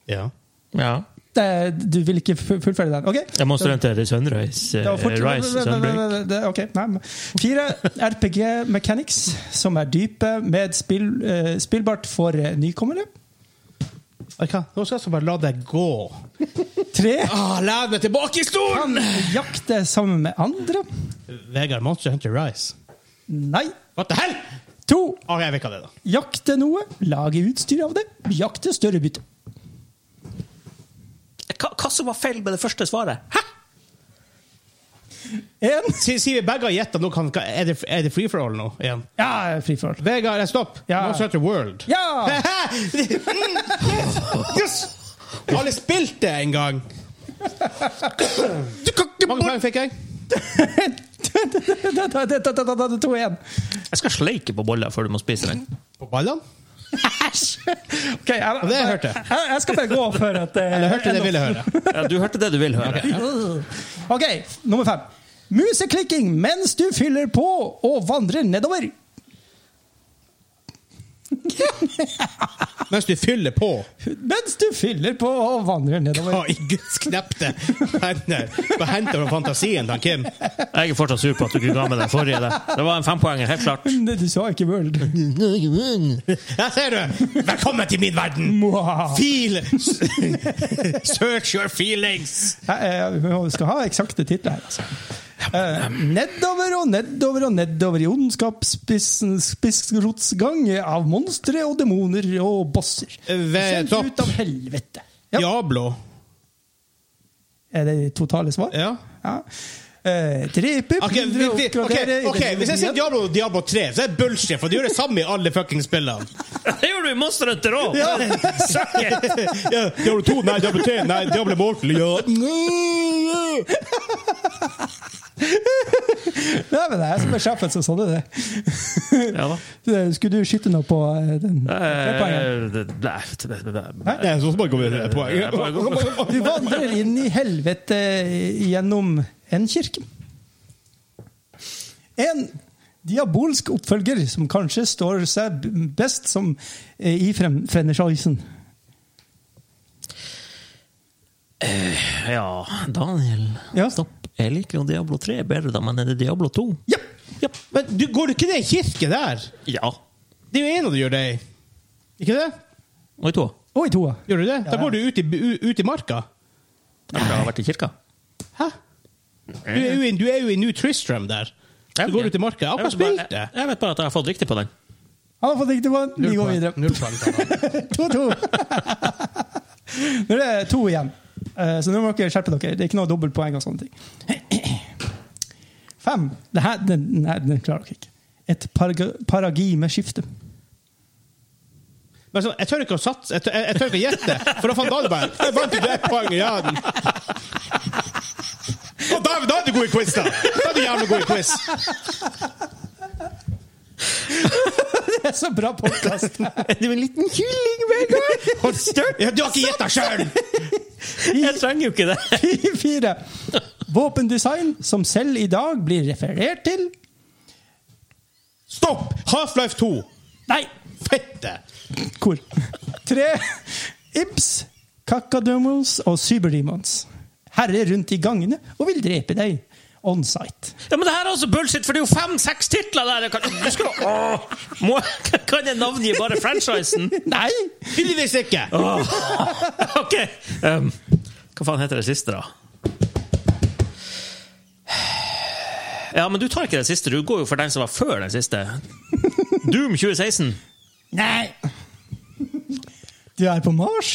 S1: Ja.
S3: ja.
S2: Det, du vil ikke fu- fullføre den? OK.
S3: Monster Hunter Sunrise.
S1: Eh,
S3: eh,
S2: Det var fort-
S3: Rise Sunbreak.
S2: Det- ok, nei, men- Fire RPG mechanics som er dype, med spill, eh, spillbart for eh, nykommere.
S1: Vet du hva? Nå skal jeg altså bare la det gå.
S2: Tre
S1: Ah, Lev meg tilbake i stolen!
S2: kan jakte sammen med andre.
S1: Vegard Monster Hunter Rise.
S2: Nei.
S1: What the hell?
S2: To
S1: Ah, jeg vet hva det er, da.
S2: jakte noe, lage utstyr av det, jakte større bytte.
S3: Hva, hva som var feil med det første svaret? Hæ?
S2: En
S1: Si- Sier vi begge har gjetta nå, kan, er, det, er det free for all nå igjen?
S2: Ja, fri forhold.
S1: Vegard, eh, stopp!
S2: Ja.
S1: Monster Hunter World.
S2: Ja!
S1: yes! Alle spilte en gang! Mange poeng fikk jeg?
S2: To igjen.
S3: Jeg skal sleike på bolla før du må spise den.
S1: På ballene?
S2: Ok, jeg,
S1: Det jeg hørte.
S2: jeg, jeg skal bare gå for at eh,
S1: Eller hørte det jeg ville høre?
S3: Ja, du hørte det du vil høre.
S2: OK, nummer fem. Museklikking mens du fyller på og vandrer nedover.
S1: Mens du fyller på.
S2: Mens du fyller på og vandrer nedover.
S1: Hva i guds knepte hender Hva henter fra fantasien til Kim?
S3: Jeg er fortsatt sur på at du ikke ga med den forrige. der. Det var en fempoenger, helt klart.
S2: Nei, Du sa ikke World.
S1: Der ser du! Velkommen til min verden!
S2: Wow.
S1: Feel Search your feelings!
S2: Jeg, jeg, eh, vi skal ha eksakte titler her, altså. Eh, nedover og nedover og nedover i ondskapsspissens spissrotsgang av monstre og demoner og bosser.
S1: Ved
S2: Sendt
S1: topp.
S2: ut av helvete. Ja.
S1: Diablo.
S2: Er det totale svar?
S1: Ja.
S2: Ja. Eh, drepe,
S1: Ok, vi,
S2: plyndre og
S1: vi, ok,
S2: oppgradere
S1: ok, Hvis jeg sier Diablo og Diablo 3, så er det bullshit, for de gjør det samme i alle fuckings spillene.
S3: Det gjorde du i Monster Hunter òg!
S1: Ja, Diablo 2, nei, Diablo 3, nei, Diablo Mortal ja.
S2: Nei, men det er som er sjefen som sa det. det.
S3: Ja da.
S2: Det- Skulle du skyte noe på eh, den trepoengeren?
S3: Eh, det- det- det- det-
S1: Nei, så skal man gå videre på
S2: Du vandrer inn i helvete eh, gjennom en kirke. En diabolsk oppfølger som kanskje står seg b- best som eh, i frem franchisen.
S3: Ja, Daniel.
S2: Ja.
S3: Stopp. Jeg liker jo Diablo 3 bedre, da, men er det Diablo 2?
S2: Ja!
S1: Ja, men du, går du ikke ned i kirke der?
S3: Ja.
S1: Det er jo en av du gjør det i. Ikke det?
S3: Og i to?
S2: Og i toa.
S1: Gjør du det? Da går du ut i, u- ut i marka.
S3: Etter å ha vært i kirka?
S1: Hæ? Du er jo i, du er jo i New Tristram der. Du går ut i marka. Jeg har
S3: vet bare-
S1: spilt det.
S3: jeg- Jeg vet bare at jeg har fått riktig på den.
S2: Han har fått riktig på den. Vi går
S1: poeng.
S2: videre.
S1: Null poeng. Tara.
S2: 2-2. Nå er det to igjen, Eh, så nå må dere skjerpe dere. Det er ikke noe dobbeltpoeng og sånne ting. Fem. Det her, den, den her- den klarer dere ikke. Et parag- paradigmeskifte.
S1: Men sånn, jeg tør ikke å satse. Jeg tør, jeg, jeg tør ikke å gjette. For da fant alle bare Jeg vant ikke ett poeng i raden. Og da, da er du god i quiz, da! Da er du jævlig god i quiz.
S2: Det er så bra podkast!
S3: Du er en liten kylling, Vegard!
S1: Hold størt. Ja, du har ikke gjetta sjøl!
S3: Jeg trenger jo ikke det.
S2: Fire. Våpendesign som selv i dag blir referert til.
S1: Stopp! Half-Life 2.
S2: Nei!
S1: Fette!
S2: Hvor? Tre. Ibs, kakadumos og cyberdemons. Herrer rundt i gangene og vil drepe deg. Onsite.
S3: Ja, men det her er også bullshit, for det er jo fem-seks titler der! Jeg kan, du skal, åh, må, kan jeg navngi bare franchisen?
S2: Nei!
S1: Tydeligvis ikke.
S3: Åh, OK. Um, hva faen heter det siste, da? Ja, men du tar ikke det siste. Du går jo for den som var før den siste. Doom 2016.
S2: Nei! Du er på Mars?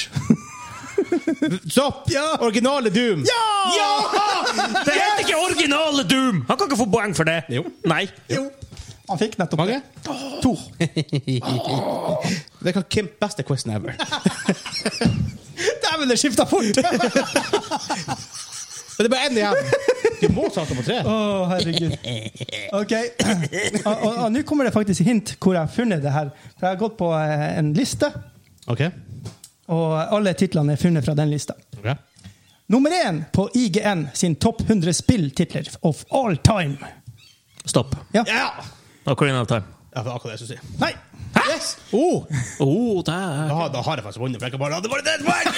S1: Stopp! Originale Doom.
S2: Ja!
S3: Det heter ikke originale Doom! Han kan ikke få poeng for det.
S1: Jo.
S3: Nei.
S2: Jo. Han fikk nettopp
S1: Mange?
S2: To.
S1: Det kan Kim beste quizen ever.
S2: Dæven, det skifta fort!
S1: Men det er bare én igjen. Du må satan på tre.
S2: Å, herregud. Ok. Og- Og og nå kommer det faktisk hint hvor jeg har funnet det her. For jeg har gått på eh, en liste,
S1: OK.
S2: og alle titlene er funnet fra den lista.
S1: okay.
S2: Nummer én på IGN sin topp 100 spilltitler of all time.
S3: Stopp.
S2: Ja.
S1: Ja!
S3: Ocarina of Time.
S1: Ja, for akkurat det jeg skulle si.
S2: Nei!
S1: Yes! Oh,
S3: Oh, der.
S1: da, da har jeg faktisk vunnet. for jeg kan bare ha det bare ett poeng!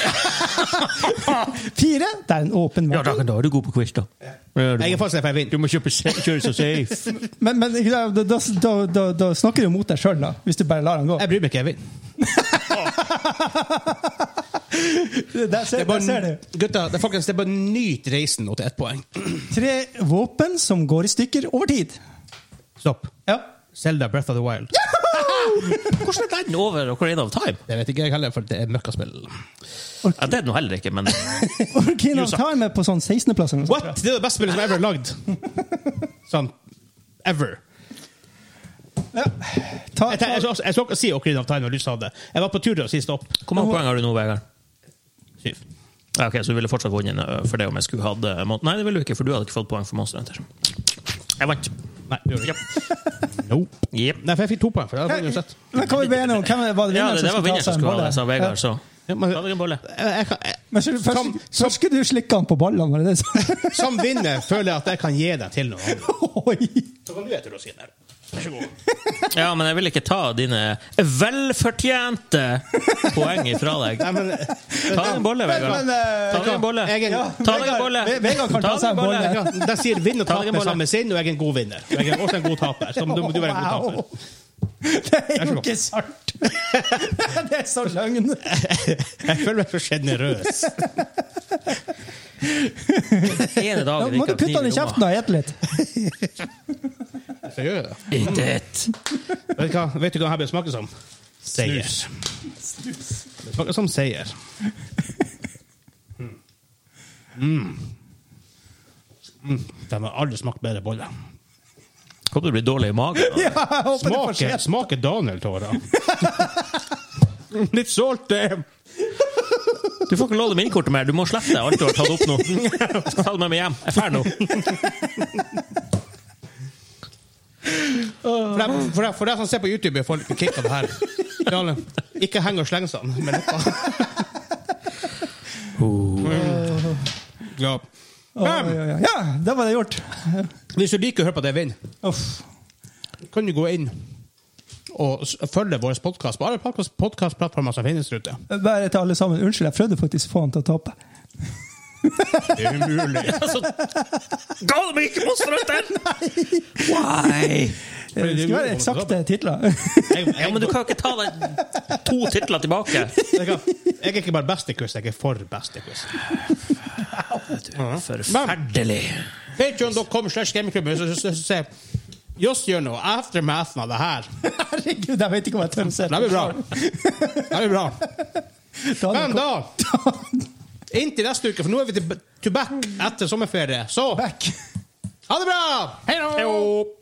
S2: Fire. Det er en åpen
S3: Ja, da
S2: måte.
S3: kan du- er du god på quiz, da. Ja, du-
S1: Jeg er faktisk der for jeg
S3: Du
S1: vinner.
S3: må kjøpe se- kjøre så safe.
S2: Men, men ikke sant, da, da, da, da snakker du mot deg sjøl, da. Hvis du bare lar den gå.
S1: Jeg bryr meg ikke, jeg vinner.
S2: Der ser,
S1: Det er
S2: der ser
S1: bare,
S2: du.
S1: gutta, det er folkens, det er bare nyt reisen nå til ett poeng.
S2: Tre våpen som går i stykker over tid.
S1: Stopp.
S2: Ja.
S1: Selda Breath of the Wild.
S3: Hvordan er den over Ocarina of Time?
S1: Det vet ikke jeg heller, for det er møkkaspill.
S3: Ja, det er den nå heller ikke, men
S2: Orkina
S3: Yusa.
S2: Time er på sånn 16.-plass. eller noe sånt,
S1: What?! Det er det beste spillet som ever er lagd. Sånn ever.
S2: tror jeg. Ja. Ta,
S1: Jeg, jeg, jeg,
S2: ta,
S1: jeg, skal ikke si Ocarina of Time når du sa det. Jeg var på tur til å si stopp.
S3: hvor mange poeng har du nå, Vegard?
S1: Syv.
S3: Ja, ok, Så du ville fortsatt vunnet øh, for det om jeg skulle hatt øh, mon- Nei, det ville du ikke, for du hadde ikke fått poeng for Monster Hunter. Jeg vant.
S1: Nei, det gjorde jeg ikke. Nope.
S3: Yep.
S1: Nei, for jeg fikk to poeng. for det hadde jeg uansett.
S2: men kan vi bli enige om hvem var det
S3: Ja,
S2: vinneren
S3: det, det var vinneren som skulle ha det, sa Vegard,
S2: Ja.
S3: så
S1: Ja, men-
S3: Ta deg en bolle.
S1: Jeg- jeg kan- jeg-
S2: Men så, først,
S1: Som-
S2: først skulle du slikke han på ballene, var det det som
S1: Som vinner føler jeg at jeg kan gi deg til noe. annet.
S2: Oi!
S1: Så kan du spise rosinen her. Vær så god.
S3: Ja, men jeg vil ikke ta dine velfortjente poeng ifra deg.
S1: Nei, men, eh,
S3: Ta deg en bolle,
S2: Men,
S3: Vegard.
S2: øh, men,
S3: Ta deg en bolle.
S1: jeg er en-
S3: Ta deg en bolle.
S2: Ve- Vegard kan ta
S3: deg
S2: seg en bolle.
S1: Ja, De sier vinn og
S3: Ta
S1: tap
S3: deg en
S1: med
S3: bolle.
S1: samme sinn, og jeg er en god vinner. Og Jeg er også en god taper, så du må du være en god taper.
S2: Wow. Det er
S1: så
S2: jo
S1: god.
S2: ikke sant! Det er så løgn!
S1: Jeg føler meg for sjenerøs.
S3: Ene
S2: Ja,
S3: dagen
S2: Må du putte han i kjeften og ete litt?
S3: Intet.
S1: Vet du hva vet du hva dette bør smake som? Seier. Det smaker som seier. Mm. Mm. Hmm. De har aldri smakt bedre boller.
S3: Kommer til å bli dårlig i magen. da.
S2: Ja, jeg håper det får
S1: Smaker,
S2: skje.
S1: smaker Daniel-tårer. Litt salte.
S3: Du får ikke låne minnekortet mer. Du må slette alt du har tatt opp nå. Ta det med meg hjem. Jeg drar nå.
S1: For deg, for, deg, for deg som ser på YouTube, jeg får litt kick av det her. Daniel, ikke heng og sleng sånn med leppa. Ja.
S2: Oi, oi, oi. Ja, da var det gjort.
S1: Hvis du liker å høre på det jeg vinner,
S2: Uff.
S1: kan du gå inn og s- følge vår podkast på alle podcast- podcastplattformer som finnes der ute.
S2: Bare til alle sammen. Unnskyld, jeg prøvde faktisk å få han til å tape.
S1: Det er umulig.
S3: Altså, Ga du meg ikke monsterhunter? Why?
S2: Det skulle Eh, være eksakte titler.
S1: Jeg, jeg,
S3: Ja, men du kan jo ikke ta deg to titler tilbake.
S1: jeg, kan- jeg er ikke bare best i quiz, jeg er for best i quiz.
S3: Forferdelig.
S1: Patreon.com slash gamingklubben. Så- så- så- så- se. Joss gjør noe. Aftermathen av det her.
S2: Herregud, jeg vet ikke om jeg tør å se
S1: Det blir bra. Det blir bra. Men
S2: Daniel,
S1: da Inntil neste uke, for nå er vi til- to back etter sommerferie. Så
S2: kom back.
S1: ha det bra! Hei da!